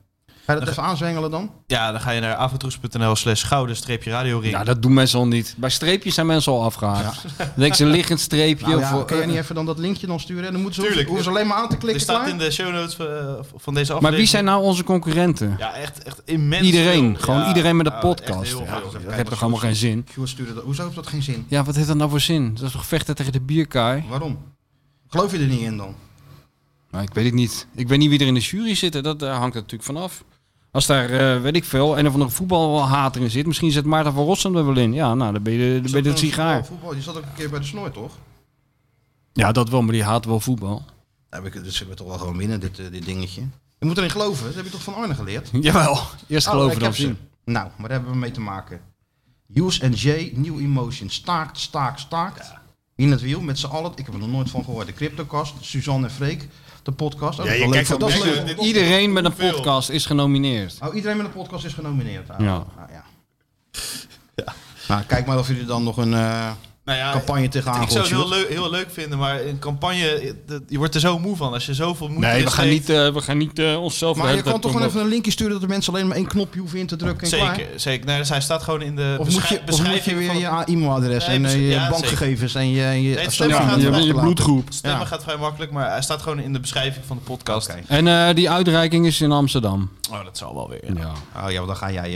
Ga je dat even aanzwengelen dan? Ja, dan ga je naar avontroes.nl slash gouden-radioring. Ja, Nou, dat doen mensen al niet. Bij streepjes zijn mensen al afgehaakt. Dan denk ze een liggend streepje. Nou, of, ja, kun eh, jij niet even dan dat linkje dan sturen? En dan moeten ze, Tuurlijk. hoeven ze alleen maar aan te Er klikken. staat klaar? in de show notes eh, van deze aflevering. maar wie zijn nou onze concurrenten? Ja, echt, echt immens. Iedereen. veel. Gewoon Ja, iedereen met een ja, echt podcast. heel Ja, veel. dat heeft toch helemaal geen zin? Sjoerd stuurde dat. Hoezo heeft dat geen zin? Ja, wat heeft dat nou voor zin? Dat is toch vechten tegen de bierkaai? Waarom? Geloof je er niet in dan? Nou, ik weet het niet. Ik weet niet wie er in de jury zit. Dat eh, hangt er natuurlijk vanaf. Als daar, eh, weet ik veel, een of andere voetbalhater in zit. Misschien zit Maarten van Rossum er wel in. Ja, nou, dan ben je, dan ben je het sigaar. Voetbal, je zat ook een keer bij de snor, toch? Ja, dat wel, maar die haat wel voetbal. Nou, we kunnen- dus we toch wel gewoon winnen, dit, eh, dit dingetje. Je moet erin geloven. Dat heb je toch van Arne geleerd? Jawel, eerst Oh, geloven ik dan heb zien. ze. Nou, waar hebben we mee te maken? Hughes en J, New Emotion, staakt, staakt, staakt. In het wiel, met z'n allen. Ik heb er nog nooit van gehoord. De Cryptocast, Suzanne en Freek, de podcast. Ook Ja, nog wel je leuk kijkt van- wel dat is mee. leuk. Dit- Iedereen met een podcast is genomineerd. Oh, iedereen met een podcast is genomineerd. Ah, Ja. ah, ja. Nou, kijk maar of jullie dan nog een eh, Nou ja, campagne tegenaan Ik zou het gooien. heel leuk, heel leuk vinden, maar een campagne, dat- je wordt er zo moe van als je zoveel moeite Nee, we erin gaan steekt. niet, eh, we gaan niet eh, onszelf de Maar je hele kan tijd toch gewoon even promoten. een linkje sturen dat de mensen alleen maar één knopje hoeven in te drukken en klaar? Zeker, zeker. Nee, dus hij staat gewoon in de Of moet, beschrij- je, of moet je weer van je het- e-mailadres Nee, en eh, besch- je ja, bankgegevens en je, en je Nee, het assortie stemmen gaat en wel. je Je achterlaten. bloedgroep. Stemmen Ja. gaat vrij makkelijk, maar hij staat gewoon in de beschrijving van de podcast. Oké. En eh, die uitreiking is in Amsterdam. Oh, dat zal wel weer. Ja. Oh ja, want dan ga jij,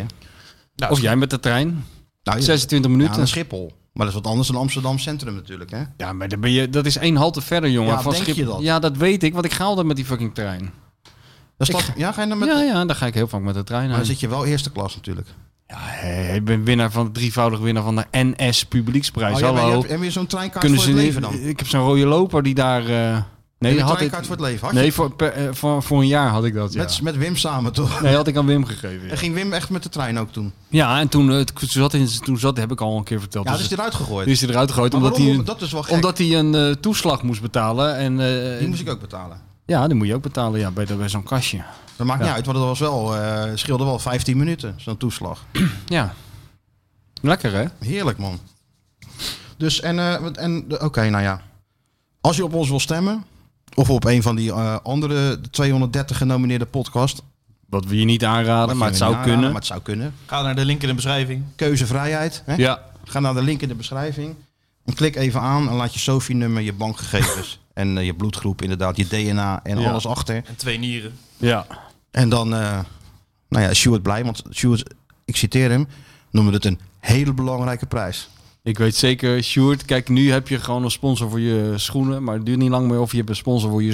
hè? Of jij met de trein. Nou, ja. 26 minuten. Ja, naar Schiphol. Maar dat is wat anders dan Amsterdam Centrum natuurlijk, hè? Ja, maar dan ben je, dat is één halte verder, jongen. Ja, van denk je Schiphol. dat? Ja, dat weet ik, want ik ga altijd met die fucking trein. Dat is toch- ja, ga je dan met... Ja, ja, dan ga ik heel vaak met de trein Maar heen. dan zit je wel eerste klas natuurlijk. Ja, hey, ik ben winnaar van, drievoudig winnaar van de NS Publieksprijs. Oh, ja, maar je Hallo. hebt- heb je zo'n treinkaart voor Kunnen het ze leven niet? dan? Ik heb zo'n rode loper die daar... eh nee, Heb je had ik, treinkaart voor het leven? Had nee je- voor, per- eh, voor, voor een jaar had ik dat, ja. met, met Wim samen toch? Nee, had ik aan Wim gegeven. ja. En ging Wim echt met de trein ook toen? Ja, en toen, eh, t- toen, zat, in- toen zat, heb ik al een keer verteld. Ja, Dus dat is eruit gegooid. die is hij eruit gegooid Maar omdat waarom? hij, een- oh, dat is wel gek. omdat hij een eh, toeslag moest betalen. En, eh, Die moest ik ook betalen. Ja, die moet je ook betalen ja, bij, dat- bij zo'n kastje. Dat maakt niet Ja. uit, want dat was wel, eh scheelde wel 15 minuten, zo'n toeslag. Ja. Lekker, hè? Heerlijk, man. Dus, en, eh, wat- en de- oké, nou ja. Als je op ons wil stemmen, of op een van die eh, andere 230 genomineerde podcasts. Wat we je niet aanraden, wat maar het je zou niet aanraden, kunnen. Maar het zou kunnen. Ga naar de link in de beschrijving. Keuzevrijheid. Hè? Ja. Ga naar de link in de beschrijving. En klik even aan en laat je SOFI-nummer, je bankgegevens en eh, je bloedgroep, inderdaad, je DNA en Ja. alles achter. En twee nieren. ja. En dan, eh, nou ja, is Stuart blij, want Stuart, ik citeer hem, noemde het een hele belangrijke prijs. Ik weet zeker, Sjoerd, kijk, nu heb je gewoon een sponsor voor je schoenen. Maar het duurt niet lang meer of je hebt een sponsor voor je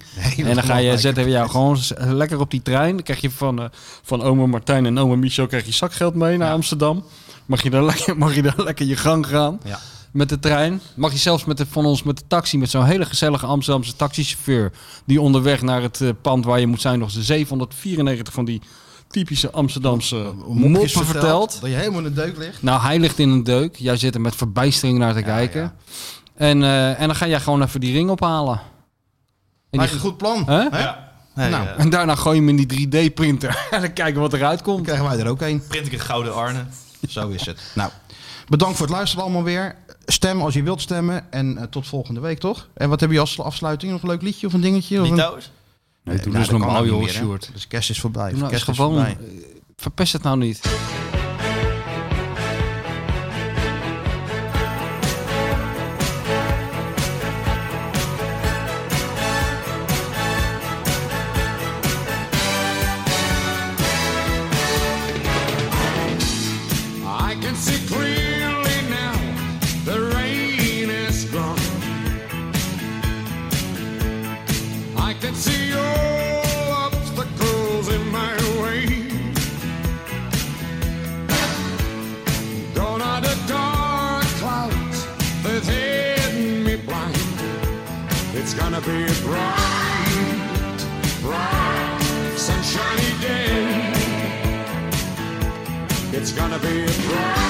Hele en dan ga je belangrijke zetten we jou prijs. gewoon s- lekker op die trein. Dan krijg je van, eh van oma Martijn en oma Michel krijg je zakgeld mee naar Amsterdam. Mag je, daar lekker, mag je daar lekker je gang gaan Ja. met de trein. Mag je zelfs met de, van ons met de taxi, met zo'n hele gezellige Amsterdamse taxichauffeur... die onderweg naar het eh, pand waar je moet zijn nog eens 794 van die typische Amsterdamse moppen, Mopjes vertelt. Dat je helemaal in de deuk ligt. Nou, hij ligt in een deuk. Jij zit er met verbijstering naar te kijken. ja. En, eh, en dan ga jij gewoon even die ring ophalen. En, die, Lijkt een goed plan. Hè? Hè? Nee, Nou. eh, en daarna gooi je hem in die 3D-printer. en dan kijken wat eruit Dan komt. krijgen wij er ook een. print ik een gouden Arne. Zo is het. Nou, bedankt voor het luisteren allemaal weer. Stem als je wilt stemmen. En eh, tot volgende week, toch? En wat heb je als afsluiting? Nog een leuk liedje of een dingetje? Of een... Litouwers? Nee, doe Nou, dus dat kan normaal, ook niet joh, meer, hè? Sjoerd. Dus kerst is voorbij. Doe nou eens kerst is gewoon. voorbij. eh, Verpest het nou niet. I can see clearly now the rain is gone. I can see all obstacles in my way. Gone are the dark clouds that's hidden me blind. It's gonna be a bright, bright, sunshiny day. It's gonna be a bright.